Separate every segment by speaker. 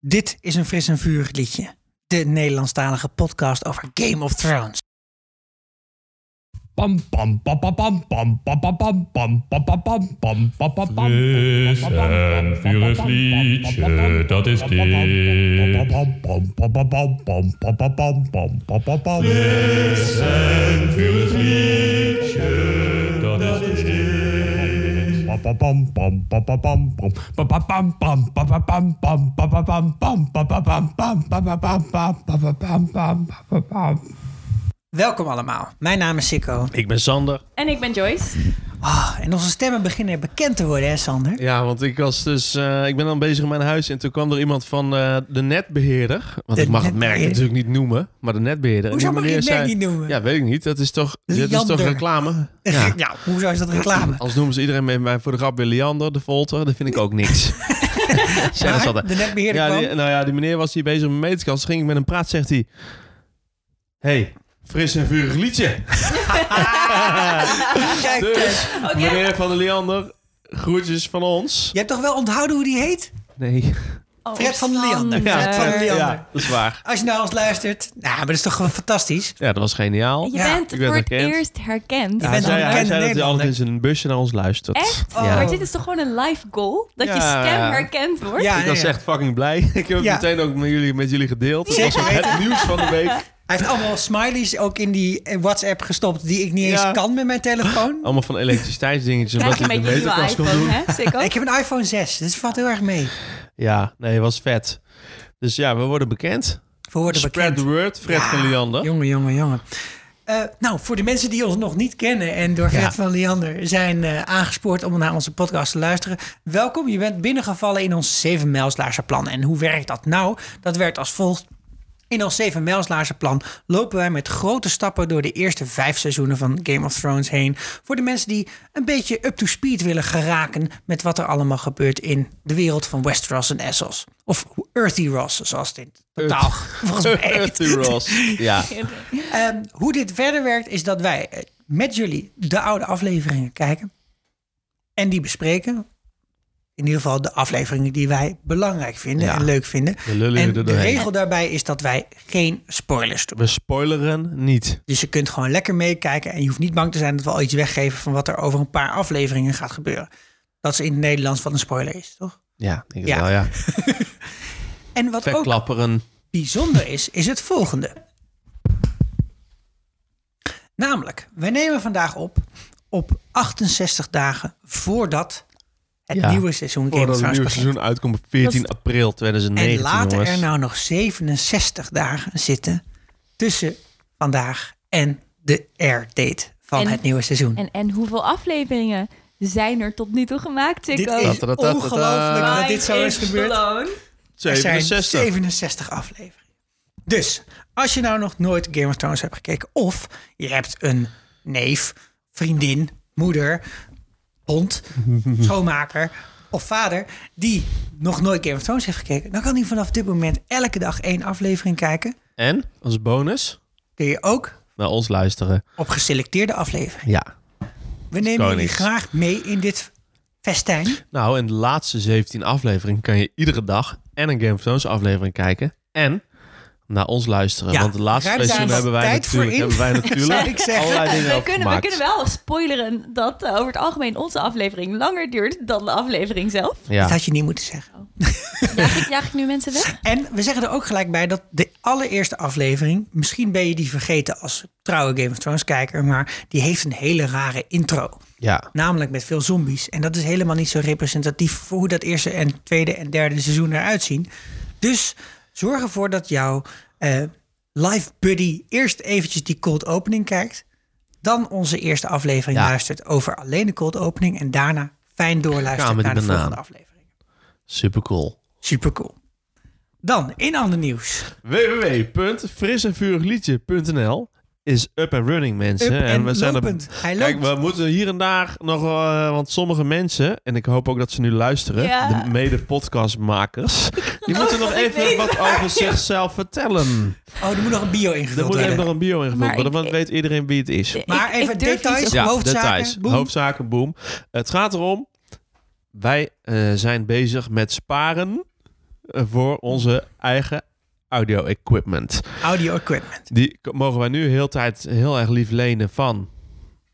Speaker 1: Dit is een fris en vuur liedje. De Nederlandstalige podcast over Game of Thrones.
Speaker 2: Pam pam pam pam pam pam pam pam pam pam pam pam pam pam pam pam pam
Speaker 3: Fris en vurig liedje, dat is dit. Fris en vurig liedje, dat is dit.
Speaker 1: Welkom allemaal. Mijn naam is Sikko.
Speaker 4: Ik ben Sander.
Speaker 5: En ik ben Joyce.
Speaker 1: Ah, en onze stemmen beginnen bekend te worden, hè Sander?
Speaker 4: Ja, want ik was dus, eh, ik ben dan bezig in mijn huis en toen kwam er iemand van eh, de netbeheerder. Want
Speaker 1: De
Speaker 4: ik mag het merk
Speaker 1: netbeheerder?
Speaker 4: natuurlijk niet noemen, maar de netbeheerder. En
Speaker 1: Hoezo
Speaker 4: die
Speaker 1: mag je
Speaker 4: meneer
Speaker 1: het merk
Speaker 4: zei-
Speaker 1: niet noemen?
Speaker 4: Ja, weet ik niet. Dat is toch, dit is toch
Speaker 1: Liander.
Speaker 4: reclame?
Speaker 1: Ja.
Speaker 4: Ja.
Speaker 1: hoezo is dat reclame?
Speaker 4: Als noemen ze iedereen met mij voor de grap weer Leander, de Volter, dat vind ik ook niks. Zeggen ze altijd.
Speaker 1: de netbeheerder
Speaker 4: Ja,
Speaker 1: kwam.
Speaker 4: die, nou ja, die meneer was hier bezig met mijn meetkast. Ging ik met hem praat, zegt hij... hey, fris en vurig liedje.
Speaker 1: Kijk,
Speaker 4: Dus,
Speaker 5: Oké.
Speaker 4: meneer van de Leander, groetjes van ons.
Speaker 1: je hebt toch wel onthouden hoe die heet?
Speaker 4: Nee.
Speaker 5: Oh,
Speaker 1: Fred van Leander.
Speaker 5: Sander.
Speaker 1: Fred van Leander.
Speaker 4: Ja, dat is waar.
Speaker 1: Als je naar ons luistert. Nou, maar dat is toch gewoon fantastisch?
Speaker 4: Ja, dat was geniaal.
Speaker 5: Je
Speaker 1: Ja,
Speaker 5: bent
Speaker 4: ik ben
Speaker 5: voor het
Speaker 4: herkend.
Speaker 5: eerst herkend.
Speaker 1: Je bent
Speaker 4: Ja, hij
Speaker 1: een
Speaker 4: zei, hij
Speaker 1: bekende
Speaker 4: zei dat hij
Speaker 1: Nederlander.
Speaker 4: altijd in zijn busje naar ons luistert.
Speaker 5: Echt?
Speaker 1: Oh.
Speaker 4: Ja.
Speaker 5: Maar dit is toch gewoon een live goal? Dat je
Speaker 4: Ja.
Speaker 5: stem herkend wordt?
Speaker 1: Ja, nou
Speaker 4: Ik was
Speaker 1: ja, ja.
Speaker 4: echt fucking blij. Ik heb het
Speaker 1: Ja.
Speaker 4: meteen ook met jullie, met jullie gedeeld. Het was ook
Speaker 1: Zeker
Speaker 4: het nieuws van de week.
Speaker 1: Hij heeft allemaal smileys ook in die eh, WhatsApp gestopt die ik niet eens
Speaker 4: Ja. Oh,
Speaker 1: kan met mijn telefoon.
Speaker 4: Allemaal van elektriciteitsdingetjes.
Speaker 5: Krijg
Speaker 4: Omdat
Speaker 5: je een
Speaker 4: ik de
Speaker 5: beetje een nieuwe
Speaker 4: meterkast kon doen.
Speaker 5: iPhone, hè? Sikko?
Speaker 1: Ik heb een iPhone 6, dus het valt heel erg mee.
Speaker 4: Ja, nee, was vet. Dus ja, we worden bekend.
Speaker 1: We worden
Speaker 4: Spread
Speaker 1: bekend.
Speaker 4: the word, Fred van Liander.
Speaker 1: Jongen, jongen, jongen. Eh, nou, voor de mensen die ons nog niet kennen en door Fred
Speaker 4: Ja.
Speaker 1: van Leander zijn eh, aangespoord om naar onze podcast te luisteren. Welkom, je bent binnengevallen in ons 7 mijlslaarse plan. En hoe werkt dat nou? Dat werkt als volgt. In ons 7 mijlslaarse plan lopen wij met grote stappen door de eerste vijf seizoenen van Game of Thrones heen. Voor de mensen die een beetje up to speed willen geraken met wat er allemaal gebeurt in de wereld van Westeros en Essos. Of Earthy Ross, zoals het in totaal volgens mij heet.
Speaker 4: Arthur Ross. Ja.
Speaker 1: Ehm, hoe dit verder werkt is dat wij eh, met jullie de oude afleveringen kijken en die bespreken. In ieder geval de afleveringen die wij belangrijk vinden
Speaker 4: Ja.
Speaker 1: en leuk vinden.
Speaker 4: We lullen
Speaker 1: en
Speaker 4: je er
Speaker 1: de
Speaker 4: doorheen.
Speaker 1: regel daarbij is dat wij geen spoilers doen.
Speaker 4: We spoileren niet.
Speaker 1: Dus je kunt gewoon lekker meekijken en je hoeft niet bang te zijn dat we al iets weggeven van wat er over een paar afleveringen gaat gebeuren. Dat ze in het Nederlands wat een spoiler is, toch?
Speaker 4: Ja, denk ik
Speaker 1: Ja.
Speaker 4: wel, ja.
Speaker 1: En wat ook
Speaker 4: Verklapperen.
Speaker 1: bijzonder is, is het volgende. Namelijk, wij nemen vandaag op op 68 dagen voordat het
Speaker 4: Ja,
Speaker 1: nieuwe seizoen Game of
Speaker 4: Voordat het
Speaker 1: Thrones
Speaker 4: nieuwe
Speaker 1: begint.
Speaker 4: seizoen uitkomt op 14
Speaker 5: Dat
Speaker 4: april 2019,
Speaker 1: en laten
Speaker 4: jongens.
Speaker 1: er nou nog 67 dagen zitten tussen vandaag en de air-date van
Speaker 5: En-
Speaker 1: het nieuwe seizoen.
Speaker 5: En, en hoeveel afleveringen zijn er tot nu toe gemaakt,
Speaker 1: dit
Speaker 5: Sikko?
Speaker 1: is
Speaker 4: Tatatatata.
Speaker 1: ongelooflijk dat dit zo is gebeurd. Er zijn
Speaker 4: 67.
Speaker 1: 67 afleveringen. Dus als je nou nog nooit Game of Thrones hebt gekeken, of je hebt een neef, vriendin, moeder, hond, schoonmaker of vader die nog nooit Game of Thrones heeft gekeken, dan kan hij vanaf dit moment elke dag één aflevering kijken.
Speaker 4: En als bonus
Speaker 1: Kun je ook
Speaker 4: naar ons luisteren.
Speaker 1: op geselecteerde afleveringen.
Speaker 4: Ja.
Speaker 1: We nemen jullie
Speaker 4: Konings.
Speaker 1: graag mee in dit festijn.
Speaker 4: Nou, in de laatste 17 aflevering kan je iedere dag en een Game of Thrones aflevering kijken. En naar ons luisteren.
Speaker 1: Ja,
Speaker 4: Want de laatste
Speaker 1: ruim
Speaker 4: twee
Speaker 1: daar
Speaker 4: seizoenen hebben
Speaker 1: wat
Speaker 4: wij
Speaker 1: tijd voor
Speaker 4: natuurlijk,
Speaker 1: in,
Speaker 4: hebben wij natuurlijk
Speaker 1: zou ik zeggen.
Speaker 4: allerlei dingen
Speaker 5: We
Speaker 4: over
Speaker 5: kunnen, we
Speaker 4: gemaakt.
Speaker 5: kunnen wel spoileren dat eh, over het algemeen onze aflevering langer duurt dan de aflevering zelf.
Speaker 1: Dat
Speaker 4: Ja.
Speaker 1: had je niet moeten zeggen.
Speaker 5: Jaag ik, jaag ik nu mensen weg?
Speaker 1: En we zeggen er ook gelijk bij dat de allereerste aflevering, misschien ben je die vergeten als trouwe Game of Thrones kijker, maar die heeft een hele rare intro.
Speaker 4: ja.
Speaker 1: Namelijk met veel zombies. En dat is helemaal niet zo representatief voor hoe dat eerste en tweede en derde seizoen eruit zien. Dus zorg ervoor dat jouw eh live buddy eerst eventjes die cold opening kijkt. Dan onze eerste aflevering
Speaker 4: Ja.
Speaker 1: luistert over alleen de cold opening. En daarna fijn doorluistert
Speaker 4: Kamer die
Speaker 1: naar de
Speaker 4: banaan.
Speaker 1: volgende aflevering.
Speaker 4: Super cool.
Speaker 1: Super cool. Dan, in ander nieuws.
Speaker 4: www.frisenvurigliedje.nl is up and running, mensen.
Speaker 1: Up
Speaker 4: en
Speaker 1: en
Speaker 4: we zijn
Speaker 1: lopend.
Speaker 4: Er,
Speaker 1: Hij
Speaker 4: Kijk,
Speaker 1: loopt.
Speaker 4: we moeten hier en daar nog... eh, want sommige mensen, en ik hoop ook dat ze nu luisteren...
Speaker 5: Ja.
Speaker 4: de mede-podcastmakers... die moeten nog
Speaker 5: dat ik
Speaker 4: even
Speaker 5: weet
Speaker 4: wat over zichzelf vertellen.
Speaker 1: Oh, er moet nog een bio
Speaker 4: Er
Speaker 1: ingevuld
Speaker 4: moet even
Speaker 1: worden.
Speaker 4: nog een bio ingevuld
Speaker 5: Maar
Speaker 4: worden,
Speaker 5: ik-
Speaker 4: want weet iedereen wie het is.
Speaker 1: Maar
Speaker 5: Ik-
Speaker 1: even
Speaker 5: ik durf niet
Speaker 1: details.
Speaker 5: zo-
Speaker 4: Ja,
Speaker 1: hoofdzaken,
Speaker 4: details.
Speaker 1: boem.
Speaker 4: Hoofdzaken, boom. Het gaat erom... Wij eh, zijn bezig met sparen... eh, eh, voor onze eigen audio equipment.
Speaker 1: Audio equipment.
Speaker 4: Die k- mogen wij nu heel tijd heel erg lief lenen van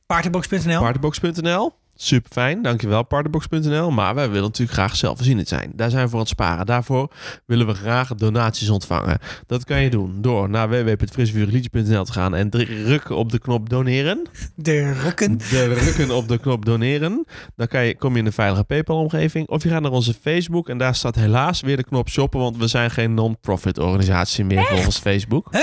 Speaker 1: Partybox.nl.
Speaker 4: Partybox.nl. Super fijn, dankjewel Partybox.nl. Maar wij willen natuurlijk graag zelfvoorzienend zijn. Daar zijn we voor aan het sparen. Daarvoor willen we graag donaties ontvangen. Dat kan je doen door naar www.frisvuurliedje.nl te gaan en drukken op de knop doneren.
Speaker 1: de rukken.
Speaker 4: drukken op de knop doneren. Dan kan je, kom je in een veilige PayPal-omgeving. Of je gaat naar onze Facebook en daar staat helaas weer de knop shoppen, want we zijn geen non-profit organisatie meer volgens Facebook.
Speaker 1: Huh?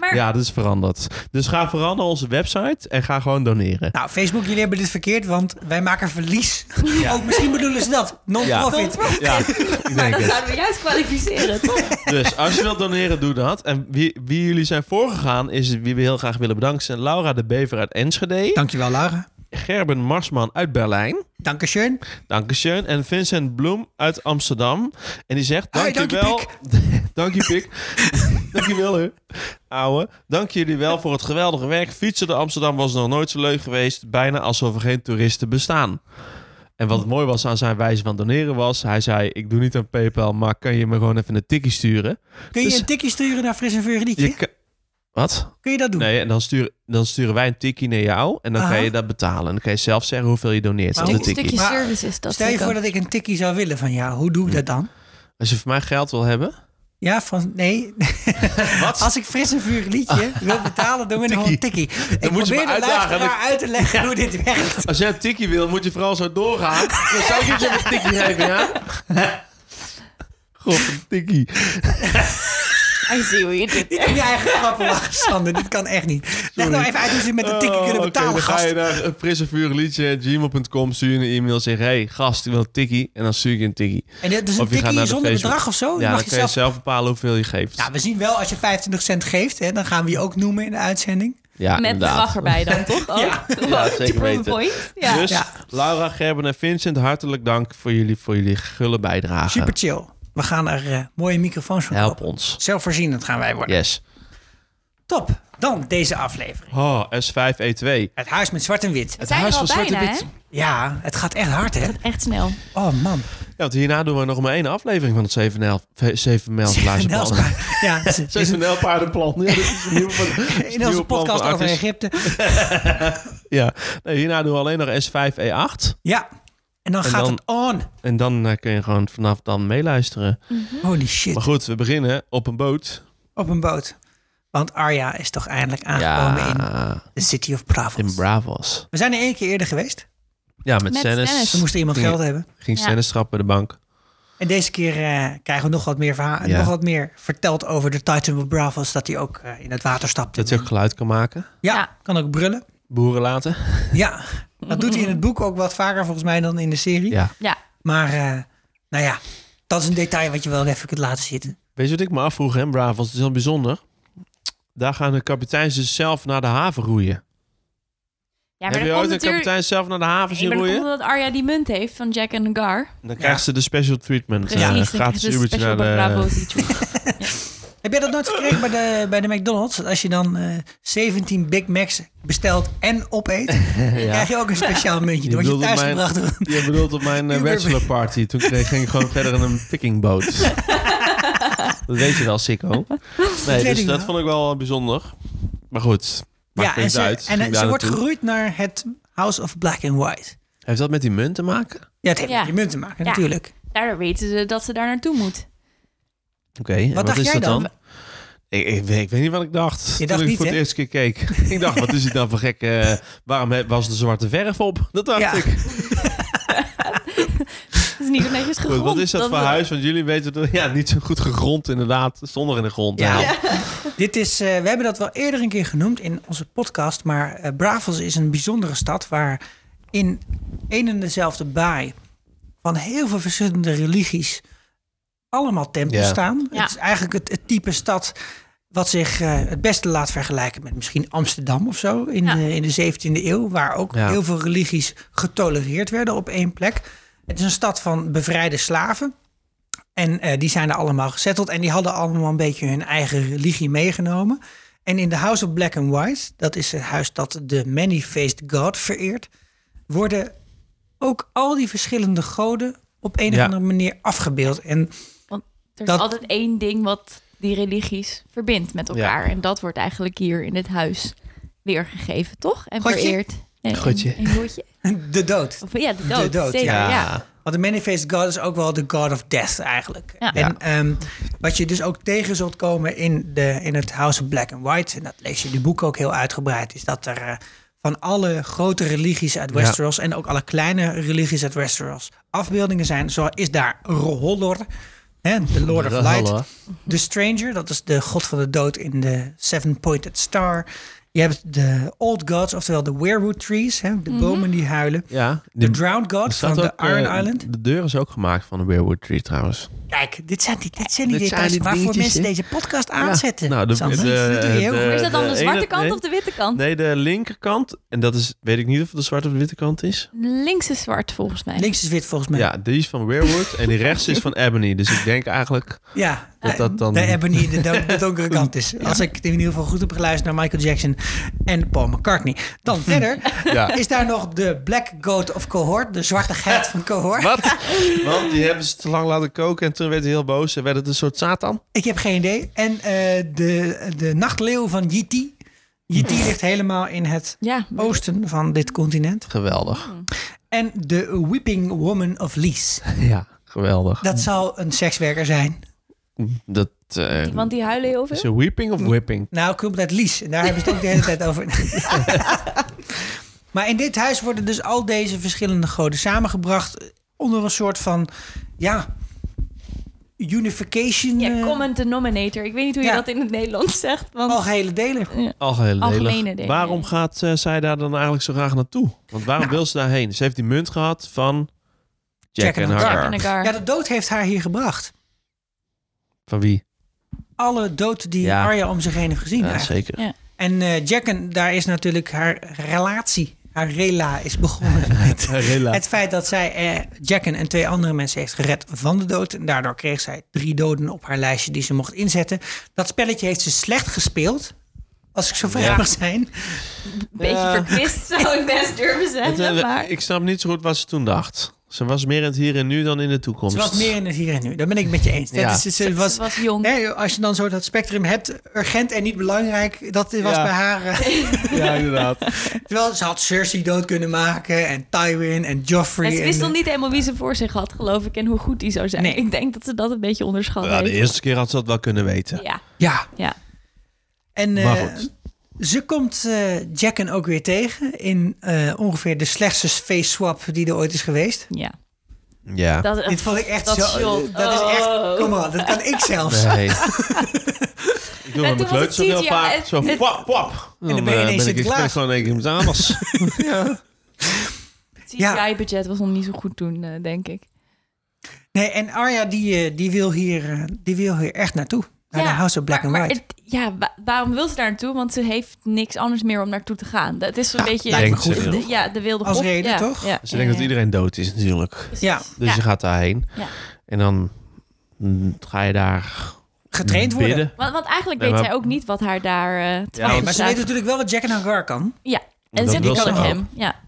Speaker 5: Maar
Speaker 4: Ja, dat is veranderd. Dus ga vooral naar onze website en ga gewoon doneren.
Speaker 1: Nou, Facebook, jullie hebben dit verkeerd, want wij maken verlies. Ook misschien bedoelen ze dat. Non-profit.
Speaker 4: Ja, ik
Speaker 5: maar
Speaker 4: denk
Speaker 5: dan
Speaker 4: het.
Speaker 5: zouden we juist kwalificeren, toch?
Speaker 4: Dus als je wilt doneren, doe dat. En wie, wie jullie zijn voorgegaan, is wie we heel graag willen bedanken. zijn Laura de Bever uit Enschede.
Speaker 1: Dankjewel, Laura.
Speaker 4: Gerben Marsman uit Berlijn.
Speaker 1: Dankeschön.
Speaker 4: Dankeschön. En Vincent Bloem uit Amsterdam. En die zegt,
Speaker 1: Hoi,
Speaker 4: dankjewel. Dank je, pik. dankjewel, hè. Ouwe. Dank jullie wel voor het geweldige werk. Fietsen door Amsterdam was nog nooit zo leuk geweest. Bijna alsof er geen toeristen bestaan. En wat mooi was aan zijn wijze van doneren was... Hij zei, ik doe niet aan Paypal, maar kan je me gewoon even een tikkie sturen?
Speaker 1: Kun je
Speaker 4: Dus-
Speaker 1: een tikje sturen naar Fris en Vuur
Speaker 4: Je
Speaker 1: Liedje?
Speaker 4: kan- Wat?
Speaker 1: Kun je dat doen?
Speaker 4: Nee, en dan, stuur, dan sturen wij een tikkie naar jou. En dan
Speaker 1: Aha.
Speaker 4: kan je dat betalen. En dan kan je zelf zeggen hoeveel je doneert
Speaker 1: Maar
Speaker 4: aan de
Speaker 1: hoe-
Speaker 5: Een
Speaker 4: tikkie.
Speaker 5: stukje
Speaker 1: Maar
Speaker 5: service is dat.
Speaker 1: Stel je
Speaker 5: zeker.
Speaker 1: voor dat ik een tikkie zou willen van jou. Hoe doe ik dat dan?
Speaker 4: Als je van mij geld wil hebben...
Speaker 1: Ja, van nee.
Speaker 4: Wat?
Speaker 1: Als ik fris en vuur liedje wil betalen, doen we nog een tikkie. Ik
Speaker 4: moet je
Speaker 1: probeer
Speaker 4: me
Speaker 1: de
Speaker 4: uitdagen.
Speaker 1: luisteraar uit te leggen hoe dit werkt.
Speaker 4: Als jij een tikkie wil, moet je vooral zo doorgaan. Dan zou ik je zo een tikkie geven, ja? God, een tikkie.
Speaker 5: I see what you did there.
Speaker 1: Je eigen grappen lachen, Sander. Dit kan echt niet. Leg nou even uit hoe ze met een tikkie kunnen
Speaker 4: Oh, oké,
Speaker 1: betalen,
Speaker 4: dan ga
Speaker 1: gast.
Speaker 4: je naar frissevuurliedje.gmail.com, stuur je een e-mail, zeg... hey, gast, ik wil een tikkie. En dan stuur je een tikkie.
Speaker 1: En dit is een
Speaker 4: Of je gaat naar
Speaker 1: tikkie
Speaker 4: de
Speaker 1: zonder
Speaker 4: Facebook.
Speaker 1: bedrag of zo.
Speaker 4: Ja,
Speaker 1: Dan
Speaker 4: dan
Speaker 1: mag
Speaker 4: kan
Speaker 1: je
Speaker 4: je
Speaker 1: zelf...
Speaker 4: zelf bepalen hoeveel je geeft.
Speaker 1: Nou, we zien wel als je 25 cent geeft, hè, dan gaan we je ook noemen in de uitzending.
Speaker 4: ja,
Speaker 5: Met
Speaker 4: inderdaad.
Speaker 5: bedrag erbij dan, toch? Ook?
Speaker 1: Ja.
Speaker 5: Gewoon
Speaker 4: Ja,
Speaker 5: to
Speaker 4: zeker
Speaker 5: prove a
Speaker 4: weten.
Speaker 5: point. Ja.
Speaker 4: Dus,
Speaker 1: Ja.
Speaker 4: Laura, Gerben en Vincent, hartelijk dank voor jullie, voor jullie gulle bijdrage.
Speaker 1: Super chill. We gaan er eh, mooie microfoons van
Speaker 4: Help
Speaker 1: kopen.
Speaker 4: ons.
Speaker 1: Zelfvoorzienend gaan wij worden.
Speaker 4: Yes.
Speaker 1: Top. Dan deze aflevering.
Speaker 4: Oh, S5E2.
Speaker 1: Het huis met zwart en wit.
Speaker 5: We zijn
Speaker 4: huis
Speaker 5: er al
Speaker 4: van Zwarte
Speaker 5: bijna, hè?
Speaker 4: Piet.
Speaker 1: Ja, het gaat echt hard, hè?
Speaker 5: Echt snel.
Speaker 1: Oh, man.
Speaker 4: Ja, want hierna doen we nog maar één aflevering van het 7 en 11 ve- 7 mijls
Speaker 1: Nels
Speaker 4: blazenplan.
Speaker 1: Paar- Ja, het is-
Speaker 4: 7 en 11 paardenplan. Ja, dat is een nieuwe, van- dat is een
Speaker 1: in
Speaker 4: nieuwe
Speaker 1: onze
Speaker 4: plan
Speaker 1: podcast
Speaker 4: van
Speaker 1: over
Speaker 4: Artis.
Speaker 1: Egypte.
Speaker 4: Ja. Nee, hierna doen we alleen nog S5E8.
Speaker 1: Ja. En dan gaat
Speaker 4: dan-
Speaker 1: het on.
Speaker 4: En dan eh, kun je gewoon vanaf dan meeluisteren.
Speaker 1: Holy shit.
Speaker 4: Maar goed, we beginnen op een boot.
Speaker 1: Op een boot. Want Arya is toch eindelijk aangekomen in de City of
Speaker 4: in
Speaker 1: Bravos.
Speaker 4: Bravos.
Speaker 1: We zijn er één keer eerder geweest.
Speaker 4: Ja, met,
Speaker 5: Met Stennis.
Speaker 1: We
Speaker 4: Stennis.
Speaker 1: moesten iemand
Speaker 4: Nee.
Speaker 1: geld hebben.
Speaker 4: Ging
Speaker 5: Ja.
Speaker 4: Stennis trappen bij de bank.
Speaker 1: En deze keer eh, krijgen we nog wat meer verhaal.
Speaker 4: Ja.
Speaker 1: Nog wat meer verteld over de Titan of Bravos. Dat hij ook eh, in het water stapt.
Speaker 4: Dat hij ook geluid kan maken.
Speaker 1: ja,
Speaker 5: Ja.
Speaker 1: kan ook brullen.
Speaker 4: Boeren laten.
Speaker 1: Ja, dat doet hij in het boek ook wat vaker volgens mij dan in de serie.
Speaker 4: Ja.
Speaker 5: Ja.
Speaker 1: Maar eh, nou ja, dat is een detail wat je wel even kunt laten zitten.
Speaker 4: Weet je wat ik me afvroeg, hè, Bravos? Het is heel bijzonder. Daar gaan de kapiteins dus zelf naar de haven roeien.
Speaker 5: Ja, maar
Speaker 4: Heb
Speaker 5: dan
Speaker 4: je
Speaker 5: komt
Speaker 4: ooit een
Speaker 5: natuurlijk...
Speaker 4: kapitein zelf naar de haven
Speaker 5: Nee,
Speaker 4: zien
Speaker 5: maar dat komt
Speaker 4: roeien?
Speaker 5: omdat Arya die munt heeft van Jack en Gar.
Speaker 4: Dan krijgt ze de special treatment.
Speaker 5: Precies,
Speaker 4: eh,
Speaker 5: dan krijg
Speaker 4: gratis
Speaker 5: je dus
Speaker 4: uurtje
Speaker 5: special
Speaker 4: naar de...
Speaker 5: Bravo Zietje.
Speaker 1: Heb jij dat nooit gekregen bij de, bij de McDonald's? Dat Als je dan eh, 17 Big Macs bestelt en opeet, krijg je ook een speciaal muntje.
Speaker 4: Je
Speaker 1: Dan word je
Speaker 4: bedoelt op
Speaker 1: thuis
Speaker 4: mijn-
Speaker 1: gebracht. door-
Speaker 4: Je bedoelt op mijn eh,
Speaker 1: Uber-
Speaker 4: bachelor party. Toen kreeg, ging ik gewoon verder in een pickingboot. dat weet je wel, sicko. Nee,
Speaker 1: weet
Speaker 4: dus
Speaker 1: ik
Speaker 4: dat
Speaker 1: wel.
Speaker 4: vond ik wel bijzonder. Maar goed, maakt
Speaker 1: en
Speaker 4: niks
Speaker 1: ze,
Speaker 4: uit.
Speaker 1: en
Speaker 4: Ging
Speaker 1: ze
Speaker 4: daar
Speaker 1: wordt
Speaker 4: naartoe.
Speaker 1: geroeid naar het House of Black and White.
Speaker 4: Heeft dat met die munt te maken?
Speaker 1: Ja, het heeft
Speaker 5: Ja.
Speaker 1: met die munt te maken
Speaker 5: Ja.
Speaker 1: natuurlijk.
Speaker 5: Daardoor weten ze dat ze daar naartoe moet.
Speaker 4: Oké, en wat,
Speaker 1: dacht
Speaker 4: is
Speaker 1: jij
Speaker 4: dat dan?
Speaker 1: dan?
Speaker 4: Ik, ik, weet, ik weet niet wat ik dacht toen
Speaker 1: dacht
Speaker 4: ik
Speaker 1: niet,
Speaker 4: voor
Speaker 1: hè?
Speaker 4: de eerste keer keek. ik dacht, wat is dit nou voor gek? eh, waarom he- was de zwarte verf op? Dat dacht
Speaker 1: Ja.
Speaker 4: ik.
Speaker 5: Dat is niet zo netjes
Speaker 4: Goed,
Speaker 5: gegrond.
Speaker 4: wat is dat, voor
Speaker 5: we-
Speaker 4: huis? Want jullie weten het ja, niet zo goed gegrond inderdaad. Zonder in de grond.
Speaker 1: Ja.
Speaker 4: Nou,
Speaker 1: Dit is, eh, we hebben dat wel eerder een keer genoemd in onze podcast. Maar eh, Bravos is een bijzondere stad waar in een en dezelfde baai van heel veel verschillende religies allemaal tempels
Speaker 4: Ja.
Speaker 1: staan.
Speaker 5: Ja.
Speaker 1: Het is eigenlijk het, het type stad wat zich eh, het beste laat vergelijken met misschien Amsterdam of zo in,
Speaker 5: Ja.
Speaker 1: de, in de 17e eeuw. Waar ook
Speaker 4: Ja.
Speaker 1: heel veel religies getolereerd werden op één plek. Het is een stad van bevrijde slaven. En eh, die zijn er allemaal gezetteld. En die hadden allemaal een beetje hun eigen religie meegenomen. En in de House of Black and White, dat is het huis dat de Many-Faced God vereert, worden ook al die verschillende goden op een of
Speaker 4: Ja.
Speaker 1: andere manier afgebeeld. En
Speaker 5: Er
Speaker 1: Dat-
Speaker 5: is altijd één ding wat die religies verbindt met elkaar. En dat wordt eigenlijk hier in dit huis weergegeven, toch? En
Speaker 1: Godje?
Speaker 5: vereerd. En,
Speaker 4: Godje.
Speaker 5: En, en godje.
Speaker 1: De dood.
Speaker 5: Of, ja, de dood.
Speaker 1: De dood,
Speaker 5: zeker, ja.
Speaker 1: Want de Manifest God is ook wel de God of Death eigenlijk.
Speaker 5: Ja.
Speaker 1: En ehm, wat je dus ook tegen zult komen in, de, in het House of Black and White... en dat lees je in de boeken ook heel uitgebreid... is dat er eh, van alle grote religies uit Westeros... en ook alle kleine religies uit Westeros afbeeldingen zijn. Zo is daar Rohollor, hè, de Lord of Light.
Speaker 4: Rohollor.
Speaker 1: The Stranger, dat is de god van de dood in de Seven-Pointed Star... Je hebt de Old Gods, oftewel de Weirwood Trees, hè, de bomen die huilen.
Speaker 4: Ja.
Speaker 1: De Drowned God van de Iron
Speaker 4: eh,
Speaker 1: Island.
Speaker 4: De deur is ook gemaakt van de Weirwood Tree trouwens.
Speaker 1: Kijk, dit zijn die, dit zijn die
Speaker 4: Dit zijn
Speaker 1: details
Speaker 4: die
Speaker 1: waarvoor
Speaker 4: dingetjes,
Speaker 1: mensen
Speaker 4: hè?
Speaker 1: deze podcast aanzetten.
Speaker 4: Nou, de-
Speaker 1: Sander.
Speaker 4: de-
Speaker 1: Dat doe je heel
Speaker 4: de-
Speaker 1: goed.
Speaker 5: Maar is dat dan de
Speaker 4: Eh,
Speaker 5: zwarte
Speaker 4: ene-
Speaker 5: kant
Speaker 4: nee.
Speaker 5: of de witte kant?
Speaker 4: Nee, de linkerkant. En dat is, weet ik niet of het de zwarte of de witte kant is.
Speaker 5: Links is zwart volgens mij.
Speaker 1: Links is wit volgens mij. Ja,
Speaker 4: Ja, die is van Weirwood en die rechts is van Ebony. Dus ik denk eigenlijk dat dat dan...
Speaker 1: de Ebony, de, don- de donkere kant is. Als ik het in ieder geval goed heb geluisterd naar Michael Jackson en Paul McCartney. Dan verder
Speaker 4: Ja.
Speaker 1: is daar nog de Black Goat of Cohort, de zwarte geit van Cohort.
Speaker 4: Wat? Want die hebben ze te lang laten koken en toen werd hij heel boos en werd het een soort Satan.
Speaker 1: Ik heb geen idee. En eh, de, de nachtleeuw van Yiti. Yiti ligt helemaal in het
Speaker 5: Ja,
Speaker 1: oosten van dit continent.
Speaker 4: Geweldig.
Speaker 1: En de Weeping Woman of Lees.
Speaker 4: Ja, geweldig.
Speaker 1: Dat zal een sekswerker zijn.
Speaker 4: Dat, eh,
Speaker 5: want die huilen heel
Speaker 4: is
Speaker 5: veel.
Speaker 4: het weeping of whipping?
Speaker 1: Nou, compleet Lies. En daar hebben ze het ook de hele tijd over. maar in dit huis worden dus al deze verschillende goden samengebracht. onder een soort van. ja. unification.
Speaker 5: Ja,
Speaker 1: eh,
Speaker 5: common denominator. Ik weet niet hoe je
Speaker 1: Ja. Oh,
Speaker 5: dat in het Nederlands zegt. Want
Speaker 1: algehele delen.
Speaker 4: Algehele
Speaker 5: Algemene
Speaker 4: lelig.
Speaker 5: dingen.
Speaker 4: Waarom gaat eh, zij daar dan eigenlijk zo graag naartoe? Want waarom wil ze daarheen? Ze heeft die munt gehad van Jack,
Speaker 1: Jack
Speaker 4: en
Speaker 1: and
Speaker 4: Hagar.
Speaker 5: Jack and Hagar.
Speaker 1: Ja, de dood heeft haar hier gebracht.
Speaker 4: Van wie?
Speaker 1: Alle dood die
Speaker 4: Ja.
Speaker 1: Arya om zich heen heeft gezien.
Speaker 4: Ja,
Speaker 1: eigenlijk.
Speaker 4: zeker.
Speaker 5: Ja.
Speaker 1: en eh, Jacken, daar is natuurlijk haar relatie. Haar rela is begonnen met
Speaker 4: Rilla.
Speaker 1: Het feit dat zij eh, Jacken en twee andere mensen heeft gered van de dood. En daardoor kreeg zij drie doden op haar lijstje die ze mocht inzetten. Dat spelletje heeft ze slecht gespeeld. Als ik zo vrij
Speaker 4: Ja.
Speaker 1: mag zijn.
Speaker 5: Een beetje verkwist zou ik best durven
Speaker 4: Het,
Speaker 5: zeggen.
Speaker 4: eh,
Speaker 5: maar...
Speaker 4: Ik snap niet zo goed wat ze toen dacht. Ze was meer in het hier en nu dan in de toekomst.
Speaker 1: Ze was meer in het hier en nu. Daar ben ik met je eens.
Speaker 4: Ja.
Speaker 1: Dat is, ze- ze
Speaker 5: Ze
Speaker 1: was,
Speaker 5: was, jong.
Speaker 1: hè, als je dan zo dat spectrum hebt, urgent en niet belangrijk. Dat was
Speaker 4: Ja.
Speaker 1: bij haar. eh,
Speaker 4: Ja, inderdaad.
Speaker 1: terwijl ze had Cersei dood kunnen maken. En Tywin en Joffrey.
Speaker 5: En ze
Speaker 1: en- eh,
Speaker 5: wist nog niet helemaal wie ze voor zich had, geloof ik, en hoe goed die zou zijn.
Speaker 1: Nee.
Speaker 5: Ik denk dat ze dat een beetje onderschat
Speaker 4: Ja, de
Speaker 5: heeft.
Speaker 4: eerste keer had ze dat wel kunnen weten.
Speaker 5: Ja,
Speaker 1: Ja.
Speaker 5: ja.
Speaker 1: En eh,
Speaker 4: Maar goed.
Speaker 1: ze komt eh Jacken ook weer tegen in eh, ongeveer de slechtste face swap die er ooit is geweest.
Speaker 5: ja.
Speaker 4: Ja.
Speaker 5: Dat,
Speaker 1: Dit vond ik echt
Speaker 5: dat
Speaker 1: zo.
Speaker 5: shot.
Speaker 1: Dat is echt.
Speaker 5: Oh.
Speaker 1: Kom maar, dat kan ik zelfs.
Speaker 4: Nee. ik doe met
Speaker 5: Ja, toen
Speaker 4: mijn
Speaker 5: was
Speaker 4: kleut
Speaker 5: het
Speaker 4: zo heel
Speaker 5: CGI
Speaker 4: vaak.
Speaker 5: het-
Speaker 4: zo
Speaker 5: het-
Speaker 4: pap, pap. En
Speaker 1: dan ben je ineens
Speaker 4: ik, ik
Speaker 1: Sinterklaas.
Speaker 4: eh, ben gewoon denk ik iemand anders. ja.
Speaker 5: Het
Speaker 1: Ja.
Speaker 5: CGI-budget was nog niet zo goed toen, eh, denk ik.
Speaker 1: Nee, en Arya die, eh, die, wil hier, eh, die wil hier echt naartoe. Naar
Speaker 5: Ja,
Speaker 1: de House of Black
Speaker 5: maar,
Speaker 1: and
Speaker 5: maar
Speaker 1: White.
Speaker 5: het- ja, wa- waarom wil ze daar naartoe? Want ze heeft niks anders meer om naartoe te gaan. Dat is een beetje...
Speaker 1: Ah, lijkt me
Speaker 5: de-
Speaker 4: goed
Speaker 5: de-
Speaker 4: genoeg.
Speaker 5: ja, de wilde
Speaker 1: Als
Speaker 5: gok.
Speaker 1: reden,
Speaker 5: Ja,
Speaker 1: toch?
Speaker 5: Ja,
Speaker 4: Ze denkt dat iedereen dood is natuurlijk.
Speaker 1: Ja.
Speaker 4: Dus je gaat daarheen.
Speaker 5: Ja.
Speaker 4: En dan mm, ga je daar
Speaker 1: Getraind worden.
Speaker 4: Mm, bidden.
Speaker 5: Want, want eigenlijk
Speaker 4: Nee,
Speaker 5: weet
Speaker 4: maar-
Speaker 5: zij ook niet wat haar daar eh te
Speaker 4: Ja,
Speaker 5: wachten
Speaker 1: Maar ze
Speaker 5: staat.
Speaker 1: weet natuurlijk wel wat Jack en Hagar kan.
Speaker 5: Ja, en
Speaker 4: Dat
Speaker 5: ze
Speaker 4: wil
Speaker 5: kan
Speaker 4: ze
Speaker 5: het
Speaker 4: ook.
Speaker 5: hem. Ja,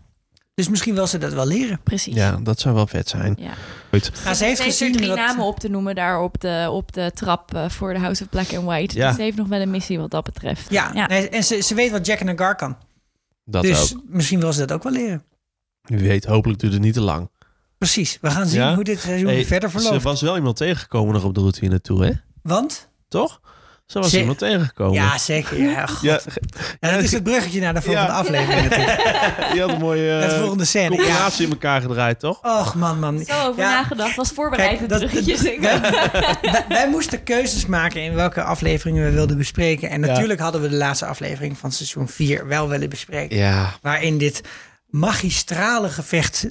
Speaker 1: Dus misschien wil ze dat wel leren.
Speaker 5: precies.
Speaker 4: Ja, dat zou wel vet zijn.
Speaker 5: Ja.
Speaker 4: Goed.
Speaker 1: Nou, ze heeft
Speaker 5: Ze heeft er
Speaker 1: gezien
Speaker 5: drie
Speaker 1: dat...
Speaker 5: namen op te noemen daar op de, op de trap eh, voor de House of Black and White.
Speaker 4: Ja.
Speaker 5: Dus ze heeft nog wel een missie wat dat betreft.
Speaker 1: Ja, nee, en ze, ze weet wat Jack en Hagar kan.
Speaker 4: Dat
Speaker 1: dus
Speaker 4: ook.
Speaker 1: misschien wil ze dat ook wel leren.
Speaker 4: Wie weet, hopelijk duurt het niet te lang.
Speaker 1: Precies. We gaan zien
Speaker 4: Ja?
Speaker 1: hoe dit seizoen
Speaker 4: Hey,
Speaker 1: verder
Speaker 4: Ze
Speaker 1: verloopt.
Speaker 4: was wel iemand tegengekomen nog op de route hier naartoe, hè?
Speaker 1: Want?
Speaker 4: Toch? Ze was
Speaker 1: Ze-
Speaker 4: iemand tegengekomen.
Speaker 1: Ja, zeker. Ja, god.
Speaker 4: Ja,
Speaker 1: Ja, dat is het bruggetje naar de volgende
Speaker 4: Ja.
Speaker 1: aflevering. natuurlijk.
Speaker 4: je had een mooie
Speaker 1: Naar de
Speaker 4: eh,
Speaker 1: volgende scène. Ja.
Speaker 4: combinatie in elkaar gedraaid, toch?
Speaker 1: Och, man, man.
Speaker 5: Zo over
Speaker 1: Ja.
Speaker 5: nagedacht, was voorbereid
Speaker 1: Kijk,
Speaker 5: Kijk,
Speaker 1: dat-
Speaker 5: teruggetjes.
Speaker 1: wij, wij moesten keuzes maken in welke afleveringen we wilden bespreken. En
Speaker 4: Ja.
Speaker 1: natuurlijk hadden we de laatste aflevering van seizoen 4 wel willen bespreken.
Speaker 4: Ja.
Speaker 1: Waarin dit magistrale gevecht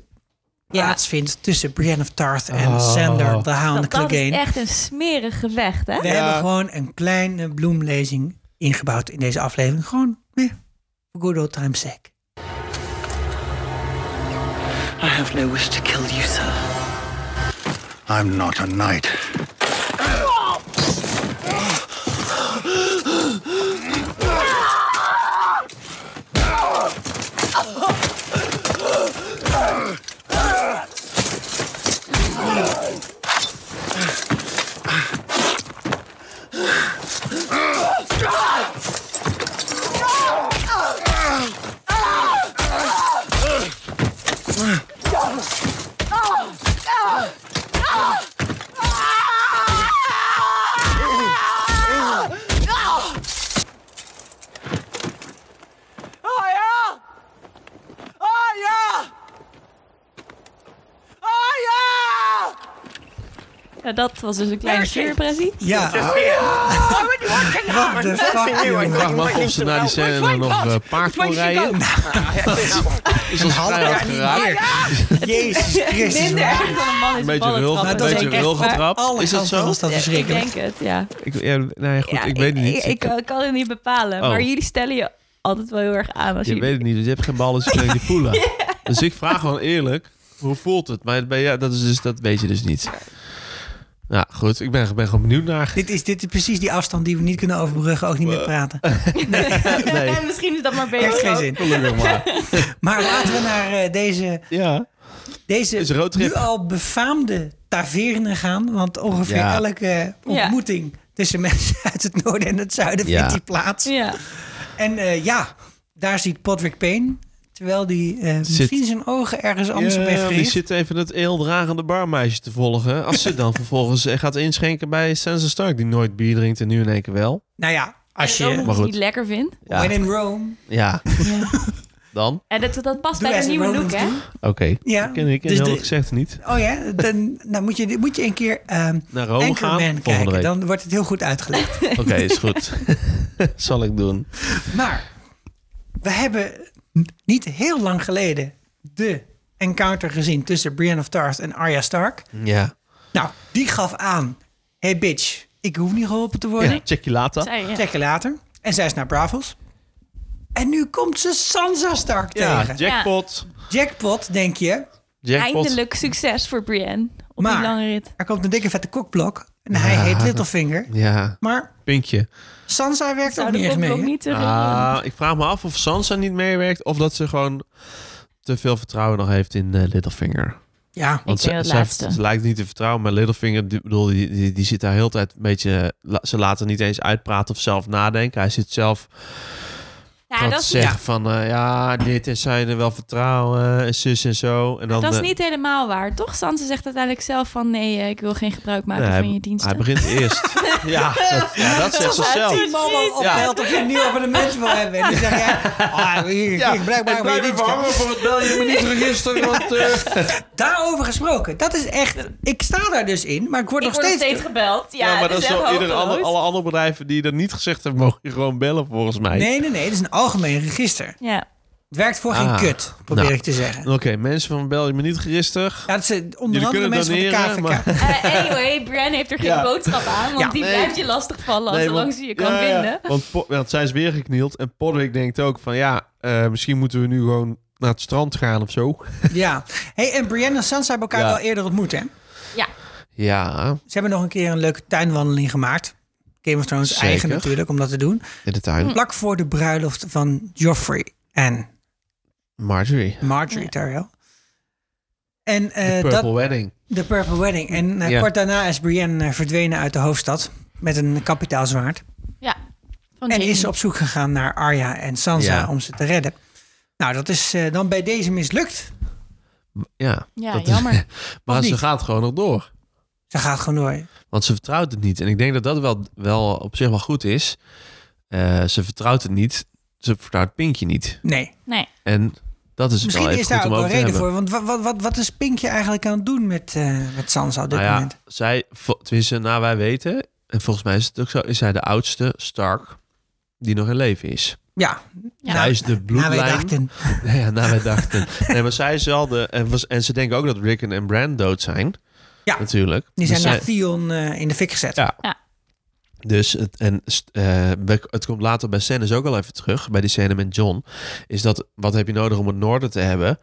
Speaker 1: plaatsvindt tussen Brienne of Tarth en
Speaker 4: Oh.
Speaker 1: Sander de Hound
Speaker 5: dat, dat is
Speaker 1: Clegane.
Speaker 5: echt een smerig gevecht, hè?
Speaker 1: We
Speaker 4: Ja.
Speaker 1: hebben gewoon een kleine bloemlezing ingebouwd in deze aflevering. Gewoon, eh, for good old time's sake.
Speaker 6: I have no wish to kill you, sir.
Speaker 7: I'm not a knight.
Speaker 5: Ja, dat was dus een kleine
Speaker 8: Mercy.
Speaker 5: surpressie.
Speaker 1: Ja,
Speaker 8: I would watch an hour.
Speaker 1: the
Speaker 8: Nothing
Speaker 1: fuck,
Speaker 8: new. I
Speaker 1: jongen.
Speaker 8: thought you
Speaker 1: Wacht
Speaker 4: maar
Speaker 8: might
Speaker 4: of
Speaker 8: need
Speaker 4: ze
Speaker 8: to
Speaker 4: naar die
Speaker 8: know.
Speaker 4: scène
Speaker 8: Which
Speaker 4: nog,
Speaker 8: way
Speaker 4: eh,
Speaker 8: she
Speaker 4: paard kon
Speaker 8: goes?
Speaker 4: rijden.
Speaker 8: Ah, I think so.
Speaker 4: Is als
Speaker 1: half
Speaker 4: vrij hard
Speaker 1: jaar niet
Speaker 4: geraakt.
Speaker 1: meer. Jezus Christus.
Speaker 5: Minder
Speaker 1: man.
Speaker 5: erg dan een man in
Speaker 4: Een
Speaker 5: zijn
Speaker 4: beetje
Speaker 5: ballen
Speaker 4: rul,
Speaker 5: trappen.
Speaker 1: Nou,
Speaker 4: een
Speaker 1: dat is
Speaker 4: beetje
Speaker 1: ook echt
Speaker 4: rul
Speaker 1: waar.
Speaker 4: getrapt.
Speaker 1: Alle
Speaker 4: Is dat
Speaker 1: kanten
Speaker 4: zo?
Speaker 1: was dat
Speaker 5: Ik
Speaker 1: verschrikkelijk.
Speaker 5: denk het, ja.
Speaker 4: Ik, ja, nou ja, goed,
Speaker 5: Ja,
Speaker 4: ik weet het niet.
Speaker 5: Ik, eh, ik, ik kan het niet bepalen.
Speaker 4: Oh.
Speaker 5: Maar jullie stellen je altijd wel heel erg aan. Als
Speaker 4: Je
Speaker 5: jullie...
Speaker 4: weet het niet, want je hebt geen bal, dus je kan het niet voelen. Dus ik vraag gewoon eerlijk, hoe voelt het? Maar bij jou, dat, is dus, dat weet je dus niet. Nou, goed, ik ben, ben gewoon benieuwd naar.
Speaker 1: Dit is, dit is precies die afstand die we niet kunnen overbruggen, ook niet
Speaker 4: Eh.
Speaker 1: meer praten.
Speaker 4: Nee,
Speaker 5: En misschien is dat maar beter.
Speaker 1: Heeft geen
Speaker 5: ook.
Speaker 1: zin.
Speaker 4: gelukkig maar.
Speaker 1: Maar laten we naar eh, deze,
Speaker 4: Ja, Is een
Speaker 1: deze
Speaker 4: roadtrip.
Speaker 1: nu al befaamde taverne gaan. Want ongeveer
Speaker 4: Ja.
Speaker 1: elke ontmoeting tussen mensen uit het noorden en het zuiden
Speaker 4: Ja.
Speaker 1: vindt die plaats.
Speaker 5: Ja.
Speaker 1: En eh, ja, daar ziet Podrick Payne, terwijl die eh, misschien zijn ogen ergens anders op heeft
Speaker 4: ja Eh, die
Speaker 1: gericht.
Speaker 4: zit even het eeldragende barmeisje te volgen. Als ze dan vervolgens eh, gaat inschenken bij Sansa Stark, die nooit bier drinkt en nu in één keer wel.
Speaker 1: Nou ja, als
Speaker 5: Zo
Speaker 1: je...
Speaker 5: moet je
Speaker 4: goed.
Speaker 5: het niet lekker vindt.
Speaker 1: When
Speaker 4: Ja,
Speaker 1: in Rome.
Speaker 4: ja. dan?
Speaker 5: En dat, dat past
Speaker 1: Doe
Speaker 5: bij
Speaker 1: as
Speaker 5: de
Speaker 1: the
Speaker 5: nieuwe look,
Speaker 1: Romans
Speaker 5: hè?
Speaker 1: do.
Speaker 4: Oké.
Speaker 1: Ja.
Speaker 4: Ken ik en
Speaker 1: Dus
Speaker 4: heel
Speaker 1: de-
Speaker 4: gezegd niet.
Speaker 1: Oh ja, dan nou moet, je, moet je een keer ehm
Speaker 4: Naar Rome gaan
Speaker 1: Anchorman
Speaker 4: volgende
Speaker 1: kijken.
Speaker 4: week.
Speaker 1: Dan wordt het heel goed uitgelegd.
Speaker 4: Oké, is goed. Zal ik doen.
Speaker 1: Maar we hebben niet heel lang geleden de encounter gezien tussen Brienne of Tarth en Arya Stark.
Speaker 4: Ja.
Speaker 1: Nou, die gaf aan, hey bitch, ik hoef niet geholpen te worden.
Speaker 4: ja. Check je later.
Speaker 5: Zij, ja.
Speaker 1: Check je later. En zij is naar Bravos. En nu komt ze Sansa Stark
Speaker 4: Ja,
Speaker 1: tegen.
Speaker 4: jackpot.
Speaker 1: Jackpot, denk je.
Speaker 4: Jackpot.
Speaker 5: Eindelijk succes voor Brienne. Op
Speaker 1: Maar-
Speaker 5: die lange rit.
Speaker 1: Er komt een dikke vette kokblok. En hij heet Littlefinger.
Speaker 4: Ja,
Speaker 1: Maar
Speaker 4: pinkje.
Speaker 1: Sansa werkt ook
Speaker 5: Zou
Speaker 1: niet
Speaker 5: de
Speaker 1: echt mee.
Speaker 5: ook
Speaker 1: hè?
Speaker 5: niet terug.
Speaker 4: Ah, ik vraag me af of Sansa niet meewerkt of dat ze gewoon te veel vertrouwen nog heeft in eh, Littlefinger.
Speaker 1: Ja,
Speaker 5: ik
Speaker 4: ze,
Speaker 5: denk dat
Speaker 4: ze heeft-
Speaker 5: laatste.
Speaker 4: ze lijkt niet te vertrouwen, maar Littlefinger, die, bedoel, die, die, die zit daar heel de tijd een beetje... la- ze laat er niet eens uitpraten of zelf nadenken. Hij zit zelf
Speaker 5: Ja,
Speaker 4: gewoon
Speaker 5: dat
Speaker 4: te
Speaker 5: is,
Speaker 4: zeggen van... eh, ja, dit is zij er wel vertrouwen, eh, en zus en zo. En dan,
Speaker 5: dat is
Speaker 4: eh,
Speaker 5: niet helemaal waar, toch? Sansa zegt uiteindelijk zelf van... nee, eh, ik wil geen gebruik maken
Speaker 4: nee,
Speaker 5: van
Speaker 4: hij,
Speaker 5: je diensten.
Speaker 4: hij begint eerst. ja, dat, ja, dat zegt ze zelf.
Speaker 1: Die man al opbelt of je een nieuw abonnement wil hebben. En die zegt, ja, ah, hier, ik blijf maar bij je dienst.
Speaker 4: voor het België Ministerregister, want... eh,
Speaker 1: Daarover gesproken, dat is echt... Ik sta daar dus in, maar ik word
Speaker 5: ik
Speaker 1: nog
Speaker 5: word nog
Speaker 1: steeds...
Speaker 5: steeds gebeld. Ja,
Speaker 4: Ja, maar dat
Speaker 5: dat
Speaker 4: is wel
Speaker 5: echt
Speaker 4: ieder alle,
Speaker 5: hopeloos.
Speaker 4: alle andere bedrijven die dat niet gezegd hebben, mogen je gewoon bellen volgens mij.
Speaker 1: Nee, nee, nee, het is een algemeen register.
Speaker 5: Ja.
Speaker 1: Het werkt voor
Speaker 4: Ah,
Speaker 1: geen kut, probeer
Speaker 4: nou.
Speaker 1: ik te zeggen.
Speaker 4: Oké, mensen van België Ministerregister.
Speaker 1: Ja, dat zijn onder
Speaker 4: Jullie
Speaker 1: andere
Speaker 4: kunnen
Speaker 1: mensen van de KVK.
Speaker 4: doneren, maar-
Speaker 5: Eh, anyway, Brian heeft er geen
Speaker 4: Ja.
Speaker 5: boodschap aan, want
Speaker 1: Ja.
Speaker 5: die
Speaker 4: Nee.
Speaker 5: blijft je lastigvallen
Speaker 4: Nee,
Speaker 5: zolang
Speaker 4: want-
Speaker 5: ze je kan
Speaker 4: ja, ja, ja.
Speaker 5: vinden.
Speaker 4: Want, Po- want zij is weer geknield. En Podrick denkt ook van ja, eh, misschien moeten we nu gewoon naar het strand gaan of zo.
Speaker 1: Ja. Hey, en Brienne en Sansa hebben elkaar
Speaker 4: Ja.
Speaker 1: wel eerder ontmoet, hè?
Speaker 4: Ja,
Speaker 1: Ze hebben nog een keer een leuke tuinwandeling gemaakt. Game of Thrones
Speaker 4: Zeker.
Speaker 1: eigen natuurlijk, om dat te doen.
Speaker 4: in de tuin.
Speaker 1: Vlak voor de bruiloft van Joffrey en
Speaker 5: Hm.
Speaker 4: Marjorie.
Speaker 1: Marjorie Tyrell. En eh,
Speaker 4: Purple
Speaker 1: dat,
Speaker 4: Wedding.
Speaker 1: de Purple Wedding. En eh,
Speaker 4: Ja.
Speaker 1: kort daarna is Brienne eh, verdwenen uit de hoofdstad met een kapitaal zwaard.
Speaker 5: Ja. Van
Speaker 1: En
Speaker 5: Jamie.
Speaker 1: is op zoek gegaan naar Arya en Sansa
Speaker 4: Ja.
Speaker 1: om ze te redden. Nou, dat is eh, dan bij deze mislukt.
Speaker 4: Ja,
Speaker 5: Ja,
Speaker 4: dat is-
Speaker 5: jammer.
Speaker 4: maar ze
Speaker 1: niet?
Speaker 4: gaat gewoon nog door.
Speaker 1: Ze gaat gewoon door.
Speaker 4: Want ze vertrouwt het niet. En ik denk dat dat wel, wel op zich wel goed is. Eh, ze vertrouwt het niet. Ze vertrouwt Pinkje niet.
Speaker 1: Nee.
Speaker 5: Nee.
Speaker 4: En dat is
Speaker 1: Misschien
Speaker 4: wel even
Speaker 1: is
Speaker 4: goed
Speaker 1: daar ook
Speaker 4: om
Speaker 1: wel
Speaker 4: over te
Speaker 1: reden
Speaker 4: hebben.
Speaker 1: voor. Want wat, wat, wat, wat is Pinkje eigenlijk aan het doen met, eh, met Sansa op dit
Speaker 4: nou ja,
Speaker 1: moment?
Speaker 4: zij, vo- tenminste, naar wij weten, en volgens mij is het ook zo, is zij de oudste Stark die nog in leven is.
Speaker 1: Ja.
Speaker 5: Ja.
Speaker 4: Hij is de
Speaker 1: Nou, wij
Speaker 4: bloedlijn.
Speaker 1: dachten,
Speaker 4: ja, naar wij dachten. nee, maar zij is wel de, en, was, en ze denken ook dat Rickon en Bran dood zijn.
Speaker 1: Ja.
Speaker 4: natuurlijk.
Speaker 1: die zijn
Speaker 4: Dus
Speaker 1: naar
Speaker 4: zij-
Speaker 1: Theon eh, in de fik gezet.
Speaker 4: Ja.
Speaker 5: Ja.
Speaker 4: Dus het, en, st- eh, we- het komt later bij scènes ook al even terug, bij die scène met John. Is dat wat heb je nodig om het noorden te hebben?
Speaker 5: Een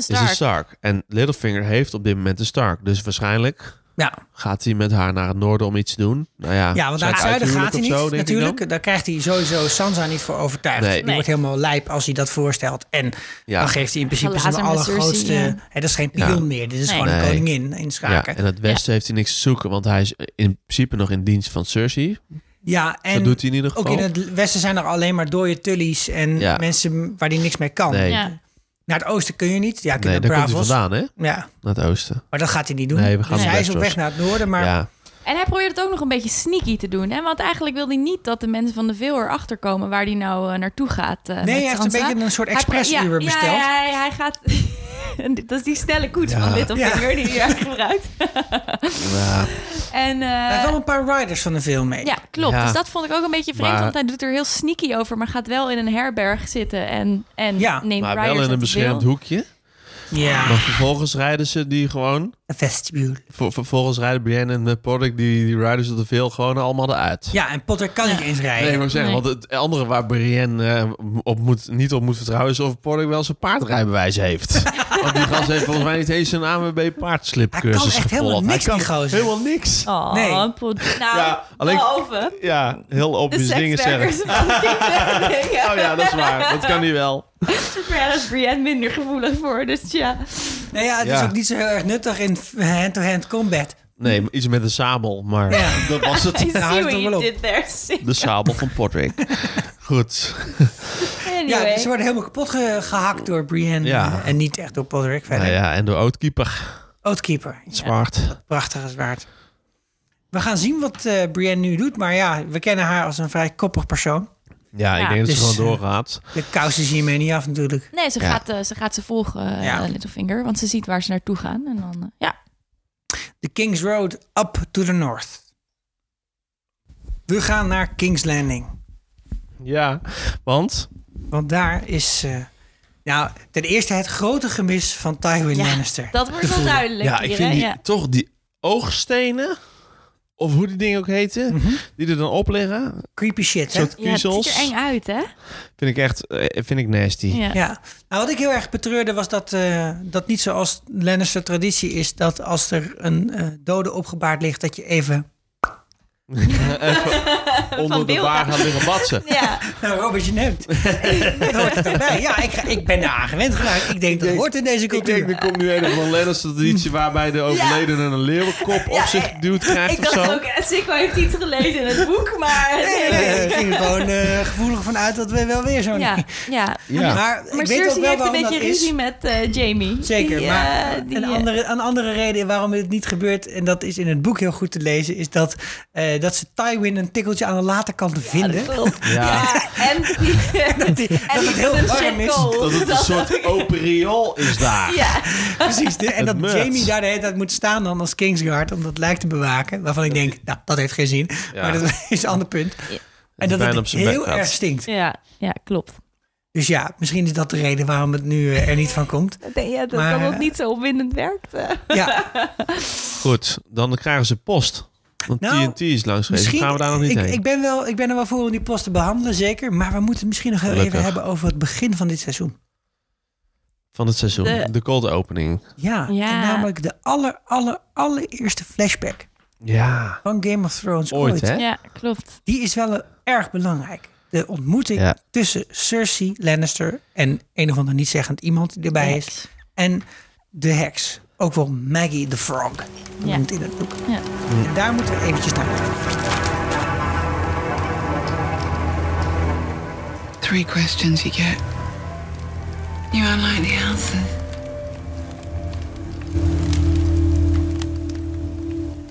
Speaker 4: Is
Speaker 5: Stark.
Speaker 4: een Stark. En Littlefinger heeft op dit moment een Stark. Dus waarschijnlijk
Speaker 1: Ja.
Speaker 4: Gaat hij met haar naar het noorden om iets te doen? Nou ja,
Speaker 1: Ja, want naar het zuiden gaat hij niet.
Speaker 4: natuurlijk.
Speaker 1: natuurlijk, daar krijgt hij sowieso Sansa niet voor overtuigd.
Speaker 4: Nee.
Speaker 1: Die
Speaker 5: Nee.
Speaker 1: wordt helemaal lijp als hij dat voorstelt. En dan
Speaker 4: Ja.
Speaker 1: geeft hij in principe
Speaker 5: Glazen
Speaker 1: zijn
Speaker 5: met
Speaker 1: allergrootste...
Speaker 5: Cersei, ja.
Speaker 1: Hè, dat is geen
Speaker 4: Ja.
Speaker 1: pion meer. Dit is
Speaker 5: Nee.
Speaker 1: gewoon een
Speaker 4: Nee.
Speaker 1: koningin in
Speaker 4: ja,
Speaker 1: schaken. Ja,
Speaker 4: en het westen heeft hij niks te zoeken, want hij is in principe nog in dienst van Cersei.
Speaker 1: en
Speaker 4: dat doet hij in ieder
Speaker 1: ook
Speaker 4: geval.
Speaker 1: in het westen zijn er alleen maar dode tullies... en
Speaker 4: Ja.
Speaker 1: mensen waar hij niks mee kan.
Speaker 4: Nee,
Speaker 5: Ja.
Speaker 1: Naar het oosten kun je niet. Ja, kun je
Speaker 4: nee
Speaker 1: naar
Speaker 4: daar komt hij
Speaker 1: Braavos.
Speaker 4: vandaan, hè?
Speaker 1: Ja,
Speaker 4: Naar het oosten.
Speaker 1: maar dat gaat hij niet doen.
Speaker 4: Nee, we gaan
Speaker 1: dus
Speaker 4: naar
Speaker 1: hij is op
Speaker 4: Westeros.
Speaker 1: weg naar het noorden, maar...
Speaker 4: ja,
Speaker 5: En hij probeert het ook nog een beetje sneaky te doen. Hè? Want eigenlijk wil hij niet dat de mensen van de veel erachter komen waar hij nou eh, naartoe gaat. eh,
Speaker 1: Nee,
Speaker 5: met
Speaker 1: hij heeft een
Speaker 5: Sansa.
Speaker 1: beetje een soort
Speaker 5: Hij pro-
Speaker 1: express-uber
Speaker 5: ja,
Speaker 1: besteld.
Speaker 5: Ja, ja, hij, hij gaat. En dit- dat is die snelle koets van Littlefinger die hij daar gebruikt. en, eh,
Speaker 1: Hij heeft wel een paar riders van de film mee.
Speaker 5: ja, klopt.
Speaker 4: Ja.
Speaker 5: Dus dat vond ik ook een beetje vreemd,
Speaker 4: Maar-
Speaker 5: want hij doet er heel sneaky over, maar gaat wel in een herberg zitten en, en
Speaker 1: Ja.
Speaker 5: neemt
Speaker 4: Maar
Speaker 5: riders
Speaker 4: wel in
Speaker 5: uit
Speaker 4: een
Speaker 5: de
Speaker 4: beschermd
Speaker 5: wil.
Speaker 4: hoekje. Maar
Speaker 1: ja.
Speaker 4: vervolgens rijden ze die gewoon.
Speaker 1: een vestibule.
Speaker 4: ver- vervolgens rijden Brienne en eh, Podrick die, die riders op de veel gewoon allemaal eruit.
Speaker 1: Ja, en Potter kan niet eens rijden.
Speaker 4: Nee, maar zeggen,
Speaker 5: Nee.
Speaker 4: want het andere waar Brienne eh, op moet, niet op moet vertrouwen is of Podrick wel zijn paardrijbewijs heeft. want die gast heeft volgens mij niet eens een ANWB paardslipcursus
Speaker 1: Hij kan echt helemaal
Speaker 4: gevolgd.
Speaker 1: niks, die gozer.
Speaker 4: helemaal niks.
Speaker 5: Oh,
Speaker 1: Nee.
Speaker 5: een pot- nou,
Speaker 4: Ja, alleen-
Speaker 5: behalve
Speaker 4: Ja, heel
Speaker 5: de
Speaker 4: obvious dingen
Speaker 5: sekswerkers.
Speaker 4: zeggen. Oh ja, dat is waar. Dat kan hij wel.
Speaker 5: Maar ja, daar is Brienne minder gevoelig voor, dus ja.
Speaker 1: Nou ja, het is
Speaker 4: Ja.
Speaker 1: ook niet zo heel erg nuttig in f- hand-to-hand combat.
Speaker 4: Nee, maar iets met een sabel, maar
Speaker 1: Ja.
Speaker 4: dat was
Speaker 5: I
Speaker 1: houdt
Speaker 4: het.
Speaker 5: see
Speaker 1: het
Speaker 5: what
Speaker 1: er
Speaker 5: you
Speaker 1: wel op.
Speaker 5: did there.
Speaker 4: De sabel van Podrick. Goed.
Speaker 5: Anyway.
Speaker 1: Ja, dus ze worden helemaal kapot ge- gehakt door Brienne.
Speaker 4: Ja.
Speaker 1: En niet echt door Podrick verder.
Speaker 4: Nou ja, en de Oudkeeper.
Speaker 1: Oathkeeper.
Speaker 4: Zwart.
Speaker 1: Prachtige zwaard. We gaan zien wat eh, Brienne nu doet. Maar ja, we kennen haar als een vrij koppig persoon.
Speaker 4: Ja, ik
Speaker 5: Ja.
Speaker 4: denk dat
Speaker 1: Dus,
Speaker 4: ze gewoon doorgaat.
Speaker 1: De kousen zien mij niet af natuurlijk.
Speaker 5: Nee, ze,
Speaker 4: Ja.
Speaker 5: gaat, eh, ze gaat ze volgen, eh,
Speaker 1: Ja.
Speaker 5: Littlefinger. Want ze ziet waar ze naartoe gaan. En dan, eh, ja.
Speaker 1: The King's Road up to the north. We gaan naar King's Landing.
Speaker 4: Ja, want...
Speaker 1: Want daar is... eh, nou, ten eerste het grote gemis van Tywin
Speaker 5: ja,
Speaker 1: Lannister.
Speaker 5: dat wordt wel duidelijk
Speaker 4: Ja,
Speaker 5: hier,
Speaker 4: ik vind
Speaker 5: hè?
Speaker 4: die,
Speaker 5: Ja.
Speaker 4: toch die oogstenen... Of hoe die dingen ook heten, die er dan op liggen,
Speaker 1: Creepy shit, hè?
Speaker 4: soort
Speaker 5: Ja, het ziet
Speaker 4: kiezels,
Speaker 5: er eng uit, hè?
Speaker 4: vind ik echt, eh, vind ik nasty.
Speaker 5: Ja.
Speaker 1: Ja. Nou, wat ik heel erg betreurde was dat, eh, dat niet zoals Lannister traditie is... dat als er een eh, dode opgebaard ligt, dat je even...
Speaker 4: Eh, Onder de
Speaker 5: beeld
Speaker 4: baar gaan liggen batsen.
Speaker 5: Ja.
Speaker 1: Nou, Robert, je neemt. dat hoort er toch bij. Ja, ik, ga- ik ben daar aan gewend geraakt. Ik denk, dat hoort in deze
Speaker 4: Ik
Speaker 1: cultuur.
Speaker 4: denk, er komt nu een van Lannister traditie waarbij de overledene een leeuwenkop op
Speaker 5: Ja,
Speaker 4: zich geduwd krijgt
Speaker 5: Ik
Speaker 4: of
Speaker 5: dacht
Speaker 4: zo.
Speaker 5: ook, eh, Sikko heeft iets gelezen in het boek, maar...
Speaker 1: Nee, nee, ik ging er gewoon eh, gevoelig van uit dat we wel weer zo'n...
Speaker 5: Ja, ja.
Speaker 4: Ja.
Speaker 1: Maar, ik
Speaker 5: Maar
Speaker 1: weet ook
Speaker 5: Cersei
Speaker 1: wel
Speaker 5: heeft een
Speaker 1: waarom
Speaker 5: beetje
Speaker 1: dat is.
Speaker 5: ruzie met eh, Jamie.
Speaker 1: Zeker,
Speaker 5: Die,
Speaker 1: maar
Speaker 5: eh, die,
Speaker 1: een,
Speaker 5: eh,
Speaker 1: andere, een andere reden waarom het niet gebeurt... en dat is in het boek heel goed te lezen... is dat, eh, dat ze Tywin een tikkeltje aan de laterkant vinden.
Speaker 5: klopt. Ja. en die...
Speaker 1: die- dat het heel
Speaker 5: een
Speaker 1: warm is.
Speaker 5: shitcold.
Speaker 4: Dat het een soort open riool is daar.
Speaker 5: Ja,
Speaker 1: Precies. de- en
Speaker 4: Het
Speaker 1: dat
Speaker 4: muts.
Speaker 1: Jamie daar de hele tijd moet staan dan als Kingsguard om dat lijk te bewaken. Waarvan ik denk, nou, dat heeft geen zin.
Speaker 4: Ja.
Speaker 1: Maar dat is een ander punt. En dat
Speaker 4: bijna op
Speaker 1: het
Speaker 4: zijn bek
Speaker 1: heel
Speaker 4: gaat.
Speaker 1: erg stinkt.
Speaker 5: ja, ja klopt.
Speaker 1: Dus ja, misschien is dat de reden waarom het nu eh, er niet van komt.
Speaker 5: Nee, ja, dat
Speaker 1: Maar,
Speaker 5: kan ook
Speaker 1: eh,
Speaker 5: niet zo opwindend werkt. eh.
Speaker 1: Ja,
Speaker 4: Goed, dan krijgen ze post. Want
Speaker 1: Nou,
Speaker 4: TNT is langs geweest.
Speaker 1: misschien.
Speaker 4: Gaan we daar nog niet
Speaker 1: ik,
Speaker 4: heen?
Speaker 1: ik, ben wel, ik ben er wel voor om die post te behandelen, zeker. Maar we moeten het misschien nog heel even
Speaker 4: Gelukkig.
Speaker 1: hebben over het begin van dit seizoen.
Speaker 4: Van het seizoen.
Speaker 5: De-
Speaker 4: De, cold opening.
Speaker 1: Ja,
Speaker 5: Ja.
Speaker 1: en namelijk de aller, aller, allereerste flashback
Speaker 4: Ja.
Speaker 1: van Game of Thrones ooit.
Speaker 4: Ooit, hè?
Speaker 5: Ja, klopt.
Speaker 1: Die is wel eh, erg belangrijk. De ontmoeting
Speaker 4: Ja.
Speaker 1: tussen Cersei Lannister en een of ander niet-zeggend iemand die erbij is. En de heks. Ook wel Maggie the Frog genoemd in het boek.
Speaker 5: Ja.
Speaker 1: En daar moeten we eventjes naar kijken.
Speaker 9: Three questions you get. You unlike the answers.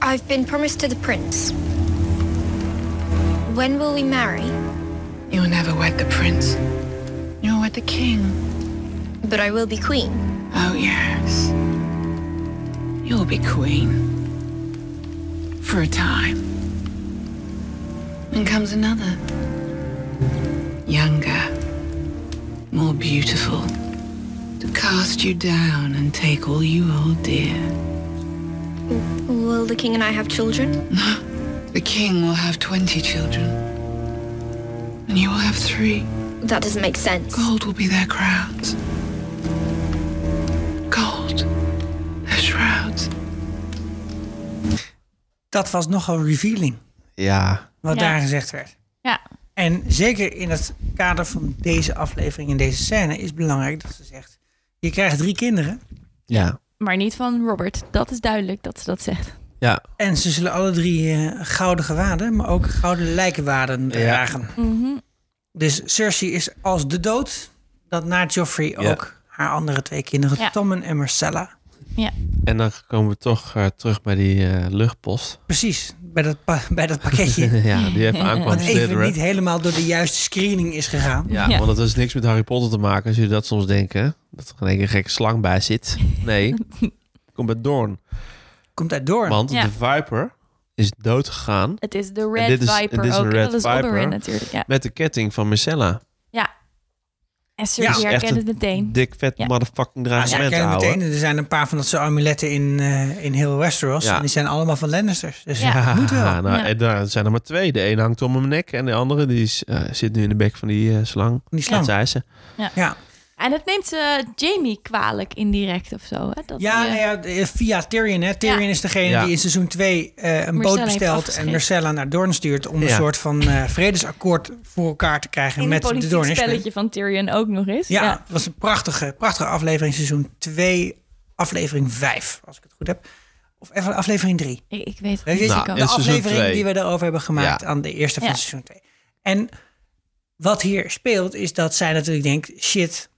Speaker 10: I've been promised to the prince. When will we marry?
Speaker 9: You'll never wed the prince. You'll wed the king.
Speaker 10: But I will be queen.
Speaker 9: Oh, yes. You'll be queen. For a time. And comes another. Younger. More beautiful. To cast you down and take all you hold dear.
Speaker 10: Will the king and I have children?
Speaker 9: The king will have 20 children. And you will have three.
Speaker 10: That doesn't make sense.
Speaker 9: Gold will be their crowns. Gold. Their shrouds.
Speaker 1: Dat was nogal revealing
Speaker 4: Ja.
Speaker 1: wat
Speaker 5: Ja.
Speaker 1: daar gezegd werd.
Speaker 5: Ja,
Speaker 1: En zeker in het kader van deze aflevering en deze scène is belangrijk dat ze zegt... Je krijgt drie kinderen
Speaker 4: Ja.
Speaker 5: maar niet van Robert. Dat is duidelijk dat ze dat zegt.
Speaker 4: Ja.
Speaker 1: en ze zullen alle drie eh, gouden gewaden, maar ook gouden lijkenwaden dragen.
Speaker 5: Mhm.
Speaker 1: Dus Cersei is als de dood dat na Joffrey
Speaker 4: Ja.
Speaker 1: ook haar andere twee kinderen,
Speaker 5: Ja.
Speaker 1: Tommen en Marcella.
Speaker 5: Ja,
Speaker 4: En dan komen we toch eh, terug bij die eh, luchtpost.
Speaker 1: Precies, bij dat, pa- bij dat pakketje.
Speaker 4: ja, die even aankwam
Speaker 1: Wat even
Speaker 4: slitheren.
Speaker 1: niet helemaal door de juiste screening is gegaan.
Speaker 4: Ja,
Speaker 5: Ja.
Speaker 4: want het was niks met Harry Potter te maken, als jullie dat soms denken. Dat er geen een gekke slang bij zit. Nee, komt bij Doorn.
Speaker 1: Komt uit door.
Speaker 4: Want
Speaker 5: Ja.
Speaker 4: de Viper is dood gegaan
Speaker 5: Het is de Red
Speaker 4: dit is-
Speaker 5: Viper
Speaker 4: dit is een
Speaker 5: ook. en
Speaker 4: Red
Speaker 5: dat is
Speaker 4: Viper.
Speaker 5: Oberyn natuurlijk. Ja.
Speaker 4: met de ketting van Marcella.
Speaker 5: En
Speaker 1: Ja.
Speaker 5: Cersei
Speaker 1: Het
Speaker 4: is echt
Speaker 5: herkent het
Speaker 4: een
Speaker 5: meteen.
Speaker 4: Dik vet
Speaker 5: Ja.
Speaker 4: motherfucking
Speaker 1: Ja, ze
Speaker 4: dreigement
Speaker 1: herkennen
Speaker 4: houden.
Speaker 1: meteen. Er zijn een paar van dat soort amuletten in, eh, in heel Westeros.
Speaker 4: Ja.
Speaker 1: En die zijn allemaal van Lannisters. Dus
Speaker 5: Ja.
Speaker 1: ja. moet wel.
Speaker 4: nou,
Speaker 5: Ja.
Speaker 4: en daar zijn er maar twee. De een hangt om mijn nek en de andere die is, eh, zit nu in de bek van die eh, slang.
Speaker 1: Die
Speaker 4: Dat
Speaker 1: slang. Ja,
Speaker 4: zei ze.
Speaker 1: ja.
Speaker 5: En het neemt eh, Jamie kwalijk indirect of zo. Hè? Dat hij, eh,
Speaker 1: nou ja, eh, via Tyrion. Hè. Tyrion
Speaker 5: Ja.
Speaker 1: is degene
Speaker 4: Ja.
Speaker 1: die in seizoen 2 een
Speaker 5: Marcella
Speaker 1: boot
Speaker 5: heeft
Speaker 1: bestelt en
Speaker 5: afgeschreven.
Speaker 1: Marcella naar Doorn stuurt om
Speaker 4: Ja.
Speaker 1: een soort van eh, vredesakkoord voor elkaar te krijgen
Speaker 5: in
Speaker 1: met
Speaker 5: het
Speaker 1: de
Speaker 5: politiek
Speaker 1: Doorn.
Speaker 5: spelletje van Tyrion ook nog eens.
Speaker 1: Ja, het was een prachtige, prachtige aflevering. Seizoen 2, aflevering 5, als ik het goed heb. Of even aflevering 3.
Speaker 5: Ik, ik weet het
Speaker 1: Weet je,
Speaker 5: niet.
Speaker 4: Nou,
Speaker 5: Ik ook.
Speaker 1: de
Speaker 4: en seizoen
Speaker 1: aflevering
Speaker 4: twee.
Speaker 1: die we erover hebben gemaakt
Speaker 4: Ja.
Speaker 1: aan de eerste van
Speaker 5: Ja.
Speaker 1: seizoen 2. En wat hier speelt, is dat zij natuurlijk denkt... shit,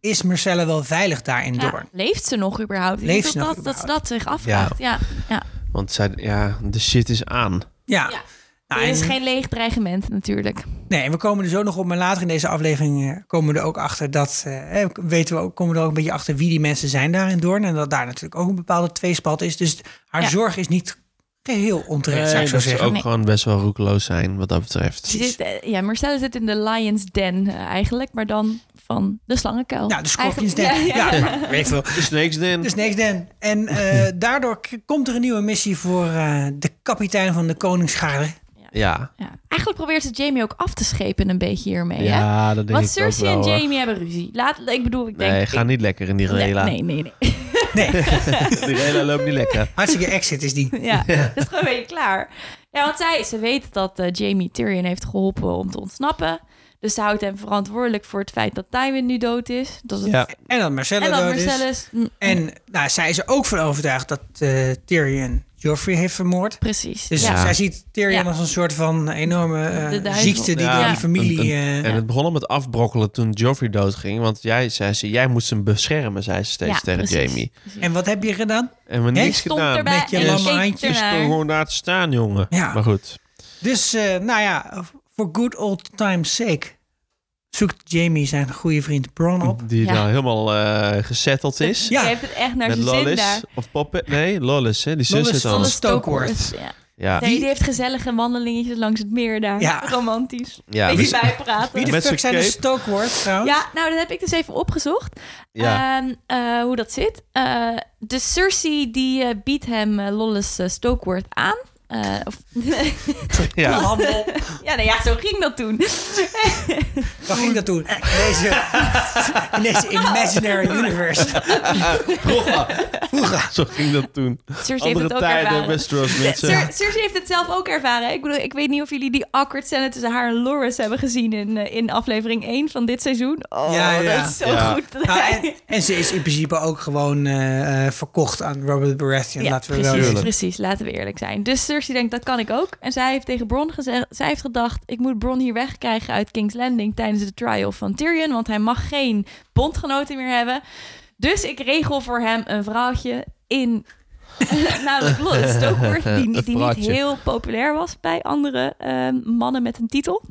Speaker 1: is Marcella wel veilig daar in
Speaker 5: Ja,
Speaker 1: Doorn?
Speaker 5: leeft ze nog überhaupt? Ik
Speaker 1: Leeft
Speaker 5: denk
Speaker 1: ze
Speaker 5: dat,
Speaker 1: nog
Speaker 5: dat, dat ze dat zich afvraagt. Ja. Ja.
Speaker 4: Want zij, ja, de shit is aan.
Speaker 1: Ja.
Speaker 5: Ja.
Speaker 1: Nou,
Speaker 5: Dit
Speaker 1: en-
Speaker 5: is geen leeg dreigement natuurlijk.
Speaker 1: Nee, en we komen er zo nog op, maar later in deze aflevering eh, komen we er ook achter dat, eh, eh, weten we ook, komen we er ook een beetje achter wie die mensen zijn daar in Doorn. En dat daar natuurlijk ook een bepaalde tweespalt is. Dus haar
Speaker 5: Ja.
Speaker 1: zorg is niet geheel onterecht, zou ik zo
Speaker 4: Eh, dat ze
Speaker 1: zeggen.
Speaker 4: ook
Speaker 5: Nee.
Speaker 4: gewoon best wel roekeloos zijn wat dat betreft.
Speaker 5: Ze zit, eh, ja, Marcella zit in de Lion's Den eh, eigenlijk, maar dan van de slangenkuil.
Speaker 1: Nou, de Scorpions Den.
Speaker 5: Eigenlijk-
Speaker 1: Ja, Dus- maar weet ik veel.
Speaker 4: De snakes den.
Speaker 1: De Snakes Den. En eh, daardoor k- komt er een nieuwe missie voor eh, de kapitein van de Koningsgarde.
Speaker 4: Ja.
Speaker 5: ja. Eigenlijk probeert ze Jamie ook af te schepen een beetje hiermee. hè?
Speaker 4: Ja, dat denk
Speaker 5: Want
Speaker 4: ik ook
Speaker 5: Cersei
Speaker 4: wel,
Speaker 5: en
Speaker 4: hoor.
Speaker 5: Jamie hebben ruzie. Laat, ik bedoel, ik denk...
Speaker 4: Nee, ga niet lekker in die
Speaker 5: Nee,
Speaker 4: rela.
Speaker 5: nee, nee, nee.
Speaker 1: Nee,
Speaker 4: Die rela loopt niet lekker.
Speaker 1: hartstikke exit is die.
Speaker 5: Ja, dat is gewoon een beetje klaar. Ja, want zij, ze weet dat eh, Jamie Tyrion heeft geholpen om te ontsnappen. Dus ze houdt hem verantwoordelijk voor het feit dat Tywin nu dood is. Dat het,
Speaker 4: Ja.
Speaker 1: En dat Marcella
Speaker 5: En dat
Speaker 1: dood is.
Speaker 5: Marcellus... mm,
Speaker 1: En nou, zij is er ook van overtuigd dat eh, Tyrion Joffrey heeft vermoord.
Speaker 5: Precies.
Speaker 1: Dus
Speaker 5: ja.
Speaker 1: zij ziet Tyrion
Speaker 5: Ja.
Speaker 1: als een soort van enorme eh,
Speaker 5: De duivel.
Speaker 1: ziekte die
Speaker 4: Ja.
Speaker 1: door die familie...
Speaker 4: En,
Speaker 1: eh,
Speaker 4: en- en het begon al met afbrokkelen toen Joffrey doodging. Want jij zei ze, jij moest hem beschermen, zei ze steeds
Speaker 5: Ja,
Speaker 4: tegen
Speaker 5: precies.
Speaker 4: Jamie.
Speaker 1: en wat heb je gedaan?
Speaker 4: En we
Speaker 1: Hè?
Speaker 4: niks
Speaker 5: Stond
Speaker 4: gedaan.
Speaker 5: erbij
Speaker 1: Met je
Speaker 5: en
Speaker 1: lamme
Speaker 5: keek
Speaker 1: handjes
Speaker 4: Is
Speaker 5: ernaar.
Speaker 4: toch gewoon daar te staan, jongen.
Speaker 1: Ja.
Speaker 4: Maar goed.
Speaker 1: Dus, eh, nou ja, for good old time's sake... zoekt Jamie zijn goede vriend Bron op.
Speaker 4: Die
Speaker 5: Ja.
Speaker 4: nou helemaal eh gezetteld is.
Speaker 1: Ja.
Speaker 5: Hij heeft het echt naar
Speaker 4: Met
Speaker 5: zijn zin
Speaker 4: Lollis.
Speaker 5: daar.
Speaker 4: Of Poppet. Nee, Lollis. Hè? Die zus
Speaker 1: Lollis
Speaker 4: is
Speaker 1: van
Speaker 4: dan.
Speaker 1: de Stokeworth.
Speaker 5: Ja.
Speaker 4: Ja.
Speaker 5: Nee, die heeft gezellige wandelingetjes langs het meer daar.
Speaker 1: Ja.
Speaker 5: Romantisch.
Speaker 4: Ja,
Speaker 5: Beetje
Speaker 4: dus-
Speaker 5: bijpraten.
Speaker 1: Wie de
Speaker 4: Met
Speaker 1: fuck
Speaker 4: zijn
Speaker 1: zijn de
Speaker 4: cape.
Speaker 1: Stokeworth trouwens?
Speaker 5: Ja, nou, dat heb ik dus even opgezocht.
Speaker 4: Ja.
Speaker 5: Ehm, eh, hoe dat zit. Eh, de Cersei die eh, biedt hem eh, Lollis eh, Stokeworth aan. Eh, of,
Speaker 1: eh,
Speaker 4: ja.
Speaker 1: Handel.
Speaker 5: ja, nou ja, zo ging dat toen.
Speaker 1: Waar ging dat toen? In deze, in deze imaginary universe.
Speaker 4: Zo ging dat toen.
Speaker 5: Cersei heeft
Speaker 4: Andere
Speaker 5: het ook
Speaker 4: tijden,
Speaker 5: ervaren.
Speaker 4: Westeros mensen.
Speaker 5: Cer- Cersei heeft het zelf ook ervaren. Ik bedoel, ik weet niet of jullie die awkward scène tussen haar en Loris hebben gezien in, eh, in aflevering 1 van dit seizoen. Oh,
Speaker 1: Ja, ja.
Speaker 5: dat is zo
Speaker 4: Ja.
Speaker 5: goed.
Speaker 1: Nou, en, en ze is in principe ook gewoon eh, eh, verkocht aan Robert Baratheon.
Speaker 5: Ja,
Speaker 1: laten we
Speaker 5: precies,
Speaker 1: wel
Speaker 4: Tuurlijk.
Speaker 5: precies, laten we eerlijk zijn. Dus Cersei denkt, dat kan ik ook. En zij heeft tegen Bron gezegd, zij heeft gedacht... ik moet Bron hier wegkrijgen uit King's Landing... tijdens de trial van Tyrion... want hij mag geen bondgenoten meer hebben. Dus ik regel voor hem een vrouwtje in... nou, namelijk Lois Stokeworth, die,
Speaker 4: Een
Speaker 5: die niet
Speaker 4: vrouwtje.
Speaker 5: heel populair was... bij andere ehm, mannen met een titel.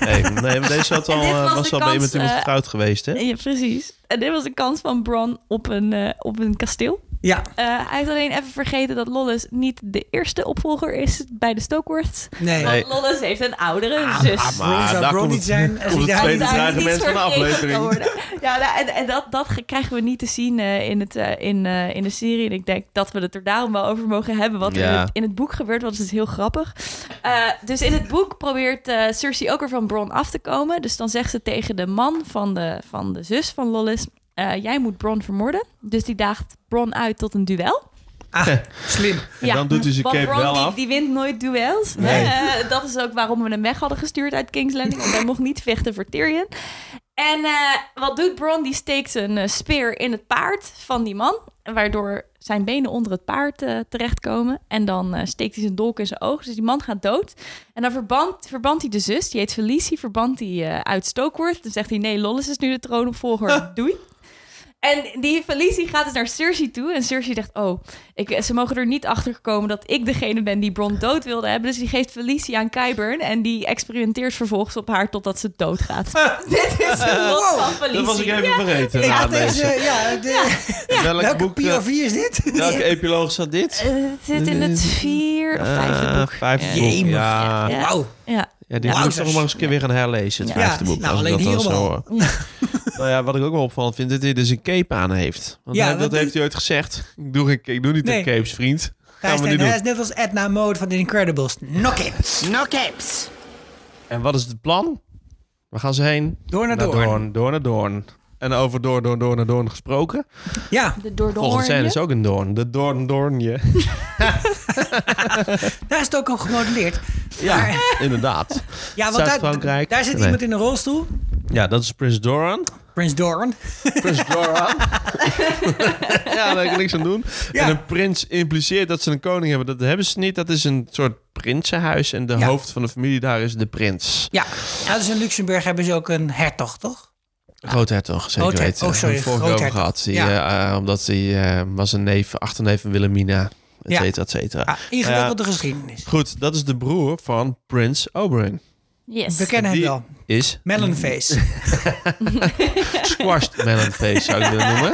Speaker 4: Nee, nee, maar deze had al,
Speaker 5: En dit
Speaker 4: eh, was,
Speaker 5: was de
Speaker 4: al bij
Speaker 5: kans,
Speaker 4: iemand iemand
Speaker 5: eh,
Speaker 4: getrouwd geweest, hè?
Speaker 5: Ja, precies. En dit was de kans van Bron op een, eh, op een kasteel.
Speaker 1: Ja,
Speaker 5: Eh, hij heeft alleen even vergeten dat Lollis niet de eerste opvolger is bij de Stokeworths.
Speaker 1: nee.
Speaker 4: Nee. Ah,
Speaker 5: Want Lollis heeft een oudere zus.
Speaker 1: maar zou Bron niet zijn als hij
Speaker 4: komt het
Speaker 1: daar-
Speaker 4: tweede
Speaker 5: Daar is
Speaker 4: draaiende
Speaker 5: iets
Speaker 4: mens van de
Speaker 5: voor geregeld
Speaker 4: aflevering.
Speaker 5: geworden. Ja, nou, en, en dat, dat ge- krijgen we niet te zien eh, in, het, eh, in, eh, in de serie. En ik denk dat we het er daarom wel over mogen hebben. Wat er
Speaker 4: Ja.
Speaker 5: in het, in het boek gebeurt, want het is heel grappig. Eh, dus in het boek probeert eh, Cersei ook weer van Bron af te komen. Dus dan zegt ze tegen de man van de, van de zus van Lollis... eh, jij moet Bron vermoorden. Dus die daagt Bron uit tot een duel.
Speaker 1: Ah, slim.
Speaker 4: En dan doet hij zijn
Speaker 5: want
Speaker 4: cape
Speaker 5: Ron,
Speaker 4: wel
Speaker 5: die,
Speaker 4: af.
Speaker 5: Die wint nooit duels. Eh, dat is ook waarom we hem weg hadden gestuurd uit King's Landing. Want hij mocht niet vechten voor Tyrion. En eh, wat doet Bron? Die steekt een eh, speer in het paard van die man. Waardoor zijn benen onder het paard eh, terechtkomen. En dan eh, steekt hij zijn dolk in zijn oog. Dus die man gaat dood. En dan verband, verbandt hij de zus. Die heet Felicie. Verbandt hij eh uit Stokeworth. Dan zegt hij, nee, Lollis is nu de troonopvolger. Doei. En die Felicie gaat dus naar Cersei toe. En Cersei zegt, oh, ik, ze mogen er niet achter komen dat ik degene ben die Bron dood wilde hebben. Dus die geeft Felicie aan Kyburn. En die experimenteert vervolgens op haar totdat ze doodgaat. Dit is een lot van Felicie.
Speaker 4: Dat was ik even vergeten.
Speaker 1: Ik
Speaker 4: na
Speaker 1: had
Speaker 4: deze.
Speaker 1: deze, ja, de-
Speaker 4: Welk
Speaker 1: welke
Speaker 4: boek, eh,
Speaker 1: POV is dit?
Speaker 4: Welke epiloog zat dit?
Speaker 5: Eh, het zit in het vier of vijfde
Speaker 4: Eh,
Speaker 5: boek.
Speaker 4: vijfde
Speaker 5: Ja.
Speaker 4: boek,
Speaker 1: Jemig.
Speaker 4: ja.
Speaker 5: Ja.
Speaker 1: Wauw.
Speaker 5: Ja.
Speaker 4: Ja, die
Speaker 1: Ja,
Speaker 4: moet ik
Speaker 1: dus-
Speaker 4: nog maar eens een keer weer gaan herlezen, het
Speaker 1: Ja.
Speaker 4: vijfde boek.
Speaker 1: Nou,
Speaker 4: als ik
Speaker 1: alleen
Speaker 4: dat dan
Speaker 1: hier
Speaker 4: zo
Speaker 1: al.
Speaker 4: hoor. nou ja, wat ik ook wel opvallend vind, dat hij dus een cape aan heeft. Want
Speaker 1: Ja,
Speaker 4: hij- dat
Speaker 1: want
Speaker 4: heeft
Speaker 1: dit-
Speaker 4: hij ooit gezegd. Ik doe, geen- ik doe niet
Speaker 1: Nee.
Speaker 4: de capes, vriend.
Speaker 1: Hij
Speaker 4: Gaan
Speaker 1: is,
Speaker 4: we niet
Speaker 1: net, hij
Speaker 4: doen.
Speaker 1: is net als Edna Mode van The Incredibles. Knock it.
Speaker 8: No capes.
Speaker 4: En wat is het plan? We gaan ze heen.
Speaker 1: Door naar
Speaker 4: Naar
Speaker 1: door.
Speaker 4: Doorn, door naar Doorn. En over Doorn, Doorn, Doorn, naar Doorn gesproken.
Speaker 1: Ja,
Speaker 5: De door de
Speaker 4: Volgens zijn
Speaker 5: hoornje.
Speaker 4: is ook een Doorn. De Doorn, Doornje.
Speaker 1: daar is het ook op gemodelleerd. eh,
Speaker 4: Ja, inderdaad.
Speaker 1: Ja, want daar,
Speaker 4: Zuid-Frankrijk.
Speaker 1: daar zit
Speaker 4: Nee.
Speaker 1: iemand in een rolstoel.
Speaker 4: Ja, dat is Prins Doran.
Speaker 1: Prins Doran.
Speaker 4: Prins Doran. ja, daar kan ik niks aan doen.
Speaker 1: Ja.
Speaker 4: En een prins impliceert dat ze een koning hebben. Dat hebben ze niet. Dat is een soort prinsenhuis. En de
Speaker 1: Ja.
Speaker 4: hoofd van de familie daar is de prins.
Speaker 1: Ja, ja dus in Luxemburg hebben ze ook een hertog, toch?
Speaker 4: Groothertog, zeker
Speaker 1: Groother-
Speaker 4: weten.
Speaker 1: oh,
Speaker 4: Daar hebben we
Speaker 1: sorry,
Speaker 4: het vorige keer over
Speaker 1: groothertog.
Speaker 4: gehad. Die,
Speaker 1: Ja.
Speaker 4: eh, omdat hij eh, was een neef, achterneef van Wilhelmina. Et
Speaker 1: Ja.
Speaker 4: cetera, et cetera.
Speaker 1: Ja, ingewikkelde geschiedenis.
Speaker 4: Goed, dat is de broer van prins Oberyn.
Speaker 5: Yes.
Speaker 1: We kennen hem
Speaker 4: Die
Speaker 1: wel.
Speaker 4: is
Speaker 1: Melonface.
Speaker 4: squashed melonface, zou ik willen noemen.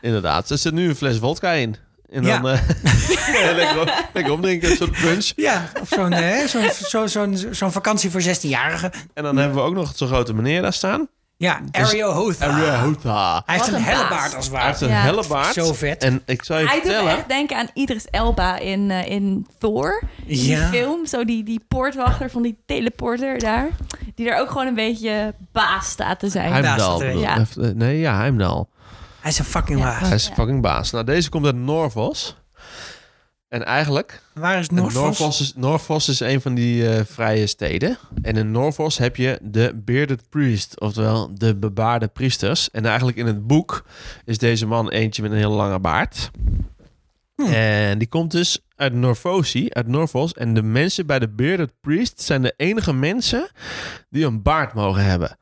Speaker 4: Inderdaad, er zit nu een fles vodka in. En dan
Speaker 1: Ja.
Speaker 4: eh, lekker, op, lekker opdrinken, een soort punch.
Speaker 1: ja, of zo'n eh, zo'n zo'n zo'n zo'n vakantie voor 16-jarigen.
Speaker 4: En dan hebben we ook nog zo'n grote meneer daar staan.
Speaker 1: Ja, Ariel Hoth.
Speaker 4: En
Speaker 1: Hij
Speaker 4: Houta.
Speaker 1: heeft
Speaker 5: Wat
Speaker 1: een
Speaker 5: een
Speaker 1: helle
Speaker 5: baas.
Speaker 1: baard als
Speaker 4: Dus Hij heeft
Speaker 1: waar.
Speaker 4: een
Speaker 5: Ja.
Speaker 4: helle baard.
Speaker 1: Zo vet.
Speaker 4: En ik zou je
Speaker 5: Hij doet me
Speaker 4: vertellen...
Speaker 5: echt denken aan Idris Elba in, eh, in Thor. In
Speaker 1: Ja.
Speaker 5: die film. Zo die, die poortwachter van die teleporter daar. Die daar ook gewoon een beetje baas staat te zijn.
Speaker 1: Hij-
Speaker 4: Heimdall.
Speaker 1: baas, dat
Speaker 4: bedoel-
Speaker 5: weet ik.
Speaker 4: Of, eh, Nee, ja, Heimdall.
Speaker 1: Hij is een fucking
Speaker 5: Ja.
Speaker 1: baas.
Speaker 4: Hij is fucking baas. Nou, deze komt uit Norvos. En eigenlijk...
Speaker 1: Waar is
Speaker 4: Norvos,
Speaker 1: Noordvos?
Speaker 4: is, Norvos is een van die eh, vrije steden. En in Norvos heb je de bearded priest. Oftewel, de bebaarde priesters. En eigenlijk in het boek is deze man eentje met een heel lange baard.
Speaker 1: Hmm.
Speaker 4: En die komt dus uit Norvosi, uit Norvos. En de mensen bij de bearded priest zijn de enige mensen die een baard mogen hebben.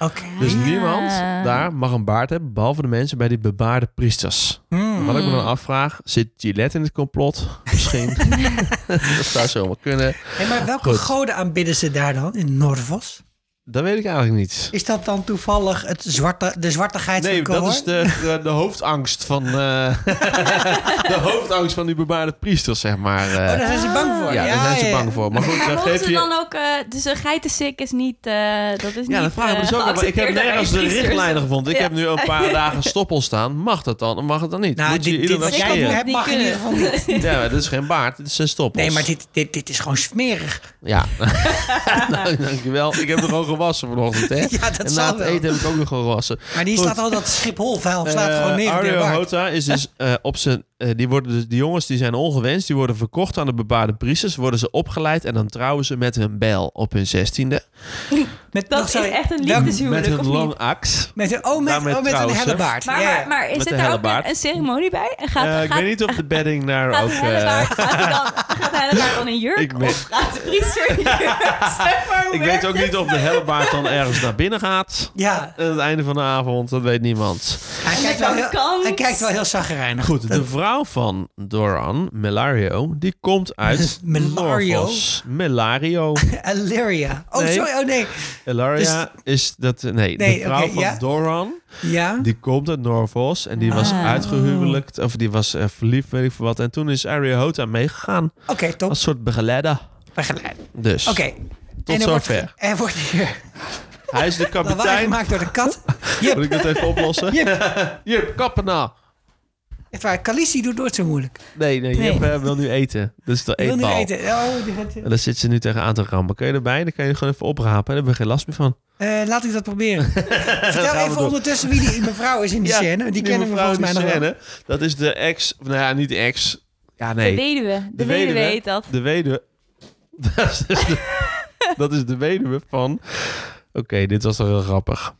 Speaker 1: Oké.
Speaker 4: Dus
Speaker 5: Ah, Ja.
Speaker 4: niemand daar mag een baard hebben, behalve de mensen bij die bebaarde priesters.
Speaker 1: Hmm.
Speaker 4: Wat ik me dan afvraag, zit Gillette in het complot? Misschien. dat zou zomaar kunnen.
Speaker 1: Hey, maar welke
Speaker 4: Goed.
Speaker 1: goden aanbidden ze daar dan in Norvos?
Speaker 4: Dat weet ik eigenlijk niet.
Speaker 1: Is dat dan toevallig het zwarte, de zwartigheid
Speaker 4: Nee,
Speaker 1: van Kohor?
Speaker 4: dat is de, de, de hoofdangst van... eh, de hoofdangst van die bebaarde priesters, zeg maar. eh.
Speaker 1: Oh, daar zijn ze bang voor.
Speaker 4: ja, daar zijn ze
Speaker 1: ja.
Speaker 4: bang voor. Maar goed,
Speaker 5: Maar
Speaker 4: dan
Speaker 5: mogen
Speaker 4: geef
Speaker 5: ze
Speaker 4: je...
Speaker 5: dan ook... eh, dus een geitensik is niet... eh, dat is
Speaker 4: Ja,
Speaker 5: niet
Speaker 4: dat vraag ik me
Speaker 5: eh,
Speaker 4: dus ook af. maar Ik heb
Speaker 5: geaccepteerd bij
Speaker 4: nergens de
Speaker 5: priesters.
Speaker 4: richtlijnen gevonden. Ik
Speaker 5: Ja.
Speaker 4: heb nu een paar dagen stoppel staan. Mag dat dan? Mag het dan niet?
Speaker 1: Nou,
Speaker 4: Moet je
Speaker 1: dit, dit,
Speaker 4: iedere
Speaker 1: wat
Speaker 5: Dus
Speaker 4: dag
Speaker 1: jij
Speaker 4: scheren?
Speaker 1: hebt mag in ieder geval niet.
Speaker 5: eh,
Speaker 4: Ja, maar dit is geen baard. Dit zijn stoppels.
Speaker 1: Nee, maar dit, dit, dit is gewoon smerig.
Speaker 4: Ja. nou, dankjewel. Ik heb er gewoon gewassen vanochtend, hè?
Speaker 1: Ja, dat
Speaker 4: en
Speaker 1: zal
Speaker 4: na het
Speaker 1: wel.
Speaker 4: eten heb ik ook nog gewassen.
Speaker 1: Maar die
Speaker 4: Goed.
Speaker 1: staat al dat Schiphol vuil slaat gewoon
Speaker 4: Eh,
Speaker 1: neer. op de
Speaker 4: Arjo
Speaker 1: baard.
Speaker 4: Hota is dus eh, op zijn... eh, die, worden dus, die jongens die zijn ongewenst. Die worden verkocht aan de bebaarde priesters. Worden ze opgeleid en dan trouwen ze met hun bel op hun zestiende.
Speaker 1: Met,
Speaker 5: Dat
Speaker 1: nog
Speaker 5: is
Speaker 1: zo-
Speaker 5: echt
Speaker 1: welk-
Speaker 4: Met
Speaker 5: een liefdeshuwelijk,
Speaker 4: hun
Speaker 5: of niet?
Speaker 4: long aks.
Speaker 1: Met een, oh, met,
Speaker 4: Daarmee
Speaker 1: oh, met een
Speaker 4: trouwens, hè.
Speaker 1: helle baard.
Speaker 5: Maar,
Speaker 1: ja.
Speaker 5: maar, maar
Speaker 4: Met
Speaker 5: is
Speaker 4: een
Speaker 5: het daar ook
Speaker 4: hellebaard.
Speaker 5: een, een ceremonie bij? En gaat,
Speaker 4: Eh, ik
Speaker 5: gaat,
Speaker 4: weet niet of de bedding daar
Speaker 5: gaat
Speaker 4: ook...
Speaker 5: de
Speaker 4: eh,
Speaker 5: hellebaard, gaat hij dan, gaat de hellebaard dan een jurk?
Speaker 4: Ik weet-
Speaker 5: Of gaat de priester in jurk? Zeg maar, hoe
Speaker 4: ik
Speaker 5: werkt
Speaker 4: weet ook niet of de hellebaard dan ergens naar binnen gaat.
Speaker 1: ja,
Speaker 4: Aan het einde van de avond, dat weet niemand.
Speaker 1: hij, kijkt wel heel,
Speaker 5: kant.
Speaker 1: hij kijkt wel heel zagrijnig.
Speaker 4: Goed, de vrouw van Doran, Melario, die komt uit
Speaker 1: Melario?
Speaker 4: Norvos. Melario.
Speaker 1: Illyria. Oh,
Speaker 4: Nee.
Speaker 1: sorry. Oh, nee.
Speaker 4: Elaria is dat... Nee,
Speaker 1: Nee,
Speaker 4: de vrouw
Speaker 1: oké,
Speaker 4: van
Speaker 1: ja.
Speaker 4: Doran,
Speaker 1: Ja.
Speaker 4: die komt uit Norvos. En die was
Speaker 5: Ah.
Speaker 4: uitgehuwelijkd, of die was eh, verliefd, weet ik veel wat. En toen is Arya Hota meegegaan,
Speaker 1: Oké, top.
Speaker 4: als soort begeleider.
Speaker 1: Begeleid.
Speaker 4: Dus,
Speaker 1: Oké.
Speaker 4: tot
Speaker 1: En er wordt-
Speaker 4: zover.
Speaker 1: Er wordt hier
Speaker 4: Hij is de
Speaker 1: lawaai
Speaker 4: kapitein.
Speaker 1: gemaakt door de kat.
Speaker 4: Moet ik dat even oplossen? Jip, kappen nou.
Speaker 1: Echt waar, Khaleesi doet nooit zo moeilijk.
Speaker 4: Nee, nee, Jip eh, wil nu eten. Dus de
Speaker 1: Wil niet
Speaker 4: eetbal.
Speaker 1: eten. Oh, die gaat-
Speaker 4: En daar zit ze nu tegenaan te rammen. Kun je erbij? Dan kan je gewoon even oprapen. Daar hebben we geen last meer van.
Speaker 1: Eh, laat ik dat proberen. Vertel
Speaker 4: we
Speaker 1: even
Speaker 4: door.
Speaker 1: ondertussen wie die mevrouw is in die scène. Die kennen we
Speaker 4: mevrouw
Speaker 1: volgens mij
Speaker 4: in
Speaker 1: nog
Speaker 4: die
Speaker 1: wel.
Speaker 4: scène, Dat is de ex... of Nou ja, niet de ex. Ja,
Speaker 5: De
Speaker 4: nee.
Speaker 5: weduwe. De, weduwe heet dat.
Speaker 4: De weduwe. Dat is, dus de, dat is de weduwe van... Oké, dit was wel heel grappig.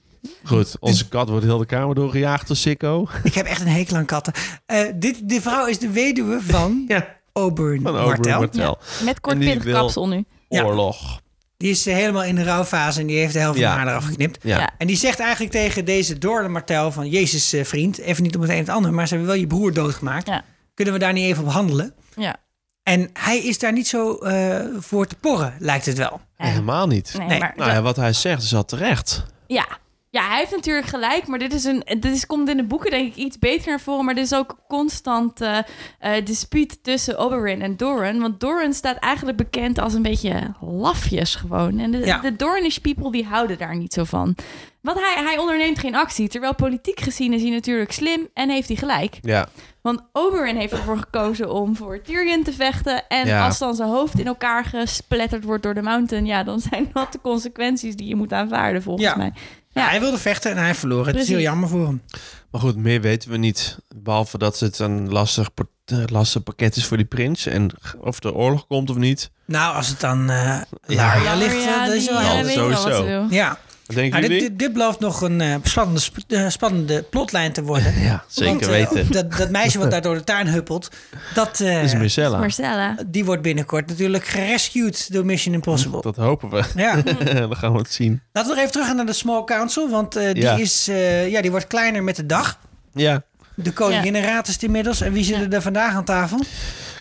Speaker 4: Goed, onze kat wordt heel de kamer doorgejaagd door Sikko.
Speaker 1: Ik heb echt een hekel aan katten. Eh, dit, die vrouw is de weduwe van
Speaker 4: Ja,
Speaker 1: Auburn
Speaker 4: van Oberyn
Speaker 1: Martel.
Speaker 4: Martel.
Speaker 5: Met kort
Speaker 4: En die
Speaker 5: pittig
Speaker 4: wil-
Speaker 5: kapsel nu.
Speaker 1: Ja.
Speaker 4: Oorlog.
Speaker 1: Die is eh, helemaal in de rouwfase en die heeft de helft
Speaker 4: Ja.
Speaker 1: van haar eraf geknipt.
Speaker 4: Ja.
Speaker 5: Ja.
Speaker 1: En die zegt eigenlijk tegen deze Doorle Martel van... Jezus eh, vriend, even niet om het een en het ander... maar ze hebben wel je broer doodgemaakt.
Speaker 5: Ja.
Speaker 1: Kunnen we daar niet even op handelen?
Speaker 5: Ja.
Speaker 1: En hij is daar niet zo eh, voor te porren, lijkt het wel.
Speaker 4: Nee, helemaal niet.
Speaker 5: Nee,
Speaker 1: Nee.
Speaker 5: maar
Speaker 4: Nou ja, wat hij zegt is al terecht.
Speaker 5: Ja. Ja, hij heeft natuurlijk gelijk, maar dit, is een, dit is, komt in de boeken denk ik iets beter naar voren. Maar er is ook constant eh eh, dispuut tussen Oberyn en Doran. Want Doran staat eigenlijk bekend als een beetje lafjes gewoon. En de,
Speaker 1: Ja.
Speaker 5: de Dornish people die houden daar niet zo van. Want hij, hij onderneemt geen actie, terwijl politiek gezien is hij natuurlijk slim en heeft hij gelijk.
Speaker 4: Ja.
Speaker 5: Want Oberyn heeft ervoor gekozen om voor Tyrion te vechten. En
Speaker 4: Ja.
Speaker 5: als dan zijn hoofd in elkaar gespletterd wordt door de mountain... ja, dan zijn dat de consequenties die je moet aanvaarden volgens
Speaker 1: Ja.
Speaker 5: mij.
Speaker 1: Ja. hij wilde vechten en hij verloor. Het is
Speaker 5: Precies.
Speaker 1: heel jammer voor hem.
Speaker 4: Maar goed, meer weten we niet. Behalve dat het een lastig, pa- eh, lastig pakket is voor die prins. En g- of de oorlog komt of niet.
Speaker 1: Nou, als het dan eh Laria
Speaker 5: Ja,
Speaker 1: ligt, eh,
Speaker 5: Maria,
Speaker 1: dat is
Speaker 5: die,
Speaker 1: wel
Speaker 5: eh,
Speaker 4: Ja,
Speaker 1: handig.
Speaker 5: weet wel wat ze
Speaker 4: sowieso.
Speaker 5: wil.
Speaker 1: Ja,
Speaker 4: Wat denken
Speaker 1: Nou, dit,
Speaker 4: jullie?
Speaker 1: dit, dit belooft nog een eh, spannende, sp- eh, spannende plotlijn te worden.
Speaker 4: Ja, zeker
Speaker 1: Want, eh,
Speaker 4: weten.
Speaker 1: dat, dat meisje wat daar door de tuin huppelt, dat, eh,
Speaker 4: is Marcella.
Speaker 5: Marcella.
Speaker 1: die wordt binnenkort natuurlijk gerescued door Mission Impossible.
Speaker 4: Dat hopen we.
Speaker 1: Ja,
Speaker 4: Dan gaan we het zien.
Speaker 1: laten we nog even terug gaan naar de Small Council, want eh, die,
Speaker 4: Ja.
Speaker 1: is, eh, ja, die wordt kleiner met de dag.
Speaker 4: Ja.
Speaker 1: De koninginraad is het inmiddels. En wie zitten er vandaag aan tafel?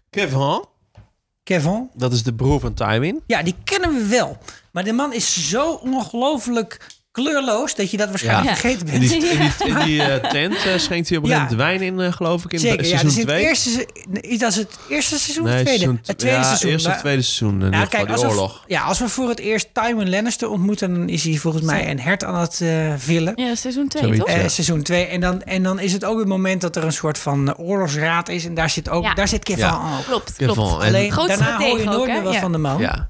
Speaker 4: Kevin,
Speaker 1: Kevin.
Speaker 4: dat is de broer van Tywin.
Speaker 1: Ja, die kennen we wel. Maar de man is zo ongelooflijk kleurloos dat je dat waarschijnlijk
Speaker 4: Ja.
Speaker 1: vergeten
Speaker 4: In
Speaker 1: bent.
Speaker 4: die, in die, in die eh, tent eh, schenkt hij op een gegeven
Speaker 1: Ja.
Speaker 4: moment wijn in, eh, geloof ik, in
Speaker 1: Zeker, ja.
Speaker 4: seizoen
Speaker 1: Dus in het
Speaker 4: 2.
Speaker 1: eerste, se- is dat het eerste seizoen of
Speaker 4: Nee,
Speaker 1: het tweede?
Speaker 4: seizoen-
Speaker 1: het tweede
Speaker 4: ja,
Speaker 1: seizoen.
Speaker 4: Eerste of
Speaker 1: maar-
Speaker 4: tweede seizoen. In
Speaker 1: Ja,
Speaker 4: ieder geval,
Speaker 1: kijk,
Speaker 4: die
Speaker 1: als we,
Speaker 4: oorlog.
Speaker 1: ja, als we voor het eerst Tywin Lannister ontmoeten... dan is hij volgens mij een hert aan het eh, villen.
Speaker 5: Ja, seizoen 2,
Speaker 4: Zoiets,
Speaker 5: toch?
Speaker 4: ja.
Speaker 1: Eh, seizoen 2. En dan, en dan is het ook het moment dat er een soort van eh, oorlogsraad is. En daar zit, ook,
Speaker 5: Ja.
Speaker 1: daar zit Kevin
Speaker 4: Ja.
Speaker 1: ook.
Speaker 5: Klopt,
Speaker 4: Kevin,
Speaker 5: klopt.
Speaker 4: en-
Speaker 1: Alleen
Speaker 5: Groot
Speaker 1: daarna hoor je
Speaker 5: stratege ook,
Speaker 1: nooit
Speaker 5: hè?
Speaker 1: meer wat
Speaker 5: Ja.
Speaker 1: van de man.
Speaker 4: Ja.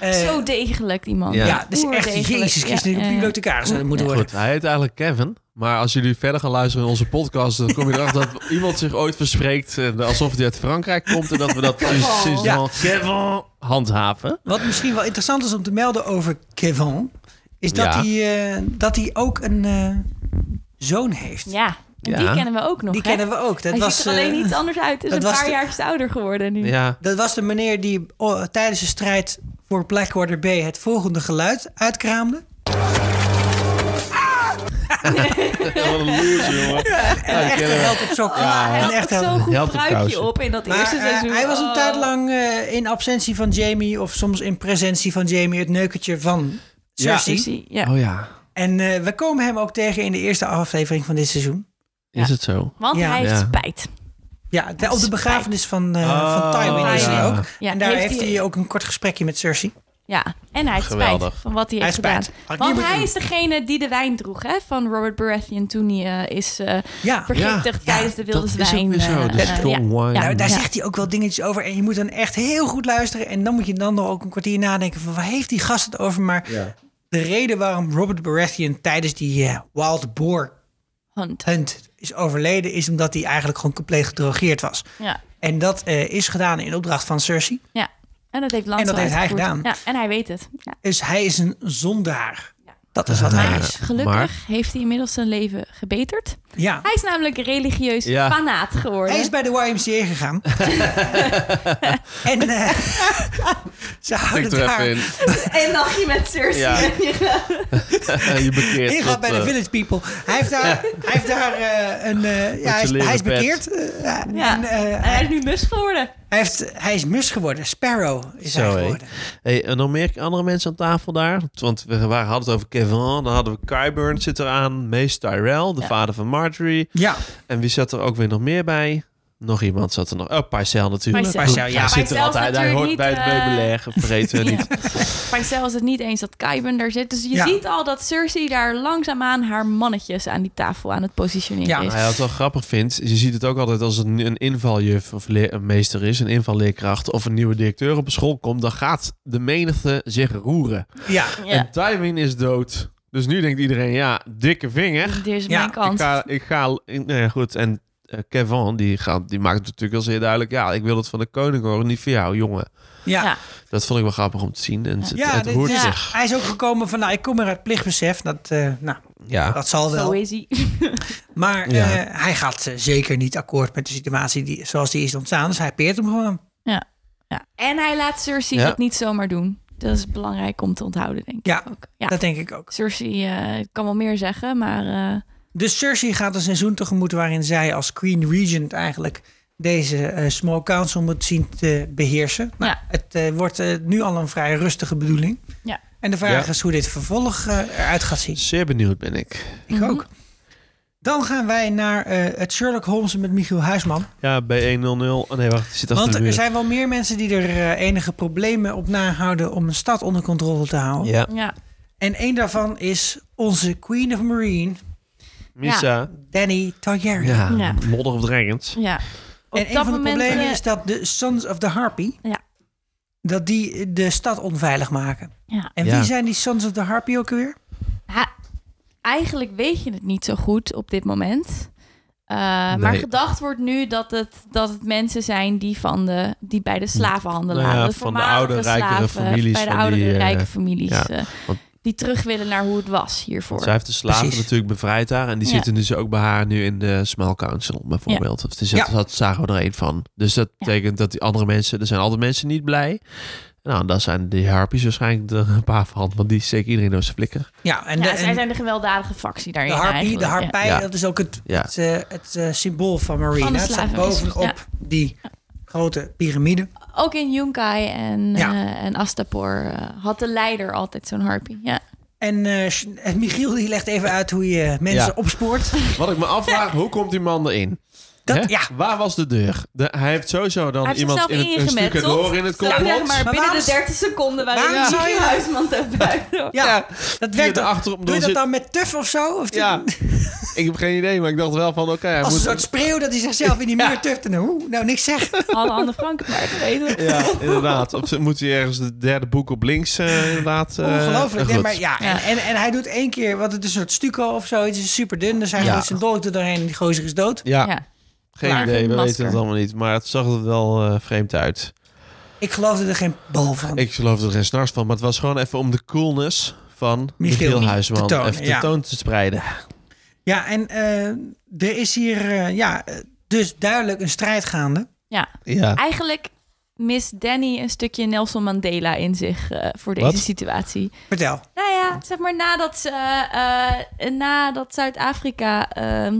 Speaker 1: Eh,
Speaker 5: Zo degelijk, die man.
Speaker 4: Ja.
Speaker 1: ja, dat is echt...
Speaker 5: Oerdegelijk.
Speaker 1: Jezus Christus,
Speaker 5: Ja,
Speaker 1: een
Speaker 5: ja, ja.
Speaker 1: bibliothecaris zou dat moeten worden.
Speaker 4: Goed, hij heet eigenlijk Kevin. Maar als jullie verder gaan luisteren in onze podcast, dan kom je erachter dat iemand zich ooit verspreekt eh, alsof hij uit Frankrijk komt. En dat we dat dus sinds
Speaker 1: Ja.
Speaker 4: dan Kevin handhaven.
Speaker 1: Wat misschien wel interessant is om te melden over Kevin... is dat,
Speaker 4: Ja.
Speaker 1: hij, eh, dat hij ook een eh, zoon heeft.
Speaker 5: Ja, en
Speaker 4: Ja.
Speaker 5: die kennen we ook nog.
Speaker 1: Die
Speaker 5: hè?
Speaker 1: kennen we ook. Dat
Speaker 5: Hij
Speaker 1: was,
Speaker 5: ziet er alleen
Speaker 1: eh,
Speaker 5: iets anders uit. Hij
Speaker 1: dat
Speaker 5: is een
Speaker 1: was
Speaker 5: paar
Speaker 1: de-
Speaker 5: jaar ouder geworden nu.
Speaker 4: Ja,
Speaker 1: Dat was de meneer die oh, tijdens de strijd voor Blackwater Bay het volgende geluid uitkraamde.
Speaker 4: wat een loser, jongen.
Speaker 1: En echt
Speaker 4: kennen we.
Speaker 1: held op sokken.
Speaker 5: Hij
Speaker 1: en
Speaker 5: had
Speaker 1: echt
Speaker 5: echt zo'n
Speaker 4: Helpt
Speaker 5: goed
Speaker 4: de
Speaker 5: pruikje
Speaker 4: kousen.
Speaker 5: op in dat
Speaker 1: Maar,
Speaker 5: eerste
Speaker 1: eh,
Speaker 5: seizoen.
Speaker 1: hij was een
Speaker 5: Oh.
Speaker 1: tijd lang eh, in absentie van Jamie of soms in presentie van Jamie het neukertje van Cersei.
Speaker 5: Precies, Ja.
Speaker 4: Oh ja,
Speaker 1: En eh, we komen hem ook tegen in de eerste aflevering van dit seizoen.
Speaker 4: is het zo?
Speaker 5: Want
Speaker 1: Ja.
Speaker 5: hij heeft
Speaker 4: Ja.
Speaker 5: spijt.
Speaker 1: Ja, de- op de
Speaker 5: Spijt.
Speaker 1: begrafenis van, eh van
Speaker 4: Oh,
Speaker 1: Tywin is hij
Speaker 5: ja.
Speaker 1: ook.
Speaker 5: Ja,
Speaker 1: en daar heeft,
Speaker 5: heeft
Speaker 1: hij,
Speaker 5: hij-
Speaker 1: ook een kort gesprekje met Cersei.
Speaker 5: Ja, en hij heeft spijt
Speaker 4: Geweldig.
Speaker 5: van wat hij
Speaker 1: Hij
Speaker 5: heeft
Speaker 1: heeft spijt.
Speaker 5: gedaan.
Speaker 1: Had ik niet
Speaker 5: Want
Speaker 1: moeten
Speaker 5: hij
Speaker 1: doen.
Speaker 5: is degene die de wijn droeg hè, van Robert Baratheon toen hij eh, is eh,
Speaker 1: Ja.
Speaker 5: vergiftigd
Speaker 1: Ja.
Speaker 5: tijdens de wilde
Speaker 4: Dat is ook
Speaker 5: zwijn.
Speaker 4: weer zo,
Speaker 5: eh,
Speaker 4: de
Speaker 5: eh,
Speaker 4: strong
Speaker 5: ja.
Speaker 4: wine.
Speaker 5: Ja.
Speaker 1: Nou, daar
Speaker 5: Ja.
Speaker 1: zegt hij ook wel dingetjes over. En je moet dan echt heel goed luisteren. En dan moet je dan nog ook een kwartier nadenken van waar heeft die gast het over. Maar de reden waarom Robert Baratheon tijdens die eh, Wild Boar
Speaker 5: Hunt.
Speaker 1: Hunt is overleden... is omdat hij eigenlijk gewoon compleet gedrogeerd was.
Speaker 5: Ja.
Speaker 1: En dat eh, is gedaan in opdracht van Cersei.
Speaker 5: Ja, en dat heeft Lance
Speaker 1: En dat
Speaker 5: wel
Speaker 1: heeft hij
Speaker 5: uitgevoerd.
Speaker 1: gedaan.
Speaker 5: Ja, en hij weet het. Ja.
Speaker 1: Dus hij is een zondaar. Dat is wat hij is.
Speaker 5: Gelukkig
Speaker 4: Maar-
Speaker 5: heeft hij inmiddels zijn leven gebeterd.
Speaker 1: Ja.
Speaker 5: Hij is namelijk een religieus
Speaker 4: Ja.
Speaker 5: fanaat geworden.
Speaker 1: Hij is bij de YMCA gegaan. en eh, ze
Speaker 4: Ik
Speaker 1: houden
Speaker 4: er
Speaker 1: het daar.
Speaker 4: even in.
Speaker 5: En nachtje met Cersei.
Speaker 4: Ja. je bekeert
Speaker 1: Ingaat
Speaker 4: tot,
Speaker 1: bij de
Speaker 4: eh,
Speaker 1: Village People. Hij heeft daar, hij heeft daar eh, een. eh, ja, hij is,
Speaker 4: leren
Speaker 1: hij is
Speaker 4: pet.
Speaker 1: bekeerd. eh, ja,
Speaker 5: Ja.
Speaker 1: en, eh,
Speaker 5: En hij
Speaker 1: hij,
Speaker 5: is nu mus geworden.
Speaker 1: heeft, hij is mus geworden. Sparrow is
Speaker 4: Zo,
Speaker 1: hij
Speaker 4: hé.
Speaker 1: geworden.
Speaker 4: Hey, en nog meer andere mensen aan tafel daar? Want we waren, hadden het over Kevin, dan hadden we Kyburn zit eraan, Mace Tyrell, de vader van Marjorie.
Speaker 1: Ja,
Speaker 4: En wie zat er ook weer nog meer bij? Nog iemand zat er nog. Oh, Parcel natuurlijk.
Speaker 5: Parcel.
Speaker 1: Parcel, ja.
Speaker 4: Hij zit er
Speaker 5: Parcel
Speaker 4: altijd.
Speaker 5: is
Speaker 4: Hij hoort bij
Speaker 5: natuurlijk
Speaker 4: het
Speaker 5: niet, eh,
Speaker 4: meubilair. Vergeten we niet.
Speaker 5: Maar zelfs is het niet eens dat Kyburn daar zit. Dus je
Speaker 1: Ja.
Speaker 5: ziet al dat Cersei daar langzaamaan haar mannetjes aan die tafel aan het positioneren
Speaker 1: Ja.
Speaker 5: is.
Speaker 4: Hij wat ik wel grappig vindt, is je ziet het ook altijd als een, een invaljuf of leer- een meester is, een invalleerkracht of een nieuwe directeur op een school komt, dan gaat de menigte zich roeren.
Speaker 1: ja.
Speaker 5: Ja.
Speaker 4: En Tywin is dood. Dus nu denkt iedereen, ja, dikke vinger.
Speaker 5: Dit is
Speaker 1: Ja,
Speaker 5: mijn
Speaker 4: Ik
Speaker 5: kans.
Speaker 4: ga, ik ga ik- nou ja, goed. En eh, Kevin, die, gaat, die maakt het natuurlijk wel zeer duidelijk. Ja, ik wil het van de koning horen, niet van jou, jongen.
Speaker 1: ja.
Speaker 5: Ja.
Speaker 4: Dat vond ik wel grappig om te zien. En het,
Speaker 1: Ja,
Speaker 4: het
Speaker 1: dit-
Speaker 4: roert
Speaker 1: dit-
Speaker 4: zich.
Speaker 1: hij is ook gekomen van, nou, ik kom er uit plichtbesef. Dat, eh, nou,
Speaker 4: Ja.
Speaker 1: dat zal
Speaker 5: Zo
Speaker 1: wel.
Speaker 5: is hij.
Speaker 1: Maar
Speaker 4: Ja.
Speaker 1: eh, hij gaat eh, zeker niet akkoord met de situatie die, zoals die is ontstaan. Dus hij peert hem gewoon.
Speaker 5: Ja. Ja. En hij laat Cersei
Speaker 4: Ja.
Speaker 5: dat niet zomaar doen. Dat is belangrijk om te onthouden, denk ik.
Speaker 1: Ja,
Speaker 5: Ja.
Speaker 1: dat denk ik ook.
Speaker 5: Cersei eh, kan wel meer zeggen, maar eh,
Speaker 1: Dus Cersei gaat een seizoen tegemoet waarin zij als Queen Regent eigenlijk deze eh, Small Council moet zien te beheersen. Nou,
Speaker 5: Ja.
Speaker 1: Het eh, wordt eh, nu al een vrij rustige bedoeling.
Speaker 5: ja.
Speaker 1: En de vraag
Speaker 4: Ja.
Speaker 1: is hoe dit vervolg eh, eruit gaat zien.
Speaker 4: Zeer benieuwd ben ik.
Speaker 1: Ik ook. Dan gaan wij naar eh, het Sherlock Holmes met Michiel Huisman.
Speaker 4: Ja, bij 100. Oh nee, wacht. Zit achter
Speaker 1: Want
Speaker 4: de muur.
Speaker 1: er zijn wel meer mensen die er eh, enige problemen op nahouden om een stad onder controle te houden.
Speaker 4: Ja.
Speaker 5: ja.
Speaker 1: En één daarvan is onze Queen of Marine,
Speaker 4: Misa.
Speaker 1: Danny Targaryen.
Speaker 4: Ja.
Speaker 5: Ja.
Speaker 4: Modder of Dragons.
Speaker 5: ja. Op
Speaker 1: En een
Speaker 5: dat
Speaker 1: van de
Speaker 5: moment,
Speaker 1: problemen
Speaker 5: eh,
Speaker 1: is dat de Sons of the Harpy,
Speaker 5: Ja.
Speaker 1: dat die de stad onveilig maken.
Speaker 5: Ja.
Speaker 1: En
Speaker 4: Ja.
Speaker 1: wie zijn die Sons of the Harpy ook weer?
Speaker 5: Ha- eigenlijk weet je het niet zo goed op dit moment. Uh, Maar gedacht wordt nu dat het, dat het mensen zijn die, van de, die bij de slavenhandelaren...
Speaker 4: Nou ja,
Speaker 5: de
Speaker 4: van de
Speaker 5: voormalige
Speaker 4: oude, rijkere
Speaker 5: slaven,
Speaker 4: families
Speaker 5: Bij de
Speaker 4: van
Speaker 5: oude,
Speaker 4: die, eh,
Speaker 5: rijke families.
Speaker 4: ja,
Speaker 5: eh,
Speaker 4: want-
Speaker 5: die terug willen naar hoe het was
Speaker 4: Want
Speaker 5: hiervoor.
Speaker 4: zij heeft de slaven
Speaker 1: Precies.
Speaker 4: natuurlijk bevrijd daar. En die
Speaker 5: Ja.
Speaker 4: zitten dus ook bij haar nu in de Small Council, bijvoorbeeld. Of dus dat,
Speaker 1: Ja.
Speaker 4: dat zagen we er één van. Dus dat betekent dat die andere mensen... Er zijn altijd mensen niet blij. Nou, daar zijn die harpies waarschijnlijk er een paar van. Want die steken iedereen door zijn flikker.
Speaker 1: Ja, en
Speaker 5: ja,
Speaker 1: de,
Speaker 5: zij
Speaker 1: en
Speaker 5: zijn de gewelddadige factie
Speaker 1: de
Speaker 5: daarin
Speaker 1: harpy,
Speaker 5: eigenlijk,
Speaker 1: de
Speaker 5: ja.
Speaker 1: harpij,
Speaker 4: Ja.
Speaker 1: dat is ook het,
Speaker 4: Ja.
Speaker 1: het, eh, het eh, symbool van Marine.
Speaker 5: Van de
Speaker 1: het staat
Speaker 5: slaven is het,
Speaker 1: bovenop die grote piramide.
Speaker 5: Ook in Yunkai en,
Speaker 1: Ja.
Speaker 5: eh, en Astapor eh, had de leider altijd zo'n harpie. Ja.
Speaker 1: En eh, Sch- eh, Michiel die legt even uit hoe je mensen
Speaker 4: Ja.
Speaker 1: opspoort.
Speaker 4: Wat ik me afvraag, hoe komt die man erin?
Speaker 1: Dat,
Speaker 4: Hè?
Speaker 1: ja.
Speaker 4: Waar was de deur? De- hij heeft sowieso dan
Speaker 5: Hij heeft
Speaker 4: iemand
Speaker 5: zichzelf
Speaker 4: in het, een
Speaker 5: ingemetseld.
Speaker 4: stucadoor in het
Speaker 5: Zo, zeg
Speaker 4: complot.
Speaker 5: maar,
Speaker 1: Maar
Speaker 5: binnen
Speaker 1: waarom-
Speaker 5: de 30 seconden waren
Speaker 1: waarom
Speaker 5: ja.
Speaker 1: zou je-
Speaker 5: Huisman te buiten.
Speaker 1: Ja,
Speaker 4: Ja,
Speaker 1: dat
Speaker 4: die
Speaker 1: werkt.
Speaker 4: er
Speaker 1: ook.
Speaker 4: achterop
Speaker 1: Doe je dat
Speaker 4: zit.
Speaker 1: dan met tuf of zo? Of
Speaker 4: Ja,
Speaker 1: doe-
Speaker 4: ik heb geen idee, maar ik dacht wel van oké. hij
Speaker 1: als een
Speaker 4: moet-
Speaker 1: soort spreeuw dat hij zichzelf in die muur tuft en hoe? Nou, niks zeggen.
Speaker 5: Alle andere Frank het maar geweten.
Speaker 4: Ja, inderdaad. Of ze- moet hij ergens het derde boek op links eh, inderdaad... eh,
Speaker 1: Ongelooflijk.
Speaker 4: goed.
Speaker 1: Nee, maar ja, en,
Speaker 5: Ja.
Speaker 1: en, en hij doet één keer, want het is een soort stucco of zo. Het is super dun, dus hij
Speaker 4: Ja.
Speaker 1: gooit zijn dolk er doorheen en die gozer is dood.
Speaker 4: Ja,
Speaker 5: Ja.
Speaker 4: geen
Speaker 5: Maar
Speaker 4: idee.
Speaker 5: geen
Speaker 4: We weten
Speaker 5: masker.
Speaker 4: het allemaal niet. Maar het zag er wel eh, vreemd uit.
Speaker 1: Ik geloofde er geen bal van.
Speaker 4: Ik geloof er geen s'nachts van. Maar het was gewoon even om de coolness van
Speaker 1: Michiel
Speaker 4: Michiel Huisman
Speaker 1: te tonen,
Speaker 4: even
Speaker 1: ja.
Speaker 4: te toon te spreiden.
Speaker 1: Ja, en eh, er is hier eh, ja, eh, dus duidelijk een strijd gaande.
Speaker 5: Ja.
Speaker 4: Ja.
Speaker 5: Eigenlijk mist Danny een stukje Nelson Mandela in zich eh, voor deze
Speaker 4: Wat?
Speaker 5: situatie.
Speaker 1: Vertel.
Speaker 5: Nou ja, zeg maar nadat, ze, eh, eh, nadat Zuid-Afrika... ehm,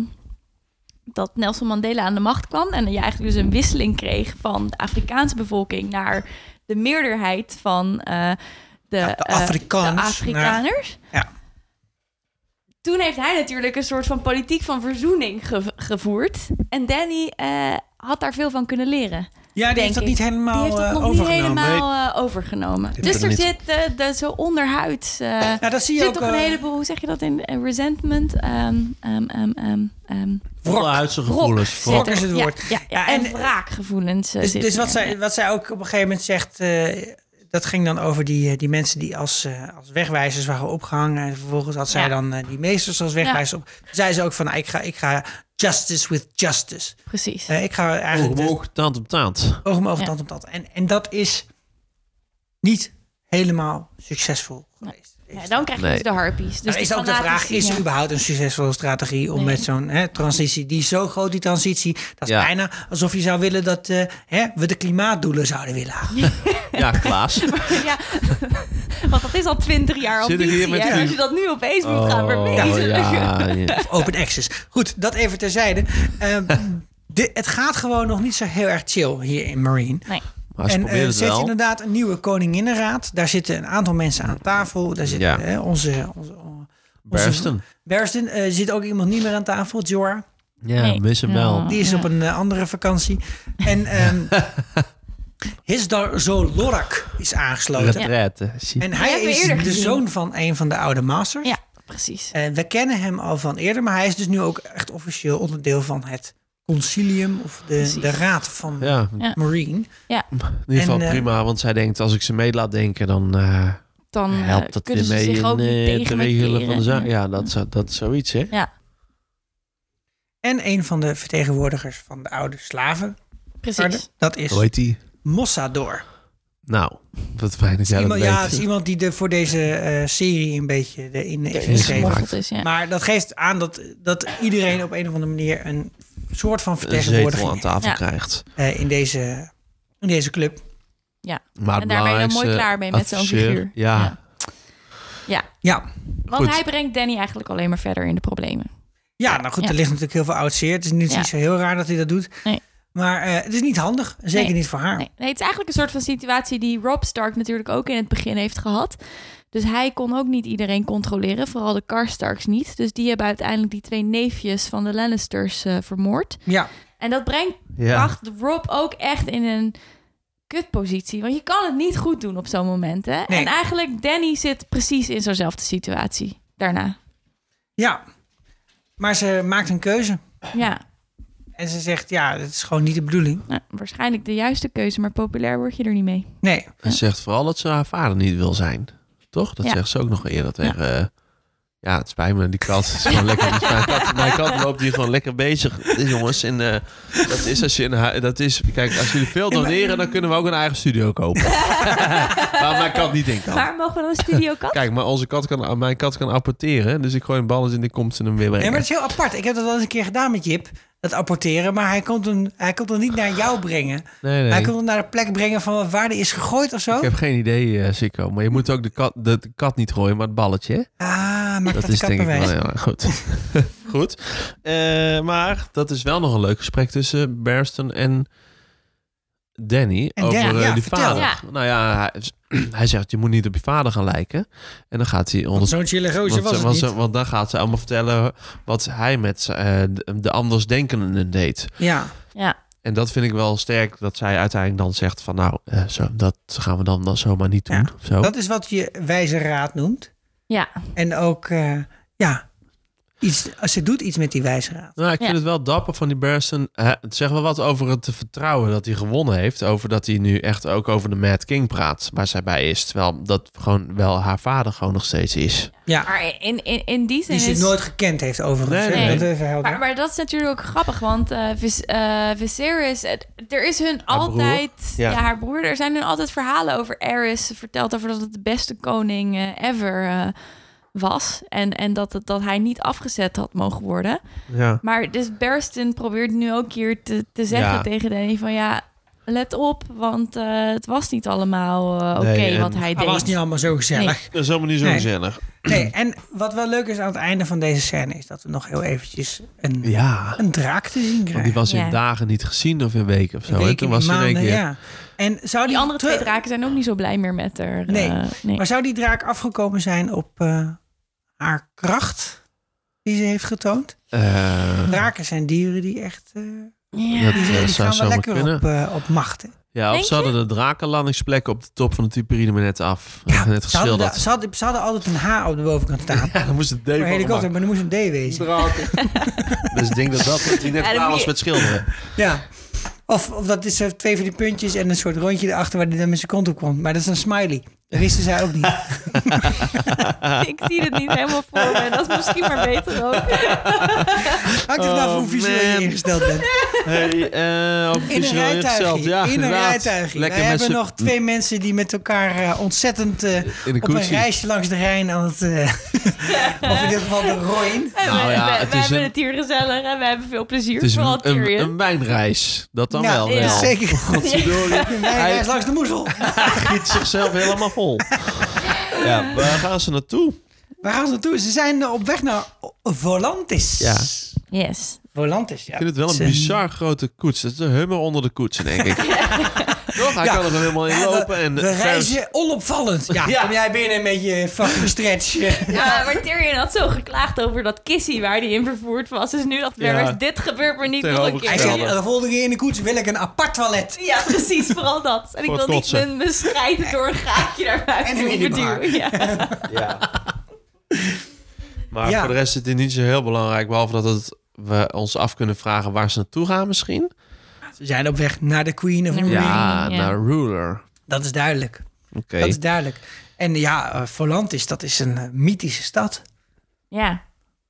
Speaker 5: dat Nelson Mandela aan de macht kwam... en je eigenlijk dus een wisseling kreeg van de Afrikaanse bevolking... naar de meerderheid van eh, de,
Speaker 1: de
Speaker 5: eh,
Speaker 1: Afrikaners.
Speaker 5: de Afrikaners.
Speaker 1: Ja.
Speaker 5: toen heeft hij natuurlijk een soort van politiek van verzoening ge- gevoerd. En Danny eh, had daar veel van kunnen leren.
Speaker 1: Ja, die
Speaker 5: Denk
Speaker 1: heeft dat
Speaker 5: ik.
Speaker 1: niet helemaal
Speaker 5: Die heeft dat
Speaker 1: eh,
Speaker 5: nog niet
Speaker 1: overgenomen.
Speaker 5: helemaal eh, overgenomen. Dus
Speaker 4: het
Speaker 5: er
Speaker 4: niet.
Speaker 5: zit eh, de, zo onderhuid. eh
Speaker 1: Nou, dat zie je
Speaker 5: zit
Speaker 1: ook,
Speaker 5: toch een
Speaker 1: eh,
Speaker 5: heleboel, hoe zeg je dat in eh, resentment? ehm ehm, ehm, ehm, ehm,
Speaker 4: Onderhuidse
Speaker 5: wrok
Speaker 4: gevoelens.
Speaker 5: zit
Speaker 1: Wrok
Speaker 5: er.
Speaker 1: is het
Speaker 5: Ja,
Speaker 1: woord.
Speaker 5: Ja, ja,
Speaker 1: Ja,
Speaker 5: en,
Speaker 1: en-
Speaker 5: wraakgevoelens. eh,
Speaker 1: Dus,
Speaker 5: zitten
Speaker 1: dus wat,
Speaker 5: er, ja.
Speaker 1: zij, wat zij ook op een gegeven moment zegt, eh, dat ging dan over die, eh, die mensen die als, eh, als wegwijzers waren opgehangen. En vervolgens had zij
Speaker 5: Ja.
Speaker 1: dan eh, die meesters als wegwijzers op. Zei ze ook van, nou, ik ga, ik ga justice with justice.
Speaker 5: Precies.
Speaker 1: Eh, ik ga eigenlijk de-
Speaker 4: Oog om oog, tand om tand.
Speaker 1: oog om oog,
Speaker 5: Ja.
Speaker 1: tand om tand. En, en dat is niet helemaal succesvol geweest.
Speaker 5: Ja, dan krijg je
Speaker 4: Nee. Nou,
Speaker 5: dus de harpies. Dus
Speaker 1: Dus is
Speaker 5: die
Speaker 1: ook de vraag,
Speaker 5: fanatici,
Speaker 1: is er
Speaker 5: ja.
Speaker 1: überhaupt een succesvolle strategie om
Speaker 5: Nee.
Speaker 1: met zo'n hè, transitie, die is zo groot, die transitie, dat is
Speaker 4: Ja.
Speaker 1: bijna alsof je zou willen dat eh, hè, we de klimaatdoelen zouden willen halen.
Speaker 4: Ja, Klaas.
Speaker 5: Ja, want dat is al twintig jaar
Speaker 4: Zit ik hier
Speaker 5: ambitie.
Speaker 4: met
Speaker 5: hè?
Speaker 4: die-
Speaker 5: Als je dat nu opeens moet gaan verwezenlijken.
Speaker 4: Oh, ja, ja.
Speaker 1: Open access. Goed, dat even terzijde. Ehm, de- het gaat gewoon nog niet zo heel erg chill hier in Marine.
Speaker 5: Nee.
Speaker 4: Maar ze
Speaker 1: en eh,
Speaker 4: proberen
Speaker 1: er
Speaker 4: het
Speaker 1: zit
Speaker 4: wel.
Speaker 1: inderdaad een nieuwe koninginraad. Daar zitten een aantal mensen aan tafel. Daar zit
Speaker 4: Ja.
Speaker 1: eh, onze, onze, onze...
Speaker 4: Barristan.
Speaker 1: Berston. eh, zit ook iemand niet meer aan tafel, Jorah.
Speaker 4: Ja,
Speaker 5: Nee.
Speaker 4: miss hem wel.
Speaker 1: Die is op een eh, andere vakantie. En ehm Hisdar Zolorak is aangesloten.
Speaker 4: Retraite. Zie-
Speaker 1: En
Speaker 5: Die
Speaker 1: hij
Speaker 5: hebben we
Speaker 1: is
Speaker 5: eerder
Speaker 1: de
Speaker 5: gezien.
Speaker 1: zoon van een van de oude masters.
Speaker 5: Ja, precies.
Speaker 1: En Eh, we kennen hem al van eerder, maar hij is dus nu ook echt officieel onderdeel van het concilium of de,
Speaker 5: Precies.
Speaker 1: de raad van
Speaker 4: Ja,
Speaker 5: Ja.
Speaker 1: Marine.
Speaker 5: Ja,
Speaker 4: in ieder geval
Speaker 1: En, eh,
Speaker 4: prima. Want zij denkt, als ik ze mee laat denken, dan eh,
Speaker 5: dan eh,
Speaker 4: helpt dat
Speaker 5: kunnen
Speaker 4: weer
Speaker 5: ze
Speaker 4: mee
Speaker 5: zich ook
Speaker 4: in,
Speaker 5: niet
Speaker 4: eh,
Speaker 5: tegen
Speaker 4: het
Speaker 5: me
Speaker 4: regelen van de
Speaker 5: keren.
Speaker 4: zaak. Ja, dat, zou- dat is zoiets, hè?
Speaker 5: Ja,
Speaker 1: En een van de vertegenwoordigers van de oude slaven,
Speaker 5: precies.
Speaker 1: dat is
Speaker 4: Hoe heet die?
Speaker 1: Mossador.
Speaker 4: Nou, wat fijn dat jij dat
Speaker 1: Iemand, ja, dat
Speaker 4: weet.
Speaker 1: is iemand die de, voor deze eh, serie een beetje de in is geschreven.
Speaker 5: Gesmoffeld is, ja.
Speaker 1: Maar dat geeft aan dat, dat iedereen op een of andere manier een soort van
Speaker 4: een zetel aan
Speaker 1: vertegenwoordiging
Speaker 4: tafel
Speaker 5: Ja.
Speaker 4: krijgt.
Speaker 1: eh, in, deze, in deze club.
Speaker 5: Ja.
Speaker 4: Maar
Speaker 5: en daar ben je dan mooi
Speaker 4: belangrijkste
Speaker 5: klaar mee met zo'n
Speaker 4: adviseur-
Speaker 5: figuur.
Speaker 4: Ja.
Speaker 5: Ja. Ja.
Speaker 1: Ja.
Speaker 5: Want
Speaker 4: Goed.
Speaker 5: hij brengt Danny eigenlijk alleen maar verder in de problemen.
Speaker 1: Ja, nou goed,
Speaker 5: Ja.
Speaker 1: er ligt natuurlijk heel veel oud zeer. Het is niet,
Speaker 5: Ja.
Speaker 1: niet zo heel raar dat hij dat doet.
Speaker 5: Nee.
Speaker 1: Maar eh, het is niet handig. Zeker
Speaker 5: Nee.
Speaker 1: niet voor haar.
Speaker 5: Nee, nee, het is eigenlijk een soort van situatie die Rob Stark natuurlijk ook in het begin heeft gehad. Dus hij kon ook niet iedereen controleren, vooral de Karstarks niet. Dus die hebben uiteindelijk die twee neefjes van de Lannisters eh, vermoord.
Speaker 1: Ja.
Speaker 5: En dat brengt
Speaker 4: Ja.
Speaker 5: bracht Rob ook echt in een kutpositie. Want je kan het niet goed doen op zo'n moment. Hè?
Speaker 1: Nee.
Speaker 5: En eigenlijk Danny zit precies in zo'nzelfde situatie daarna.
Speaker 1: ja. Maar ze maakt een keuze.
Speaker 5: Ja,
Speaker 1: En ze zegt, ja, dat is gewoon niet de bedoeling.
Speaker 5: nou, waarschijnlijk de juiste keuze, maar populair word je er niet mee.
Speaker 1: Nee.
Speaker 4: En ze zegt vooral dat ze haar vader niet wil zijn. Toch? Dat
Speaker 5: Ja.
Speaker 4: zegt ze ook nog eerder tegen... eh, ja, het spijt me. Die kat is gewoon lekker... dus Mijn kat, mijn kat loopt hier gewoon lekker bezig. Jongens, en, eh, dat is als je een hu- dat is, Kijk, als jullie veel doneren, dan kunnen we ook een eigen studio kopen. maar mijn kat niet in kan.
Speaker 5: Maar mogen we dan een studio kat?
Speaker 4: Kijk, maar onze kat kan, mijn kat kan apporteren. Dus ik gooi een balletje in en komt ze hem weer
Speaker 1: nee,
Speaker 4: brengen.
Speaker 1: maar het is heel apart. Ik heb dat al eens een keer gedaan met Jip. Dat apporteren. Maar hij komt hem, hij komt hem niet naar jou brengen.
Speaker 4: nee, nee.
Speaker 1: Hij komt hem naar de plek brengen van waar die is gegooid of zo.
Speaker 4: Ik heb geen idee, eh Sikko. Maar je moet ook de kat, de, de kat niet gooien, maar het balletje. hè?
Speaker 1: Ah, maak dat,
Speaker 4: Dat is denk ik wel eh,
Speaker 1: kapperwijs.
Speaker 4: heel erg goed. goed. Eh, maar dat is wel nog een leuk gesprek tussen Berston en Danny
Speaker 1: En
Speaker 4: over
Speaker 1: Danny,
Speaker 4: eh,
Speaker 1: ja,
Speaker 4: die
Speaker 1: vertel.
Speaker 4: vader.
Speaker 5: Ja.
Speaker 4: Nou ja, hij, hij zegt je moet niet op je vader gaan lijken. En dan gaat hij onder,
Speaker 1: Zo'n chille
Speaker 4: want,
Speaker 1: gozer was
Speaker 4: ze-
Speaker 1: het
Speaker 4: want,
Speaker 1: niet.
Speaker 4: ze- want dan gaat ze allemaal vertellen wat hij met eh, de, de andersdenkenden deed.
Speaker 1: Ja.
Speaker 5: Ja,
Speaker 4: En dat vind ik wel sterk dat zij uiteindelijk dan zegt van nou, eh, zo, dat gaan we dan, dan zomaar niet doen.
Speaker 1: Ja.
Speaker 4: of zo.
Speaker 1: Dat is wat je wijze raad noemt.
Speaker 5: ja.
Speaker 1: En ook, eh, ja, iets, ze doet iets met die wijze raad.
Speaker 4: Nou, ik vind
Speaker 5: Ja.
Speaker 4: het wel dapper van die Berson. Eh, Het zegt wel wat over het vertrouwen dat hij gewonnen heeft. Over dat hij nu echt ook over de Mad King praat. Waar zij bij is. Terwijl dat gewoon wel haar vader gewoon nog steeds is.
Speaker 1: Ja,
Speaker 5: Maar in, in, in die zin
Speaker 1: die ze
Speaker 5: is...
Speaker 1: nooit gekend heeft overigens.
Speaker 4: Nee,
Speaker 1: hè.
Speaker 5: nee, nee.
Speaker 1: Dat even helder.
Speaker 5: Maar, maar dat is natuurlijk ook grappig, want eh Vis, eh, Viserys, eh, er is hun altijd,
Speaker 4: Ja.
Speaker 5: ja. haar broer, er zijn hun altijd verhalen over Aerys verteld over dat het de beste koning eh, ever eh, was en, en dat, het, dat hij niet afgezet had mogen worden.
Speaker 4: Ja.
Speaker 5: Maar dus Berston probeert nu ook hier te, te zeggen
Speaker 4: Ja.
Speaker 5: tegen Danny van ja, let op, want eh, het was niet allemaal eh, oké
Speaker 4: Nee, en-
Speaker 5: wat hij
Speaker 1: dat
Speaker 5: deed.
Speaker 1: was niet allemaal zo gezellig.
Speaker 4: Dat is helemaal niet zo
Speaker 1: Nee.
Speaker 4: gezellig.
Speaker 1: Nee. en wat wel leuk is aan het einde van deze scène... is dat we nog heel eventjes een,
Speaker 4: Ja.
Speaker 1: een draak te zien
Speaker 4: Want die
Speaker 1: krijgen.
Speaker 4: was in
Speaker 5: Ja.
Speaker 4: dagen niet gezien of in weken of zo.
Speaker 1: Een
Speaker 4: hè?
Speaker 1: week
Speaker 4: Toen
Speaker 1: in
Speaker 4: was ze in één
Speaker 1: maanden,
Speaker 4: keer.
Speaker 1: ja. En zou die,
Speaker 5: Die andere
Speaker 1: terug-
Speaker 5: twee draken zijn ook niet zo blij meer met haar. eh,
Speaker 1: Nee,
Speaker 5: nee.
Speaker 1: Maar zou die draak afgekomen zijn op eh, haar kracht die ze heeft getoond?
Speaker 4: Eh,
Speaker 1: Draken zijn dieren die echt... eh,
Speaker 5: Ja.
Speaker 4: dat,
Speaker 1: die,
Speaker 4: eh,
Speaker 1: die
Speaker 4: zou
Speaker 1: gaan wel
Speaker 4: zomaar
Speaker 1: lekker
Speaker 4: kunnen.
Speaker 1: op, eh, op macht. hè.
Speaker 4: Ja, of
Speaker 5: Denk
Speaker 4: ze hadden de drakenlandingsplekken op de top van de Typeride maar net af. net
Speaker 1: Ze hadden,
Speaker 4: geschilderd.
Speaker 1: da- ze, hadden, ze hadden altijd een H op de bovenkant staan.
Speaker 4: Ja, dan moest het
Speaker 1: Voor helikopter,
Speaker 4: Dave
Speaker 1: maar er moest een D wezen.
Speaker 4: Dus ik denk dat dat, dat hij net
Speaker 5: Ja, dan
Speaker 4: klaar
Speaker 5: moet
Speaker 4: was
Speaker 5: je-
Speaker 4: met schilderen.
Speaker 1: Ja. Of, of dat is eh, twee van die puntjes en een soort rondje erachter waar die dan met zijn kont op komt. Maar dat is een smiley. Dat wisten zij ook niet.
Speaker 5: ik zie het niet helemaal voor me. Dat is misschien maar beter ook.
Speaker 1: Hangt het nou
Speaker 4: Oh,
Speaker 1: voor hoe visueel je
Speaker 4: man.
Speaker 1: ingesteld bent.
Speaker 4: Hey, eh over
Speaker 1: In een
Speaker 4: visueel ingesteld.
Speaker 1: rijtuigje.
Speaker 4: Ja,
Speaker 1: in een
Speaker 4: inderdaad.
Speaker 1: rijtuigje.
Speaker 4: Lekker
Speaker 1: Wij
Speaker 4: met
Speaker 1: hebben
Speaker 4: z'n-
Speaker 1: nog twee mensen die met elkaar eh, ontzettend eh,
Speaker 4: in een
Speaker 1: op een
Speaker 4: koetsie.
Speaker 1: reisje langs de Rijn aan het... eh, of in dit geval de Rijn.
Speaker 4: Nou
Speaker 5: we
Speaker 4: ja,
Speaker 5: we- we
Speaker 4: het is
Speaker 5: hebben
Speaker 4: een-
Speaker 5: het hier gezellig en we hebben veel plezier.
Speaker 4: Het is
Speaker 5: vooral
Speaker 4: een, een,
Speaker 5: Tyrion.
Speaker 4: een wijnreis. Dat dan
Speaker 1: Ja,
Speaker 4: wel.
Speaker 5: ja.
Speaker 4: wel.
Speaker 1: Nou, Zeker.
Speaker 4: Godverdorie.
Speaker 1: Een
Speaker 4: Hij-
Speaker 1: wijnreis langs de moezel.
Speaker 4: Hij giet zichzelf helemaal vol. Ja, waar gaan ze naartoe?
Speaker 1: Waar gaan ze naartoe? Ze zijn eh, op weg naar Volantis.
Speaker 4: Ja.
Speaker 5: Yes.
Speaker 1: Volantis, ja.
Speaker 4: Ik vind het wel een bizar grote koets. Dat is de hummer onder de koetsen, denk ik. Toch? Hij
Speaker 1: Ja.
Speaker 4: kan er gewoon helemaal in
Speaker 1: Ja,
Speaker 4: lopen.
Speaker 1: we,
Speaker 4: En
Speaker 1: we
Speaker 4: verder-
Speaker 1: reizen onopvallend. Ja,
Speaker 4: Ja.
Speaker 1: kom jij binnen met je fucking stretch.
Speaker 5: Ja, maar Tyrion had zo geklaagd over dat kissie waar hij in vervoerd was. Dus nu dacht
Speaker 4: Ja.
Speaker 5: Varys, dit gebeurt me niet nog een
Speaker 4: Tegenover-
Speaker 5: keer.
Speaker 1: Hij
Speaker 4: Geweldig.
Speaker 1: zei, de volgende keer in de koets wil ik een apart toilet.
Speaker 5: Ja, precies. Vooral dat. En ik
Speaker 4: Voor het
Speaker 5: wil niet
Speaker 4: kotsen.
Speaker 5: mijn, mijn strijden door een gaatje naar
Speaker 1: En
Speaker 5: buiten
Speaker 1: een
Speaker 5: hoeven
Speaker 1: minibar.
Speaker 5: duwen. Ja.
Speaker 4: Maar
Speaker 1: Ja.
Speaker 4: voor de rest is dit niet zo heel belangrijk. Behalve dat het, we ons af kunnen vragen waar ze naartoe gaan misschien.
Speaker 1: Ze zijn op weg naar de Queen of
Speaker 5: Ja.
Speaker 1: Marine.
Speaker 4: Ja,
Speaker 5: Ja.
Speaker 4: naar Ruler.
Speaker 1: Dat is duidelijk.
Speaker 4: Oké.
Speaker 1: Dat is duidelijk. En ja, eh, Volantis, dat is een eh, mythische stad.
Speaker 5: ja.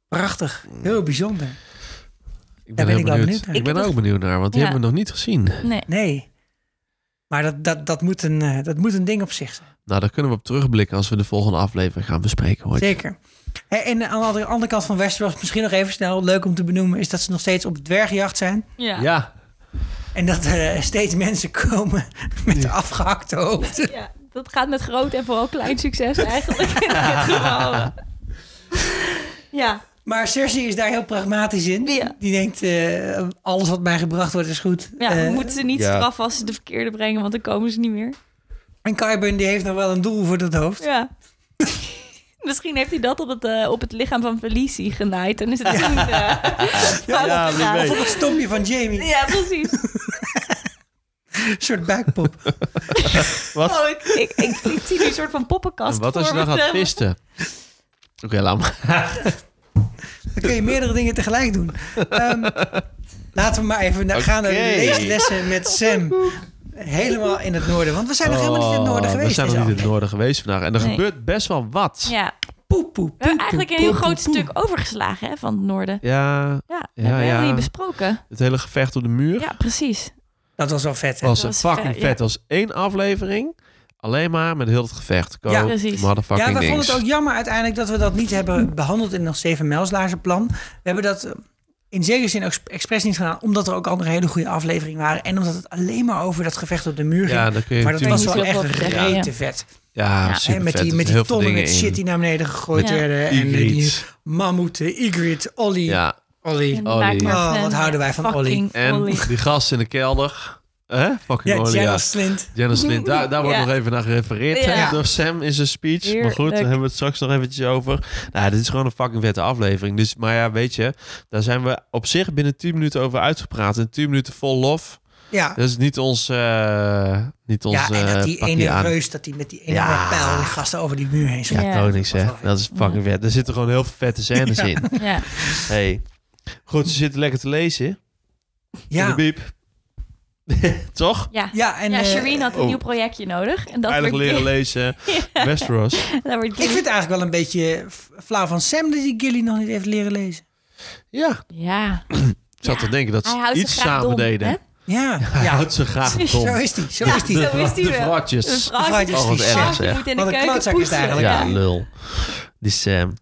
Speaker 1: Prachtig. Heel bijzonder.
Speaker 4: Ik
Speaker 1: Daar ben
Speaker 4: heel
Speaker 1: ik wel benieuwd naar.
Speaker 4: Ik ben
Speaker 5: Ik
Speaker 4: er
Speaker 5: heb
Speaker 4: ook benieuwd naar, want die
Speaker 5: Ja.
Speaker 4: hebben we nog niet gezien.
Speaker 5: Nee.
Speaker 1: Nee. Maar dat, dat, dat, moet een, eh, dat moet een ding op zich zijn.
Speaker 4: Nou, daar kunnen we op terugblikken als we de volgende aflevering gaan bespreken, hoor. ik.
Speaker 1: Zeker. Hé, En aan de andere- andere kant van Westeros, misschien nog even snel, leuk om te benoemen, is dat ze nog steeds op dwergjacht zijn.
Speaker 5: Ja.
Speaker 4: Ja,
Speaker 1: En dat er eh, steeds mensen komen met afgehakte hoofden.
Speaker 5: Ja, dat gaat met groot en vooral klein succes eigenlijk. in dit geval. ja,
Speaker 1: Maar Cersei is daar heel pragmatisch in.
Speaker 5: Ja.
Speaker 1: Die denkt, eh, alles wat mij gebracht wordt is goed.
Speaker 5: ja
Speaker 1: Eh,
Speaker 5: we moeten ze niet
Speaker 4: ja.
Speaker 5: straffen als ze de verkeerde brengen, want dan komen ze niet meer.
Speaker 1: En Qyburn die heeft nog wel een doel voor dat hoofd.
Speaker 5: Ja. Misschien heeft hij dat op het, eh, op het lichaam van Felicie genaaid. En is het toen... eh, fout
Speaker 4: ja, wie
Speaker 5: gegaan.
Speaker 4: weet.
Speaker 1: Voor het stompje van Jamie.
Speaker 5: Ja, precies.
Speaker 1: Een soort buikpop.
Speaker 4: Wat?
Speaker 5: Oh, ik, ik, ik, ik zie nu een soort van poppenkast
Speaker 4: Wat als je
Speaker 5: voor
Speaker 4: dan
Speaker 5: me.
Speaker 4: gaat visten? Oké, laat maar.
Speaker 1: Dan kun je meerdere dingen tegelijk doen. Ehm, laten we maar even na- gaan naar de
Speaker 4: Oké.
Speaker 1: leeslessen met Sam. Helemaal in het noorden. Want we zijn nog helemaal niet in het noorden
Speaker 4: Oh,
Speaker 1: geweest.
Speaker 4: We zijn nog
Speaker 1: deze
Speaker 4: niet in
Speaker 1: aflevering.
Speaker 4: het noorden geweest vandaag. En er
Speaker 5: Nee.
Speaker 4: gebeurt best wel wat. Ja,
Speaker 5: Ja, we
Speaker 1: Poep, poep, poep,
Speaker 5: hebben eigenlijk een
Speaker 1: poep,
Speaker 5: heel
Speaker 1: poep,
Speaker 5: groot
Speaker 1: poep.
Speaker 5: stuk overgeslagen hè, van het noorden.
Speaker 4: ja,
Speaker 5: Ja, dat
Speaker 4: Ja,
Speaker 5: hebben we helemaal
Speaker 4: ja.
Speaker 5: niet besproken.
Speaker 4: het hele gevecht op de muur.
Speaker 5: Ja, precies.
Speaker 1: Dat was wel vet. hè?
Speaker 4: was,
Speaker 5: was
Speaker 4: fucking
Speaker 5: ver-
Speaker 4: vet. Dat was één aflevering. Alleen maar met heel het gevecht. Go,
Speaker 1: Ja,
Speaker 5: precies.
Speaker 4: Motherfucking
Speaker 1: Ja, we vonden
Speaker 4: dings.
Speaker 1: het ook jammer uiteindelijk dat we dat niet hebben behandeld in ons 7 Mijlslaarse plan. We hebben dat eh, in zekere zin ook expres niet gedaan, omdat er ook andere hele goede afleveringen waren. En omdat het alleen maar over dat gevecht op de muur ging.
Speaker 4: Ja, dan kun je
Speaker 1: maar dat was
Speaker 4: natuurlijk
Speaker 5: niet
Speaker 1: wel
Speaker 5: zoveel
Speaker 1: echt
Speaker 5: over zeggen,
Speaker 1: rete
Speaker 5: ja.
Speaker 1: vet.
Speaker 4: Ja,
Speaker 5: Ja,
Speaker 1: Hè,
Speaker 4: super
Speaker 1: met die, met die tonnen met shit die naar beneden gegooid
Speaker 5: Ja.
Speaker 1: werden. En eh, die mammoeten, Ygritte, Olly.
Speaker 4: Ja,
Speaker 1: Olly.
Speaker 4: Olly.
Speaker 5: Maak maar
Speaker 1: Oh,
Speaker 5: fan.
Speaker 1: wat houden wij van
Speaker 5: Fucking
Speaker 4: en
Speaker 5: Olly.
Speaker 4: die gast in de kelder. Hè? Fucking
Speaker 1: Ja,
Speaker 4: Olly,
Speaker 1: Janna
Speaker 4: ja.
Speaker 1: Slint.
Speaker 4: Janice Lind, daar, daar wordt
Speaker 5: Ja.
Speaker 4: nog even naar gerefereerd hè,
Speaker 5: Ja.
Speaker 4: door Sam in zijn speech.
Speaker 5: Heerlijk.
Speaker 4: Maar goed, daar hebben we het straks nog eventjes over. Nou, dit is gewoon een fucking vette aflevering. Dus, maar ja, weet je, daar zijn we op zich binnen 10 minuten over uitgepraat. En 10 minuten vol lof.
Speaker 1: Ja.
Speaker 4: Dat is niet ons. eh niet ons
Speaker 1: Ja, en dat
Speaker 4: eh,
Speaker 1: die
Speaker 4: pakje
Speaker 1: ene
Speaker 4: aan.
Speaker 1: reus, dat die met die ene
Speaker 4: Ja.
Speaker 1: pijl die gasten over die muur heen schiet.
Speaker 4: Ja,
Speaker 5: Ja.
Speaker 4: konings, hè. Dat is fucking vet. Er zitten gewoon heel veel vette scènes in.
Speaker 5: Ja.
Speaker 4: Hey. Goed, ze zitten lekker te lezen. Ja. In de
Speaker 1: Ja,
Speaker 4: biep. Toch?
Speaker 5: Ja.
Speaker 1: ja en
Speaker 5: ja,
Speaker 1: eh,
Speaker 5: Shireen had een
Speaker 4: oh.
Speaker 5: nieuw projectje nodig. En dat
Speaker 4: Veilig
Speaker 5: wordt
Speaker 4: leren
Speaker 5: Gilly.
Speaker 4: lezen. Westeros.
Speaker 5: Dat wordt
Speaker 1: Ik
Speaker 5: Gilly.
Speaker 1: vind het eigenlijk wel een beetje f- flauw van Sam dat hij Gilly nog niet heeft leren lezen.
Speaker 4: Ja,
Speaker 5: Ja,
Speaker 4: ik zat
Speaker 5: Ja.
Speaker 4: te denken dat
Speaker 5: hij houdt
Speaker 4: ze
Speaker 5: ze
Speaker 4: iets
Speaker 5: graag
Speaker 4: samen
Speaker 5: dom,
Speaker 4: deden.
Speaker 5: hè?
Speaker 1: Ja,
Speaker 4: Hij
Speaker 1: ja.
Speaker 4: houdt ze graag dom.
Speaker 1: zo is die. Zo is die.
Speaker 5: Zo is die
Speaker 4: de
Speaker 5: wel.
Speaker 4: vratjes.
Speaker 5: Een
Speaker 1: vratjes
Speaker 5: vrouwtje
Speaker 1: die shit,
Speaker 5: een vrouwtje
Speaker 4: zeg.
Speaker 5: moet in de
Speaker 1: Wat een
Speaker 5: keuken
Speaker 1: klootzak is het
Speaker 5: poetsen.
Speaker 1: eigenlijk,
Speaker 4: Ja,
Speaker 1: Ja.
Speaker 4: lul. Die Sam.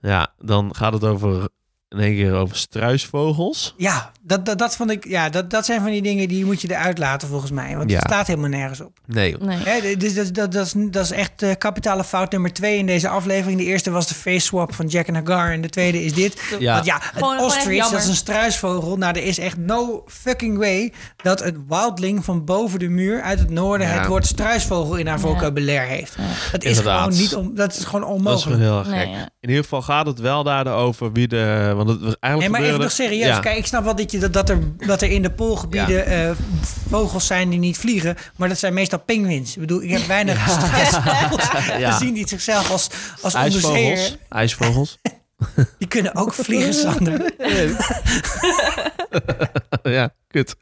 Speaker 4: Ja, dan gaat het over in één keer over struisvogels.
Speaker 1: Ja, dat, dat, dat vond ik. Ja, dat, dat zijn van die dingen die moet je eruit laten volgens mij. Want
Speaker 4: Ja.
Speaker 1: het staat helemaal nergens op.
Speaker 4: Nee.
Speaker 5: Nee.
Speaker 1: Hè, dus dat, dat, dat, is, dat is echt eh, kapitale fout nummer twee in deze aflevering. De eerste was de face swap van Jack en Hagar. En de tweede is dit.
Speaker 4: Ja.
Speaker 1: Want ja,
Speaker 5: Gewoon-
Speaker 1: een
Speaker 5: gewoon echt
Speaker 1: ostrich,
Speaker 5: jammer.
Speaker 1: dat is een struisvogel. Nou, er is echt no fucking way dat een wildling van boven de muur uit het noorden
Speaker 4: Ja.
Speaker 1: het woord struisvogel in haar
Speaker 5: Ja.
Speaker 1: vocabulaire heeft. Dat, is
Speaker 4: Inderdaad.
Speaker 1: gewoon niet om, dat is gewoon
Speaker 4: Dat is
Speaker 1: onmogelijk.
Speaker 4: wel heel erg gek.
Speaker 5: Nee, ja.
Speaker 4: In ieder geval gaat het wel daar over wie de... Want het was eigenlijk
Speaker 1: Nee, maar even
Speaker 4: gebeurde-
Speaker 1: nog serieus.
Speaker 4: Ja.
Speaker 1: Kijk, ik snap wel dat, je, dat, dat, er, dat er in de poolgebieden eh, vogels zijn die niet vliegen. Maar dat zijn meestal pinguïns. Ik bedoel, ik heb weinig stressvogels
Speaker 4: Ja.
Speaker 1: gezien die zichzelf als, als
Speaker 4: IJsvogels.
Speaker 1: onderzeeër...
Speaker 4: IJsvogels.
Speaker 1: Die kunnen ook vliegen, Sander.
Speaker 4: ja, kut.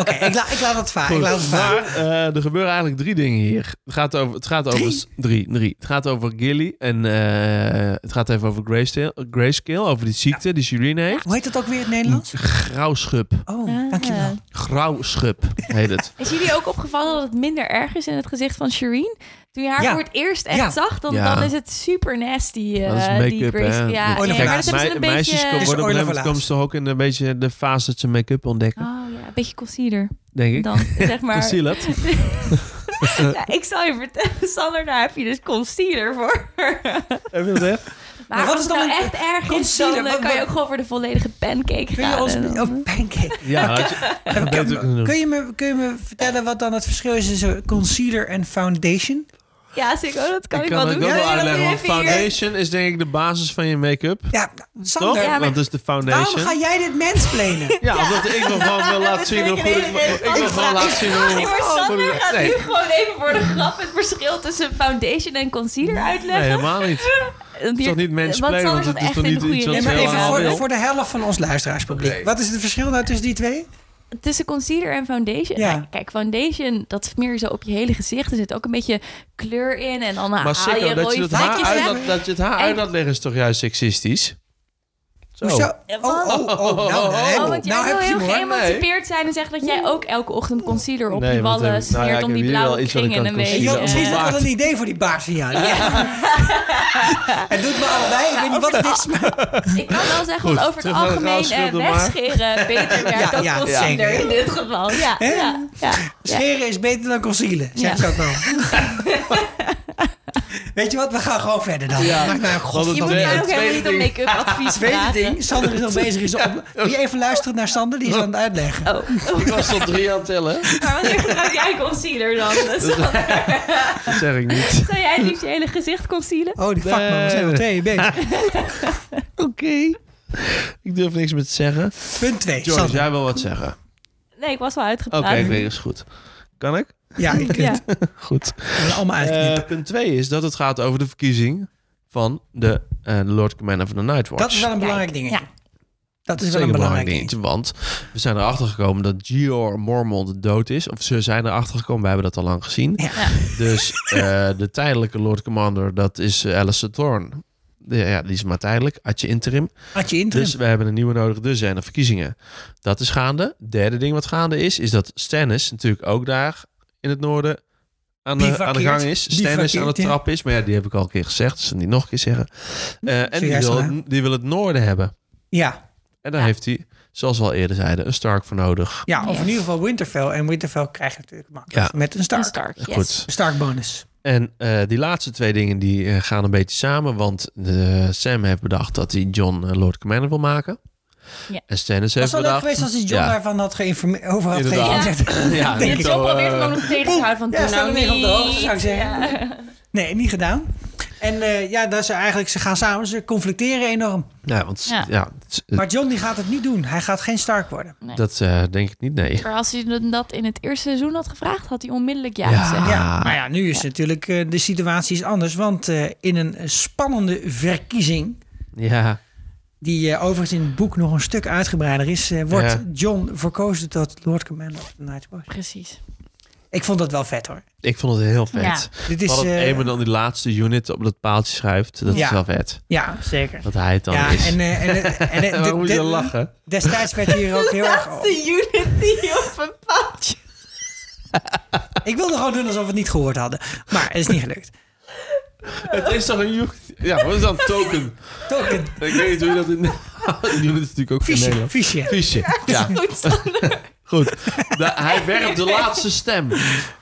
Speaker 1: Oké, ik, la, ik laat het vaar. Ik
Speaker 4: Goed.
Speaker 1: laat het
Speaker 4: Maar
Speaker 1: varen.
Speaker 4: eh, er gebeuren eigenlijk drie dingen hier. Het gaat over... Het gaat over drie? Drie, Het gaat over Gilly en... eh, het gaat even over grayscale, grayscale over die ziekte die Shireen heeft.
Speaker 1: Hoe heet dat ook weer in het Nederlands?
Speaker 4: Grauwschub.
Speaker 1: Oh,
Speaker 5: Ah.
Speaker 1: dankjewel.
Speaker 4: Grauwschub heet het.
Speaker 5: Is jullie ook opgevallen dat het minder erg is in het gezicht van Shireen? Toen je haar
Speaker 1: Ja.
Speaker 5: voor het eerst echt
Speaker 1: Ja.
Speaker 5: zag, dan,
Speaker 4: Ja.
Speaker 5: dan is het super nasty. eh
Speaker 4: dat is
Speaker 5: die
Speaker 4: make-up,
Speaker 5: Grace.
Speaker 4: hè? Oh,
Speaker 5: Ja,
Speaker 1: Oorlog.
Speaker 5: nee, maar dat
Speaker 1: Kijk,
Speaker 5: hebben ze
Speaker 4: mei-
Speaker 5: een
Speaker 4: meisjes
Speaker 5: beetje...
Speaker 4: komen, worden op een
Speaker 1: oorlog
Speaker 4: gegeven moment komen ze toch ook in een beetje de fase dat ze make-up ontdekken,
Speaker 5: Oh ja, een beetje concealer.
Speaker 4: denk ik.
Speaker 5: Dan, zeg maar.
Speaker 4: Concealed.
Speaker 5: Ja, ik zal je vertellen, Sander, daar heb je dus concealer voor.
Speaker 4: Heb je dat echt?
Speaker 5: Maar
Speaker 1: wat
Speaker 5: als
Speaker 1: is
Speaker 5: het
Speaker 1: dan
Speaker 5: nou
Speaker 1: een
Speaker 5: echt erg is,
Speaker 1: concealer?
Speaker 5: dan eh,
Speaker 1: Wat-
Speaker 5: kan je
Speaker 1: wat-
Speaker 5: ook gewoon voor de volledige pancake
Speaker 1: Kun je
Speaker 5: gaan.
Speaker 1: ons...
Speaker 5: en dan-
Speaker 1: Oh, pancake.
Speaker 4: Ja, had je- dat weet ik ook niet.
Speaker 1: Kun je, me, kun je me vertellen wat dan het verschil is tussen concealer en foundation?
Speaker 5: Ja, zeker. Oh, dat kan ik,
Speaker 4: Ik kan
Speaker 5: wel
Speaker 4: het ook
Speaker 5: doen.
Speaker 4: wel
Speaker 5: Ja, dat doe
Speaker 4: uitleggen,
Speaker 5: je
Speaker 4: want
Speaker 5: even hier.
Speaker 4: foundation is denk ik de basis van je make-up.
Speaker 1: Ja,
Speaker 4: Toch?
Speaker 1: Sander,
Speaker 5: Ja, maar-
Speaker 4: Want dat is de
Speaker 1: waarom ga
Speaker 4: foundation.
Speaker 1: jij dit mensplenen?
Speaker 4: Ja, omdat ik nog gewoon wil laten zien hoe
Speaker 5: vind
Speaker 4: goed
Speaker 5: ik een
Speaker 4: ik...
Speaker 5: hele leuke
Speaker 4: Ik wil gewoon
Speaker 5: vraag.
Speaker 4: laten zien hoe...
Speaker 5: Ah, Nee, maar
Speaker 4: hoe-
Speaker 5: Sander gaat
Speaker 4: Oh, Nee,
Speaker 5: nu gewoon even voor de grap het verschil tussen foundation en concealer
Speaker 4: nee,
Speaker 5: uitleggen.
Speaker 4: helemaal niet.
Speaker 5: Want hier-
Speaker 4: toch niet mansplainen,
Speaker 5: Sander
Speaker 4: want
Speaker 5: zat
Speaker 4: het is
Speaker 5: echt
Speaker 4: toch
Speaker 5: in de
Speaker 4: niet iets
Speaker 5: goede
Speaker 4: wat
Speaker 1: Nee, maar
Speaker 5: richting.
Speaker 1: even
Speaker 4: heel
Speaker 1: voor,
Speaker 4: veel.
Speaker 1: voor de helft van ons luisteraarspubliek. Wat is het verschil nou tussen die
Speaker 5: Oh.
Speaker 1: twee?
Speaker 5: Tussen concealer en foundation.
Speaker 1: Ja.
Speaker 5: Nou, Kijk, foundation, dat smeer je zo op je hele gezicht. Er zit ook een beetje kleur in en dan nou, Ah, haal
Speaker 4: Maar
Speaker 5: je
Speaker 4: Sikko, dat je
Speaker 5: rode
Speaker 4: het haar
Speaker 5: vlekjes
Speaker 4: uit
Speaker 5: weg.
Speaker 4: laat- dat je het haar
Speaker 5: En-
Speaker 4: uit laat leggen is toch juist seksistisch?
Speaker 1: Hoezo? Oh, oh, oh. nou,
Speaker 5: Oh,
Speaker 1: nou,
Speaker 5: want jij
Speaker 1: nou
Speaker 5: wil
Speaker 1: heb je
Speaker 5: heel
Speaker 1: hem hoor.
Speaker 5: geëmancipeerd zijn en zeggen dat jij ook elke ochtend concealer op
Speaker 4: Nee,
Speaker 5: je
Speaker 4: want, eh,
Speaker 5: wallen
Speaker 4: nou ja,
Speaker 5: smeert
Speaker 4: ik
Speaker 5: om die
Speaker 4: heb hier wel
Speaker 5: blauwe
Speaker 4: iets wat ik
Speaker 5: kringen
Speaker 4: aan
Speaker 5: een beetje.
Speaker 1: Ik had precies
Speaker 5: eh,
Speaker 1: ik had een idee voor die baars van jou. Ja. Het doet me allebei. Ik weet niet wat het is. maar-
Speaker 5: Ik kan wel zeggen,
Speaker 4: Goed,
Speaker 5: want over het
Speaker 4: terug naar de
Speaker 5: algemeen
Speaker 4: raad,
Speaker 5: eh,
Speaker 4: schilder maar.
Speaker 5: wegscheren beter werkt
Speaker 1: Ja,
Speaker 5: dan
Speaker 1: ja,
Speaker 5: concealer
Speaker 1: zeker.
Speaker 5: in dit geval. Ja,
Speaker 1: Hè?
Speaker 5: ja, ja.
Speaker 1: Scheren is beter dan concealen. Zeg ze
Speaker 5: Ja.
Speaker 1: ook wel. Weet je wat? We gaan gewoon verder dan. Maakt mij ook
Speaker 4: Want
Speaker 5: Je
Speaker 1: godverdomme
Speaker 5: moet
Speaker 4: tweede-
Speaker 5: mij
Speaker 1: niet
Speaker 5: ook
Speaker 1: uit.
Speaker 4: het
Speaker 5: helemaal
Speaker 4: tweede
Speaker 5: niet om
Speaker 4: ding.
Speaker 5: make-up advies
Speaker 1: Tweede
Speaker 5: vragen.
Speaker 1: ding. Sander is nog bezig. Is op... Wil je even luisteren naar Sander? Die is aan het uitleggen.
Speaker 5: Oh,
Speaker 4: Ik was tot drie aan het tellen.
Speaker 5: maar wanneer gebruik jij concealer dan? Zou
Speaker 4: Dat zeg ik niet.
Speaker 5: zou jij het liefst je hele gezicht concealen?
Speaker 1: Oh, die fuck man. We zijn al twee uur bezig.
Speaker 4: Oké. Ik durf niks meer te zeggen.
Speaker 1: Punt twee.
Speaker 4: Joyce,
Speaker 1: Sander.
Speaker 4: jij wil wat zeggen.
Speaker 5: Nee, ik was wel
Speaker 4: Oké,
Speaker 5: uitgepraat.
Speaker 4: ik weet het, is goed. Kan ik?
Speaker 1: Ja, ik
Speaker 5: Ja.
Speaker 1: kunt.
Speaker 4: Goed.
Speaker 1: het Allemaal uitknippen.
Speaker 4: Eh, punt 2 is dat het gaat over de verkiezing van de eh, Lord Commander van de Nightwatch.
Speaker 1: Dat is wel een belangrijk dingetje.
Speaker 5: Ja.
Speaker 1: Dat is wel
Speaker 4: Zeker
Speaker 1: een belangrijk dingetje.
Speaker 4: Want we zijn erachter gekomen dat Gior Mormont dood is. Of ze zijn erachter gekomen, we hebben dat al lang gezien.
Speaker 1: Ja.
Speaker 5: Ja.
Speaker 4: Dus eh, de tijdelijke Lord Commander, dat is eh, Alistair Thorne. Ja, Ja, die is maar tijdelijk, Atje interim.
Speaker 1: Had je interim.
Speaker 4: Dus we hebben een nieuwe nodig, dus zijn er verkiezingen. Dat is gaande. Derde ding wat gaande is, is dat Stannis natuurlijk ook daar in het noorden aan de, aan de
Speaker 1: Bivakkeert.
Speaker 4: gang is. Stannis aan de
Speaker 1: Bivakkeert, ja.
Speaker 4: trap is, maar ja, die heb ik al een keer gezegd, dus niet nog een keer zeggen. Eh, en die
Speaker 1: Zojuist
Speaker 4: wil,
Speaker 1: al, hè?
Speaker 4: het- die wil het noorden hebben.
Speaker 1: ja.
Speaker 4: En daar heeft hij, zoals we al eerder zeiden, een Stark voor nodig.
Speaker 1: ja, of
Speaker 5: Ja.
Speaker 1: in ieder geval Winterfell. En Winterfell krijg je natuurlijk makkelijk
Speaker 4: Ja.
Speaker 1: met een
Speaker 5: Een
Speaker 1: Stark.
Speaker 5: Stark, yes.
Speaker 4: Goed.
Speaker 1: Een Stark bonus.
Speaker 4: En eh, die laatste twee dingen die eh, gaan een beetje samen. Want eh, Sam heeft bedacht dat hij John eh, Lord Commander wil maken.
Speaker 5: Ja.
Speaker 4: En Stannis
Speaker 1: Het was
Speaker 4: heeft
Speaker 1: wel leuk
Speaker 4: bedacht...
Speaker 1: geweest als hij John
Speaker 4: Ja.
Speaker 1: daarvan had geïnformeerd. Over had
Speaker 4: Inderdaad.
Speaker 1: geïnformeerd.
Speaker 4: Ja,
Speaker 1: Denk
Speaker 5: Dit
Speaker 1: ik eh,
Speaker 5: John probeert hem ook nog tegen te houden van
Speaker 1: Ja,
Speaker 5: doe
Speaker 1: sta er
Speaker 5: nou
Speaker 1: meer op de hoogte,
Speaker 5: niet.
Speaker 1: zou ik zeggen.
Speaker 5: Ja.
Speaker 1: Nee, niet gedaan. En eh, ja, dat ze eigenlijk, ze gaan samen, ze conflicteren enorm.
Speaker 4: Ja, want ja.
Speaker 5: Ja.
Speaker 4: het is-
Speaker 1: Maar John die gaat het niet doen. Hij gaat geen Stark worden.
Speaker 5: Nee.
Speaker 4: Dat eh, denk ik niet, nee.
Speaker 5: Maar als hij hem dat in het eerste seizoen had gevraagd, had hij onmiddellijk ja,
Speaker 4: Ja.
Speaker 5: gezegd.
Speaker 1: Ja, maar ja, nu is natuurlijk eh, de situatie is anders. Want eh, in een spannende verkiezing
Speaker 4: Ja,
Speaker 1: die eh, overigens in het boek nog een stuk uitgebreider is, eh, wordt
Speaker 4: Ja.
Speaker 1: John verkozen tot Lord Commander of the Nightwatch.
Speaker 5: Precies.
Speaker 1: Ik vond dat wel vet hoor.
Speaker 4: ik vond het heel vet.
Speaker 5: Ja.
Speaker 1: Dit
Speaker 4: Is,
Speaker 1: is,
Speaker 4: dat
Speaker 1: eh,
Speaker 4: Eamon dan die laatste unit op dat paaltje schuift, dat is
Speaker 1: Ja.
Speaker 4: wel vet.
Speaker 1: ja, zeker.
Speaker 4: Dat hij het dan
Speaker 1: Ja,
Speaker 4: is.
Speaker 1: en, eh, en, eh, en, eh,
Speaker 4: Waarom moet je
Speaker 1: de-
Speaker 4: dan
Speaker 1: de-
Speaker 4: lachen?
Speaker 1: Destijds werd hier ook heel erg...
Speaker 5: Unity op een paaltje.
Speaker 1: Ik wilde gewoon doen alsof we het niet gehoord hadden. Maar het is niet gelukt.
Speaker 4: Het is toch een unit? Ja, wat is dan token?
Speaker 1: Token,
Speaker 4: Ik weet niet hoe je dat in... Een unit is natuurlijk ook geen
Speaker 1: fiche,
Speaker 4: Nederland.
Speaker 1: fiche.
Speaker 4: Fiche, ja. Goed. Da- hij werpt de laatste stem.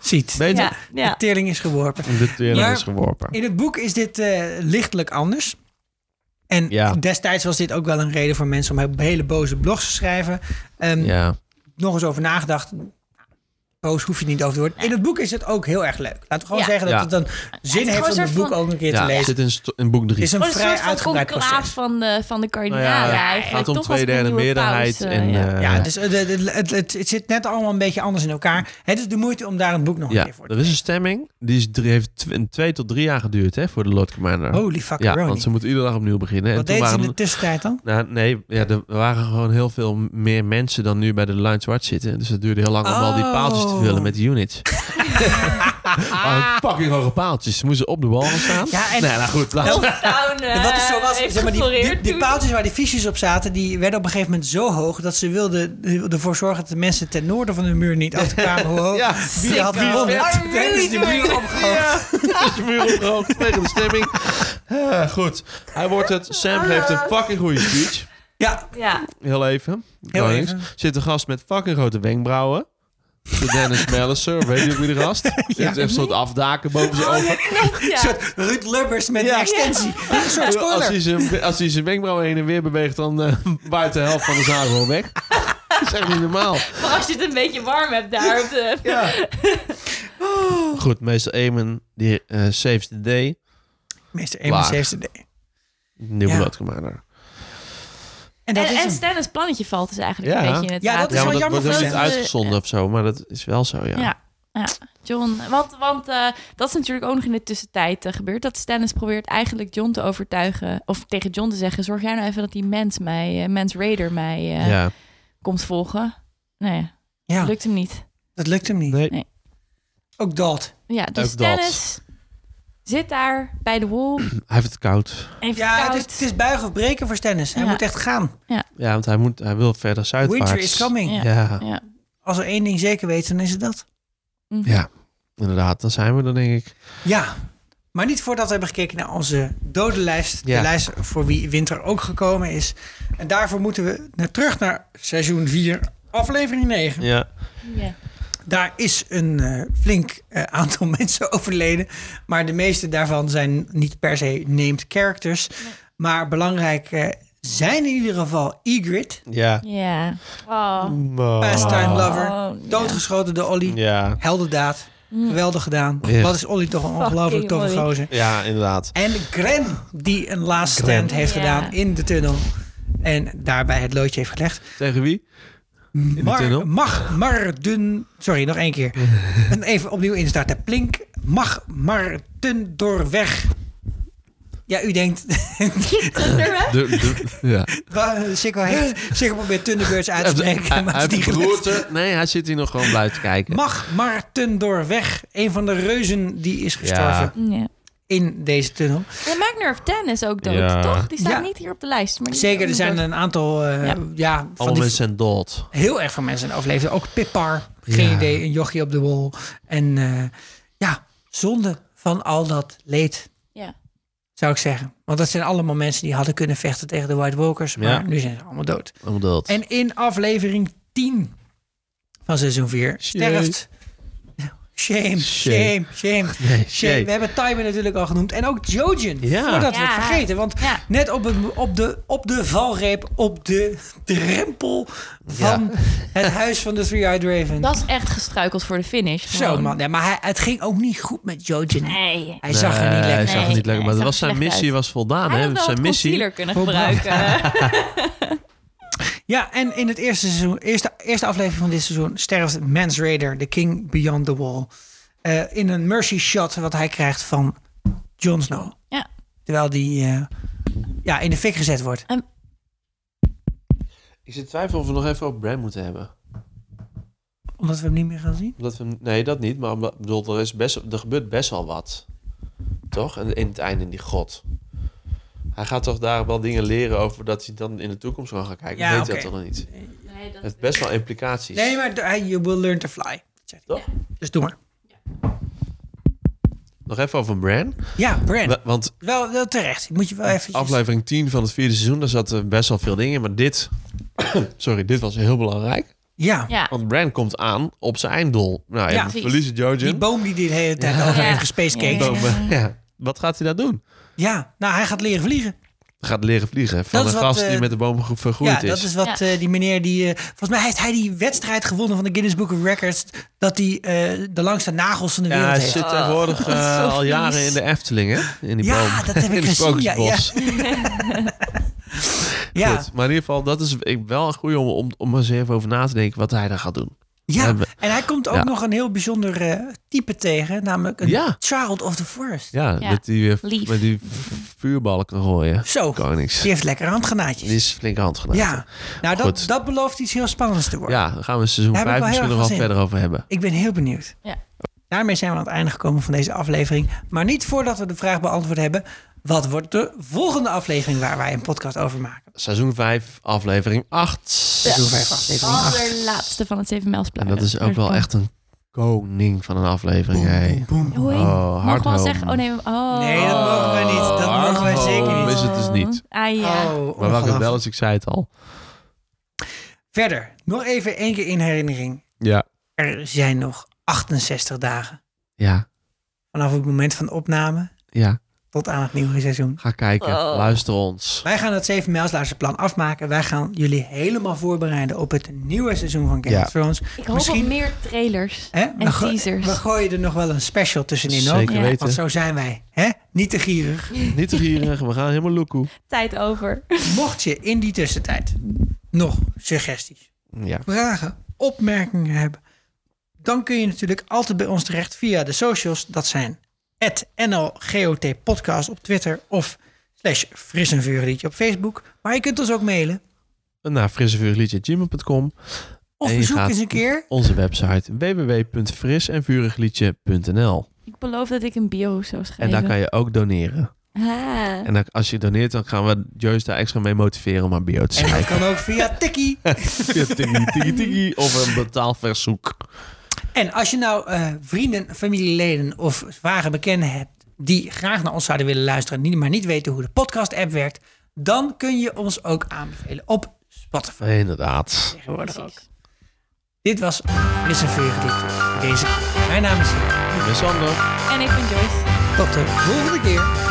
Speaker 1: Ziet.
Speaker 4: Weet je?
Speaker 5: Ja, ja.
Speaker 1: De teerling is geworpen.
Speaker 4: De tweeling
Speaker 1: Maar-
Speaker 4: is geworpen.
Speaker 1: In het boek is dit eh, lichtelijk anders. En
Speaker 4: Ja.
Speaker 1: destijds was dit ook wel een reden voor mensen om he- hele boze blogs te schrijven. Ehm,
Speaker 4: Ja.
Speaker 1: Nog eens over nagedacht. Boos hoef je niet over te worden. In het boek is het ook heel erg leuk. Laten we gewoon
Speaker 5: Ja.
Speaker 1: zeggen dat
Speaker 4: Ja.
Speaker 1: het dan zin
Speaker 5: gewoon
Speaker 1: heeft om
Speaker 5: een
Speaker 1: het
Speaker 5: soort
Speaker 1: boek
Speaker 5: van-
Speaker 1: ook een keer te
Speaker 4: ja,
Speaker 1: lezen.
Speaker 4: zit in, sto- in boek 3.
Speaker 1: Het is een
Speaker 5: Gewoon Oh, een
Speaker 1: vrij
Speaker 5: soort van
Speaker 1: uitgebreid
Speaker 5: conclaaf
Speaker 1: proces.
Speaker 5: van de, van de
Speaker 4: Nou
Speaker 5: kardinalen
Speaker 4: ja, het
Speaker 5: eigenlijk.
Speaker 4: gaat om
Speaker 5: Toch
Speaker 4: twee
Speaker 5: als een
Speaker 4: derde
Speaker 5: nieuwe
Speaker 4: meerderheid.
Speaker 5: paus, eh,
Speaker 4: en,
Speaker 5: ja.
Speaker 4: eh,
Speaker 1: Ja, dus het, het, het, het, het zit net allemaal een beetje anders in elkaar. Het is de moeite om daar een boek nog een
Speaker 4: Ja,
Speaker 1: keer voor te
Speaker 4: er is een stemming. Die is drie, heeft tw- een twee tot drie jaar geduurd hè, voor de Lord Commander.
Speaker 1: lezen. Holy fuck,
Speaker 4: ja, want ze moeten iedere dag opnieuw
Speaker 1: Wat
Speaker 4: beginnen. en toen
Speaker 1: deden ze
Speaker 4: waren
Speaker 1: in de tussentijd dan?
Speaker 4: nou, nee, ja, er waren gewoon heel veel meer mensen dan nu bij de Lions Watch zitten. Dus het duurde heel lang om al die
Speaker 1: Oh.
Speaker 4: paaltjes te vullen met units. Maar fucking hoge paaltjes. Ze moesten op de wal gaan staan.
Speaker 1: Ja, en-
Speaker 4: nee, nou goed. laat-
Speaker 5: Town, eh,
Speaker 1: En wat is zo was,
Speaker 5: heeft
Speaker 1: zeg maar, die, die,
Speaker 5: gefloreerd
Speaker 1: die
Speaker 5: toen.
Speaker 1: paaltjes waar die fiches op zaten, die werden op een gegeven moment zo hoog dat ze wilden ervoor zorgen dat de mensen ten noorden van de muur niet achterkwamen hoe hoog.
Speaker 4: Ja,
Speaker 1: Wie had gewonnen?
Speaker 5: Sick,
Speaker 1: Toen hebben ze die
Speaker 5: man.
Speaker 1: muur opgehoogd.
Speaker 4: is de muur opgehoogd tegen de stemming. Eh, goed. Hij wordt het.
Speaker 1: Ah.
Speaker 4: Sam geeft een fucking goede speech.
Speaker 1: Ja,
Speaker 5: Ja,
Speaker 4: Heel even.
Speaker 1: Heel
Speaker 4: Gewoon niks.
Speaker 1: even.
Speaker 4: Zit een gast met fucking grote wenkbrauwen. De Dennis Mellisser, weet je ook wie de gast? Die heeft echt zo'n afdaken boven
Speaker 1: Oh,
Speaker 4: zijn ogen.
Speaker 1: een
Speaker 5: ja.
Speaker 1: soort Ruud Lubbers met
Speaker 4: Ja.
Speaker 1: een extensie. Een soort
Speaker 4: Als
Speaker 1: spoiler.
Speaker 4: hij, zijn, als hij zijn wenkbrauwen heen en weer beweegt, dan eh waait de helft van de zaal gewoon weg. Dat is echt niet normaal.
Speaker 5: Maar als je het een beetje warm hebt daar op de...
Speaker 4: Goed, meester Eamon, die eh, saves the day.
Speaker 1: Meester
Speaker 4: Laag.
Speaker 1: Amos heeft het.
Speaker 4: Nieuw
Speaker 1: Ja.
Speaker 4: blood commander.
Speaker 1: En dat
Speaker 5: En,
Speaker 1: is
Speaker 5: en
Speaker 1: hem.
Speaker 5: Stennis plannetje valt dus eigenlijk
Speaker 4: Ja.
Speaker 5: een beetje in het
Speaker 1: Ja, dat
Speaker 5: water.
Speaker 1: is
Speaker 4: Ja,
Speaker 1: wel
Speaker 4: maar dat
Speaker 1: jammer
Speaker 4: wordt ook
Speaker 1: voor eh,
Speaker 4: niet
Speaker 5: hem.
Speaker 4: uitgezonden of zo, maar dat is wel zo, ja.
Speaker 5: Ja. ja, John. Want, want eh, dat is natuurlijk ook nog in de tussentijd eh, gebeurd. Dat Stannis probeert eigenlijk John te overtuigen. Of tegen John te zeggen: Zorg jij nou even dat die mens mij, eh, mens Raider mij eh,
Speaker 4: Ja.
Speaker 5: komt volgen. Nee,
Speaker 1: Ja,
Speaker 5: lukt hem niet.
Speaker 1: dat lukt hem niet.
Speaker 4: Nee.
Speaker 5: Nee.
Speaker 1: Ook dat.
Speaker 5: Ja, dus
Speaker 4: Ook dat.
Speaker 5: Stannis Zit daar bij de wol.
Speaker 4: Hij heeft het koud.
Speaker 5: Heeft
Speaker 1: Ja,
Speaker 5: koud.
Speaker 1: het is, het is buigen of breken voor Stennis. Hij
Speaker 5: Ja.
Speaker 1: moet echt gaan.
Speaker 4: Ja, want hij, moet, hij wil verder zuidwaarts.
Speaker 1: Winter is coming.
Speaker 5: Ja.
Speaker 4: Ja,
Speaker 5: Ja.
Speaker 1: Als er één ding zeker weet, dan is het dat.
Speaker 5: Mhm.
Speaker 4: ja, inderdaad. Dan zijn we er, denk ik.
Speaker 1: Ja, maar niet voordat we hebben gekeken naar onze dodenlijst.
Speaker 4: Ja.
Speaker 1: De lijst voor wie winter ook gekomen is. En daarvoor moeten we naar, terug naar seizoen 4, aflevering 9.
Speaker 4: Ja.
Speaker 5: Ja.
Speaker 1: Daar is een eh, flink eh, aantal mensen overleden. Maar de meeste daarvan zijn niet per se named characters. Maar belangrijk eh, zijn in ieder geval Ygritte,
Speaker 4: Ja.
Speaker 5: Ja. Oh.
Speaker 1: Mm. pastime
Speaker 5: ja. Mm.
Speaker 1: lover, doodgeschoten door Ollie.
Speaker 4: Ja.
Speaker 1: Heldendaad, geweldig gedaan.
Speaker 4: Echt.
Speaker 1: Wat is Ollie toch een ongelooflijk toffe
Speaker 5: Ollie.
Speaker 1: gozer.
Speaker 4: Ja, inderdaad.
Speaker 1: En Gren, die een last stand heeft
Speaker 5: Ja.
Speaker 1: gedaan in de tunnel. En daarbij het loodje heeft gelegd.
Speaker 4: Tegen wie? In de
Speaker 1: Mar,
Speaker 4: tunnel?
Speaker 1: mag Marden... Sorry, nog één keer. En even opnieuw instarten. Plink. Mag Marten doorweg. Ja, u denkt...
Speaker 4: De, de- ja.
Speaker 1: wa- Sikko heeft... Sikko probeert Thunderbirds uit te
Speaker 4: Hij-
Speaker 1: spreken. maar
Speaker 4: hij
Speaker 1: het is
Speaker 4: heeft
Speaker 1: niet gelukt.
Speaker 4: beroerte. Nee, hij zit hier nog gewoon blij te kijken.
Speaker 1: Mag Marten doorweg. Een van de reuzen die is gestorven
Speaker 5: Ja.
Speaker 1: in deze tunnel.
Speaker 5: De Magner of Ten is ook dood,
Speaker 4: Ja.
Speaker 5: toch? Die staat
Speaker 1: Ja.
Speaker 5: niet hier op de lijst. Maar die is
Speaker 1: Zeker,
Speaker 5: ook
Speaker 1: er zijn
Speaker 5: dood.
Speaker 1: een aantal... eh,
Speaker 5: Ja.
Speaker 1: ja. van
Speaker 4: Alle
Speaker 1: die
Speaker 4: mensen zijn dood.
Speaker 1: heel erg veel mensen zijn overleden. Ook Pippar, geen
Speaker 4: Ja.
Speaker 1: idee, een jochie op de wol. En eh, ja, zonde van al dat leed,
Speaker 5: Ja.
Speaker 1: zou ik zeggen. Want dat zijn allemaal mensen die hadden kunnen vechten tegen de White Walkers. Maar
Speaker 4: Ja.
Speaker 1: nu zijn ze allemaal dood.
Speaker 4: Allemaal dood.
Speaker 1: En in aflevering 10 van seizoen 4 sterft... Shame, shame, shame.
Speaker 4: Nee,
Speaker 1: shame.
Speaker 4: shame.
Speaker 1: We hebben Tywin natuurlijk al genoemd. En ook Jojen.
Speaker 4: Ja.
Speaker 1: Voordat we
Speaker 5: Ja.
Speaker 1: het vergeten. Want
Speaker 5: Ja.
Speaker 1: net op, het, op, de, op de valreep, op de drempel van het huis van de Three-Eyed Raven.
Speaker 5: Dat is echt gestruikeld voor de finish.
Speaker 1: Zo
Speaker 5: gewoon.
Speaker 1: man. Ja, maar hij, het ging ook niet goed met Jojen.
Speaker 5: Nee.
Speaker 1: Hij zag er niet
Speaker 4: Hij
Speaker 1: lekker
Speaker 4: zag
Speaker 1: uit.
Speaker 4: er niet lekker.
Speaker 5: nee,
Speaker 4: maar
Speaker 5: hij
Speaker 4: dat was
Speaker 5: zag er
Speaker 4: zijn
Speaker 5: slecht
Speaker 4: missie
Speaker 5: uit.
Speaker 4: was voldaan.
Speaker 5: Hij
Speaker 4: hè?
Speaker 5: had wel
Speaker 4: Zijn
Speaker 5: wat
Speaker 4: missie.
Speaker 5: concealer kunnen
Speaker 1: Voor
Speaker 5: gebruiken.
Speaker 1: Ja, en in het eerste seizoen, eerste, eerste aflevering van dit seizoen, sterft Mans Raider, de King Beyond the Wall. eh, in een mercy shot wat hij krijgt van Jon Snow.
Speaker 5: Ja.
Speaker 1: Terwijl die eh, ja, in de fik gezet wordt.
Speaker 4: Ik zit twijfel of we nog even op Bram moeten hebben.
Speaker 1: Omdat we hem niet meer gaan zien.
Speaker 4: Omdat we, nee, dat niet. Maar omdat, ik bedoel, er, is best, er gebeurt best wel wat. Toch? En in het einde in die god. Hij gaat toch daar wel dingen leren over dat hij dan in de toekomst gewoon gaat kijken.
Speaker 1: Ja,
Speaker 4: weet
Speaker 1: oké.
Speaker 4: dat toch nog niet? Het heeft best wel implicaties.
Speaker 1: Nee, maar d- hij- you will learn to fly. zegt hij.
Speaker 4: Toch?
Speaker 1: Dus doe maar.
Speaker 4: Nog even over Bran.
Speaker 1: Ja, Bran.
Speaker 4: Wa- Want
Speaker 1: Wel, wel terecht. Moet je wel eventjes...
Speaker 4: aflevering 10 van het vierde seizoen, daar zaten best wel veel dingen in. Maar dit, sorry, dit was heel belangrijk.
Speaker 1: Ja.
Speaker 5: ja.
Speaker 4: Want Bran komt aan op zijn einddoel. Nou,
Speaker 1: Ja,
Speaker 4: ja, we
Speaker 5: precies.
Speaker 4: verliezen
Speaker 1: Die
Speaker 4: Jojen.
Speaker 1: boom die die de hele tijd over
Speaker 5: Ja.
Speaker 1: heeft gespacecaked.
Speaker 5: Ja.
Speaker 1: Ja.
Speaker 4: Bomen. Ja. Wat gaat hij daar doen?
Speaker 1: nou hij gaat leren vliegen.
Speaker 4: Hij gaat leren vliegen
Speaker 1: Dat
Speaker 4: van
Speaker 1: is
Speaker 4: een
Speaker 1: wat,
Speaker 4: gast
Speaker 1: eh,
Speaker 4: die met de boom ge- vergroeid
Speaker 1: ja,
Speaker 4: is.
Speaker 1: dat is wat
Speaker 5: Ja.
Speaker 1: eh, die meneer die... eh, volgens mij heeft hij die wedstrijd gewonnen van de Guinness Book of Records. Dat hij eh, de langste nagels van de
Speaker 4: Ja,
Speaker 1: wereld
Speaker 4: hij
Speaker 1: heeft. Oh,
Speaker 4: zit tegenwoordig
Speaker 5: dat is
Speaker 4: eh,
Speaker 5: zo
Speaker 4: al
Speaker 5: vies.
Speaker 4: jaren in de Efteling, hè? In die
Speaker 1: Ja,
Speaker 4: boom.
Speaker 1: dat heb ik
Speaker 4: in het
Speaker 1: gezien, ja,
Speaker 4: sprookjesbos.
Speaker 1: ja,
Speaker 4: Goed, maar in ieder geval, dat is ik- wel een goede om, om, om eens even over na te denken wat hij daar gaat doen.
Speaker 1: ja.
Speaker 4: hebben-
Speaker 1: en hij komt ook
Speaker 4: Ja.
Speaker 1: nog een heel bijzonder eh, type tegen. Namelijk een
Speaker 4: Ja.
Speaker 1: Child of the Forest.
Speaker 4: Ja,
Speaker 5: Ja,
Speaker 4: dat die, eh,
Speaker 5: lief.
Speaker 4: met die vuurballen kan gooien.
Speaker 1: Zo,
Speaker 4: Konings.
Speaker 1: die heeft lekkere handgranaatjes.
Speaker 4: Die is flink handgelaten.
Speaker 1: Ja, nou dat,
Speaker 4: Goed.
Speaker 1: dat belooft iets heel spannends te worden.
Speaker 4: Ja, daar gaan we in seizoen
Speaker 1: Daar heb ik
Speaker 4: 5
Speaker 1: wel heel
Speaker 4: misschien nog
Speaker 1: erg
Speaker 4: wel
Speaker 1: veel zin
Speaker 4: verder over hebben.
Speaker 1: Ik ben heel benieuwd.
Speaker 5: Ja.
Speaker 1: Daarmee zijn we aan het einde gekomen van deze aflevering. Maar niet voordat we de vraag beantwoord hebben. Wat wordt de volgende aflevering waar wij een podcast over maken?
Speaker 4: Seizoen 5, aflevering 8.
Speaker 1: Seizoen vijf, aflevering acht.
Speaker 5: Allerlaatste van het 7 mijls
Speaker 4: En dat is ook wel echt een koning van een aflevering. hè.
Speaker 5: Hoe heet?
Speaker 4: Oh,
Speaker 5: Mogen we wel
Speaker 4: hardhome.
Speaker 5: zeggen? Oh nee. Oh.
Speaker 1: Nee, dat mogen wij niet. Dat
Speaker 4: Oh,
Speaker 1: mogen wij zeker
Speaker 4: hardhome
Speaker 1: niet.
Speaker 4: is het dus niet.
Speaker 5: Ah ja.
Speaker 1: Oh,
Speaker 4: Maar welke
Speaker 1: ongelooflijk.
Speaker 4: wel is, ik zei het al.
Speaker 1: Verder, nog even één keer in herinnering.
Speaker 4: Ja.
Speaker 1: Er zijn nog 68 dagen.
Speaker 4: Ja,
Speaker 1: Vanaf het moment van opname
Speaker 4: ja.
Speaker 1: tot aan het nieuwe seizoen.
Speaker 4: Ga kijken.
Speaker 5: Oh.
Speaker 4: Luister ons.
Speaker 1: Wij gaan het 7 mijlslaarzenplan afmaken. Wij gaan jullie helemaal voorbereiden op het nieuwe seizoen van Game
Speaker 4: Ja.
Speaker 1: of Thrones.
Speaker 5: Ik hoop
Speaker 1: Misschien-
Speaker 5: op meer trailers.
Speaker 1: Hè?
Speaker 5: En
Speaker 1: goo-
Speaker 5: teasers.
Speaker 1: we gooien er nog wel een special tussenin ook.
Speaker 4: Zeker
Speaker 5: Ja.
Speaker 4: weten.
Speaker 1: Want zo zijn wij. Hè? Niet te gierig.
Speaker 4: Niet te gierig. We gaan helemaal loekoe.
Speaker 5: Tijd over.
Speaker 1: Mocht je in die tussentijd nog suggesties,
Speaker 4: Ja.
Speaker 1: vragen, opmerkingen hebben... dan kun je natuurlijk altijd bij ons terecht via de socials. Dat zijn NLGOT podcast op Twitter of slash fris en vuurliedje op Facebook. Maar je kunt ons ook mailen.
Speaker 4: Naar frissevuurliedje.gmail.com
Speaker 1: Of
Speaker 4: En je
Speaker 1: bezoek
Speaker 4: gaat-
Speaker 1: eens een keer.
Speaker 4: Onze website www.frisenvurigliedje.nl
Speaker 5: Ik beloof dat ik een bio zou schrijven.
Speaker 4: En daar kan je ook doneren.
Speaker 5: Ah.
Speaker 4: En dan- als je doneert, dan gaan we Joyce daar extra mee motiveren om haar bio
Speaker 1: En dat
Speaker 4: te schrijven.
Speaker 1: kan ook via Tikkie.
Speaker 4: Ja, tiki, tiki, tiki. Of een betaalverzoek.
Speaker 1: En als je nou eh, vrienden, familieleden of zware bekenden hebt die graag naar ons zouden willen luisteren, niet- maar niet weten hoe de podcast-app werkt, dan kun je ons ook aanbevelen op Spotify.
Speaker 4: Inderdaad.
Speaker 1: Tegenwoordig ook.
Speaker 5: Precies.
Speaker 1: Dit was Fris en Vuur Gedicht voor deze keer. Mijn naam is Erik.
Speaker 4: Ik ben Sander.
Speaker 5: En ik ben Joyce.
Speaker 1: Tot de volgende keer.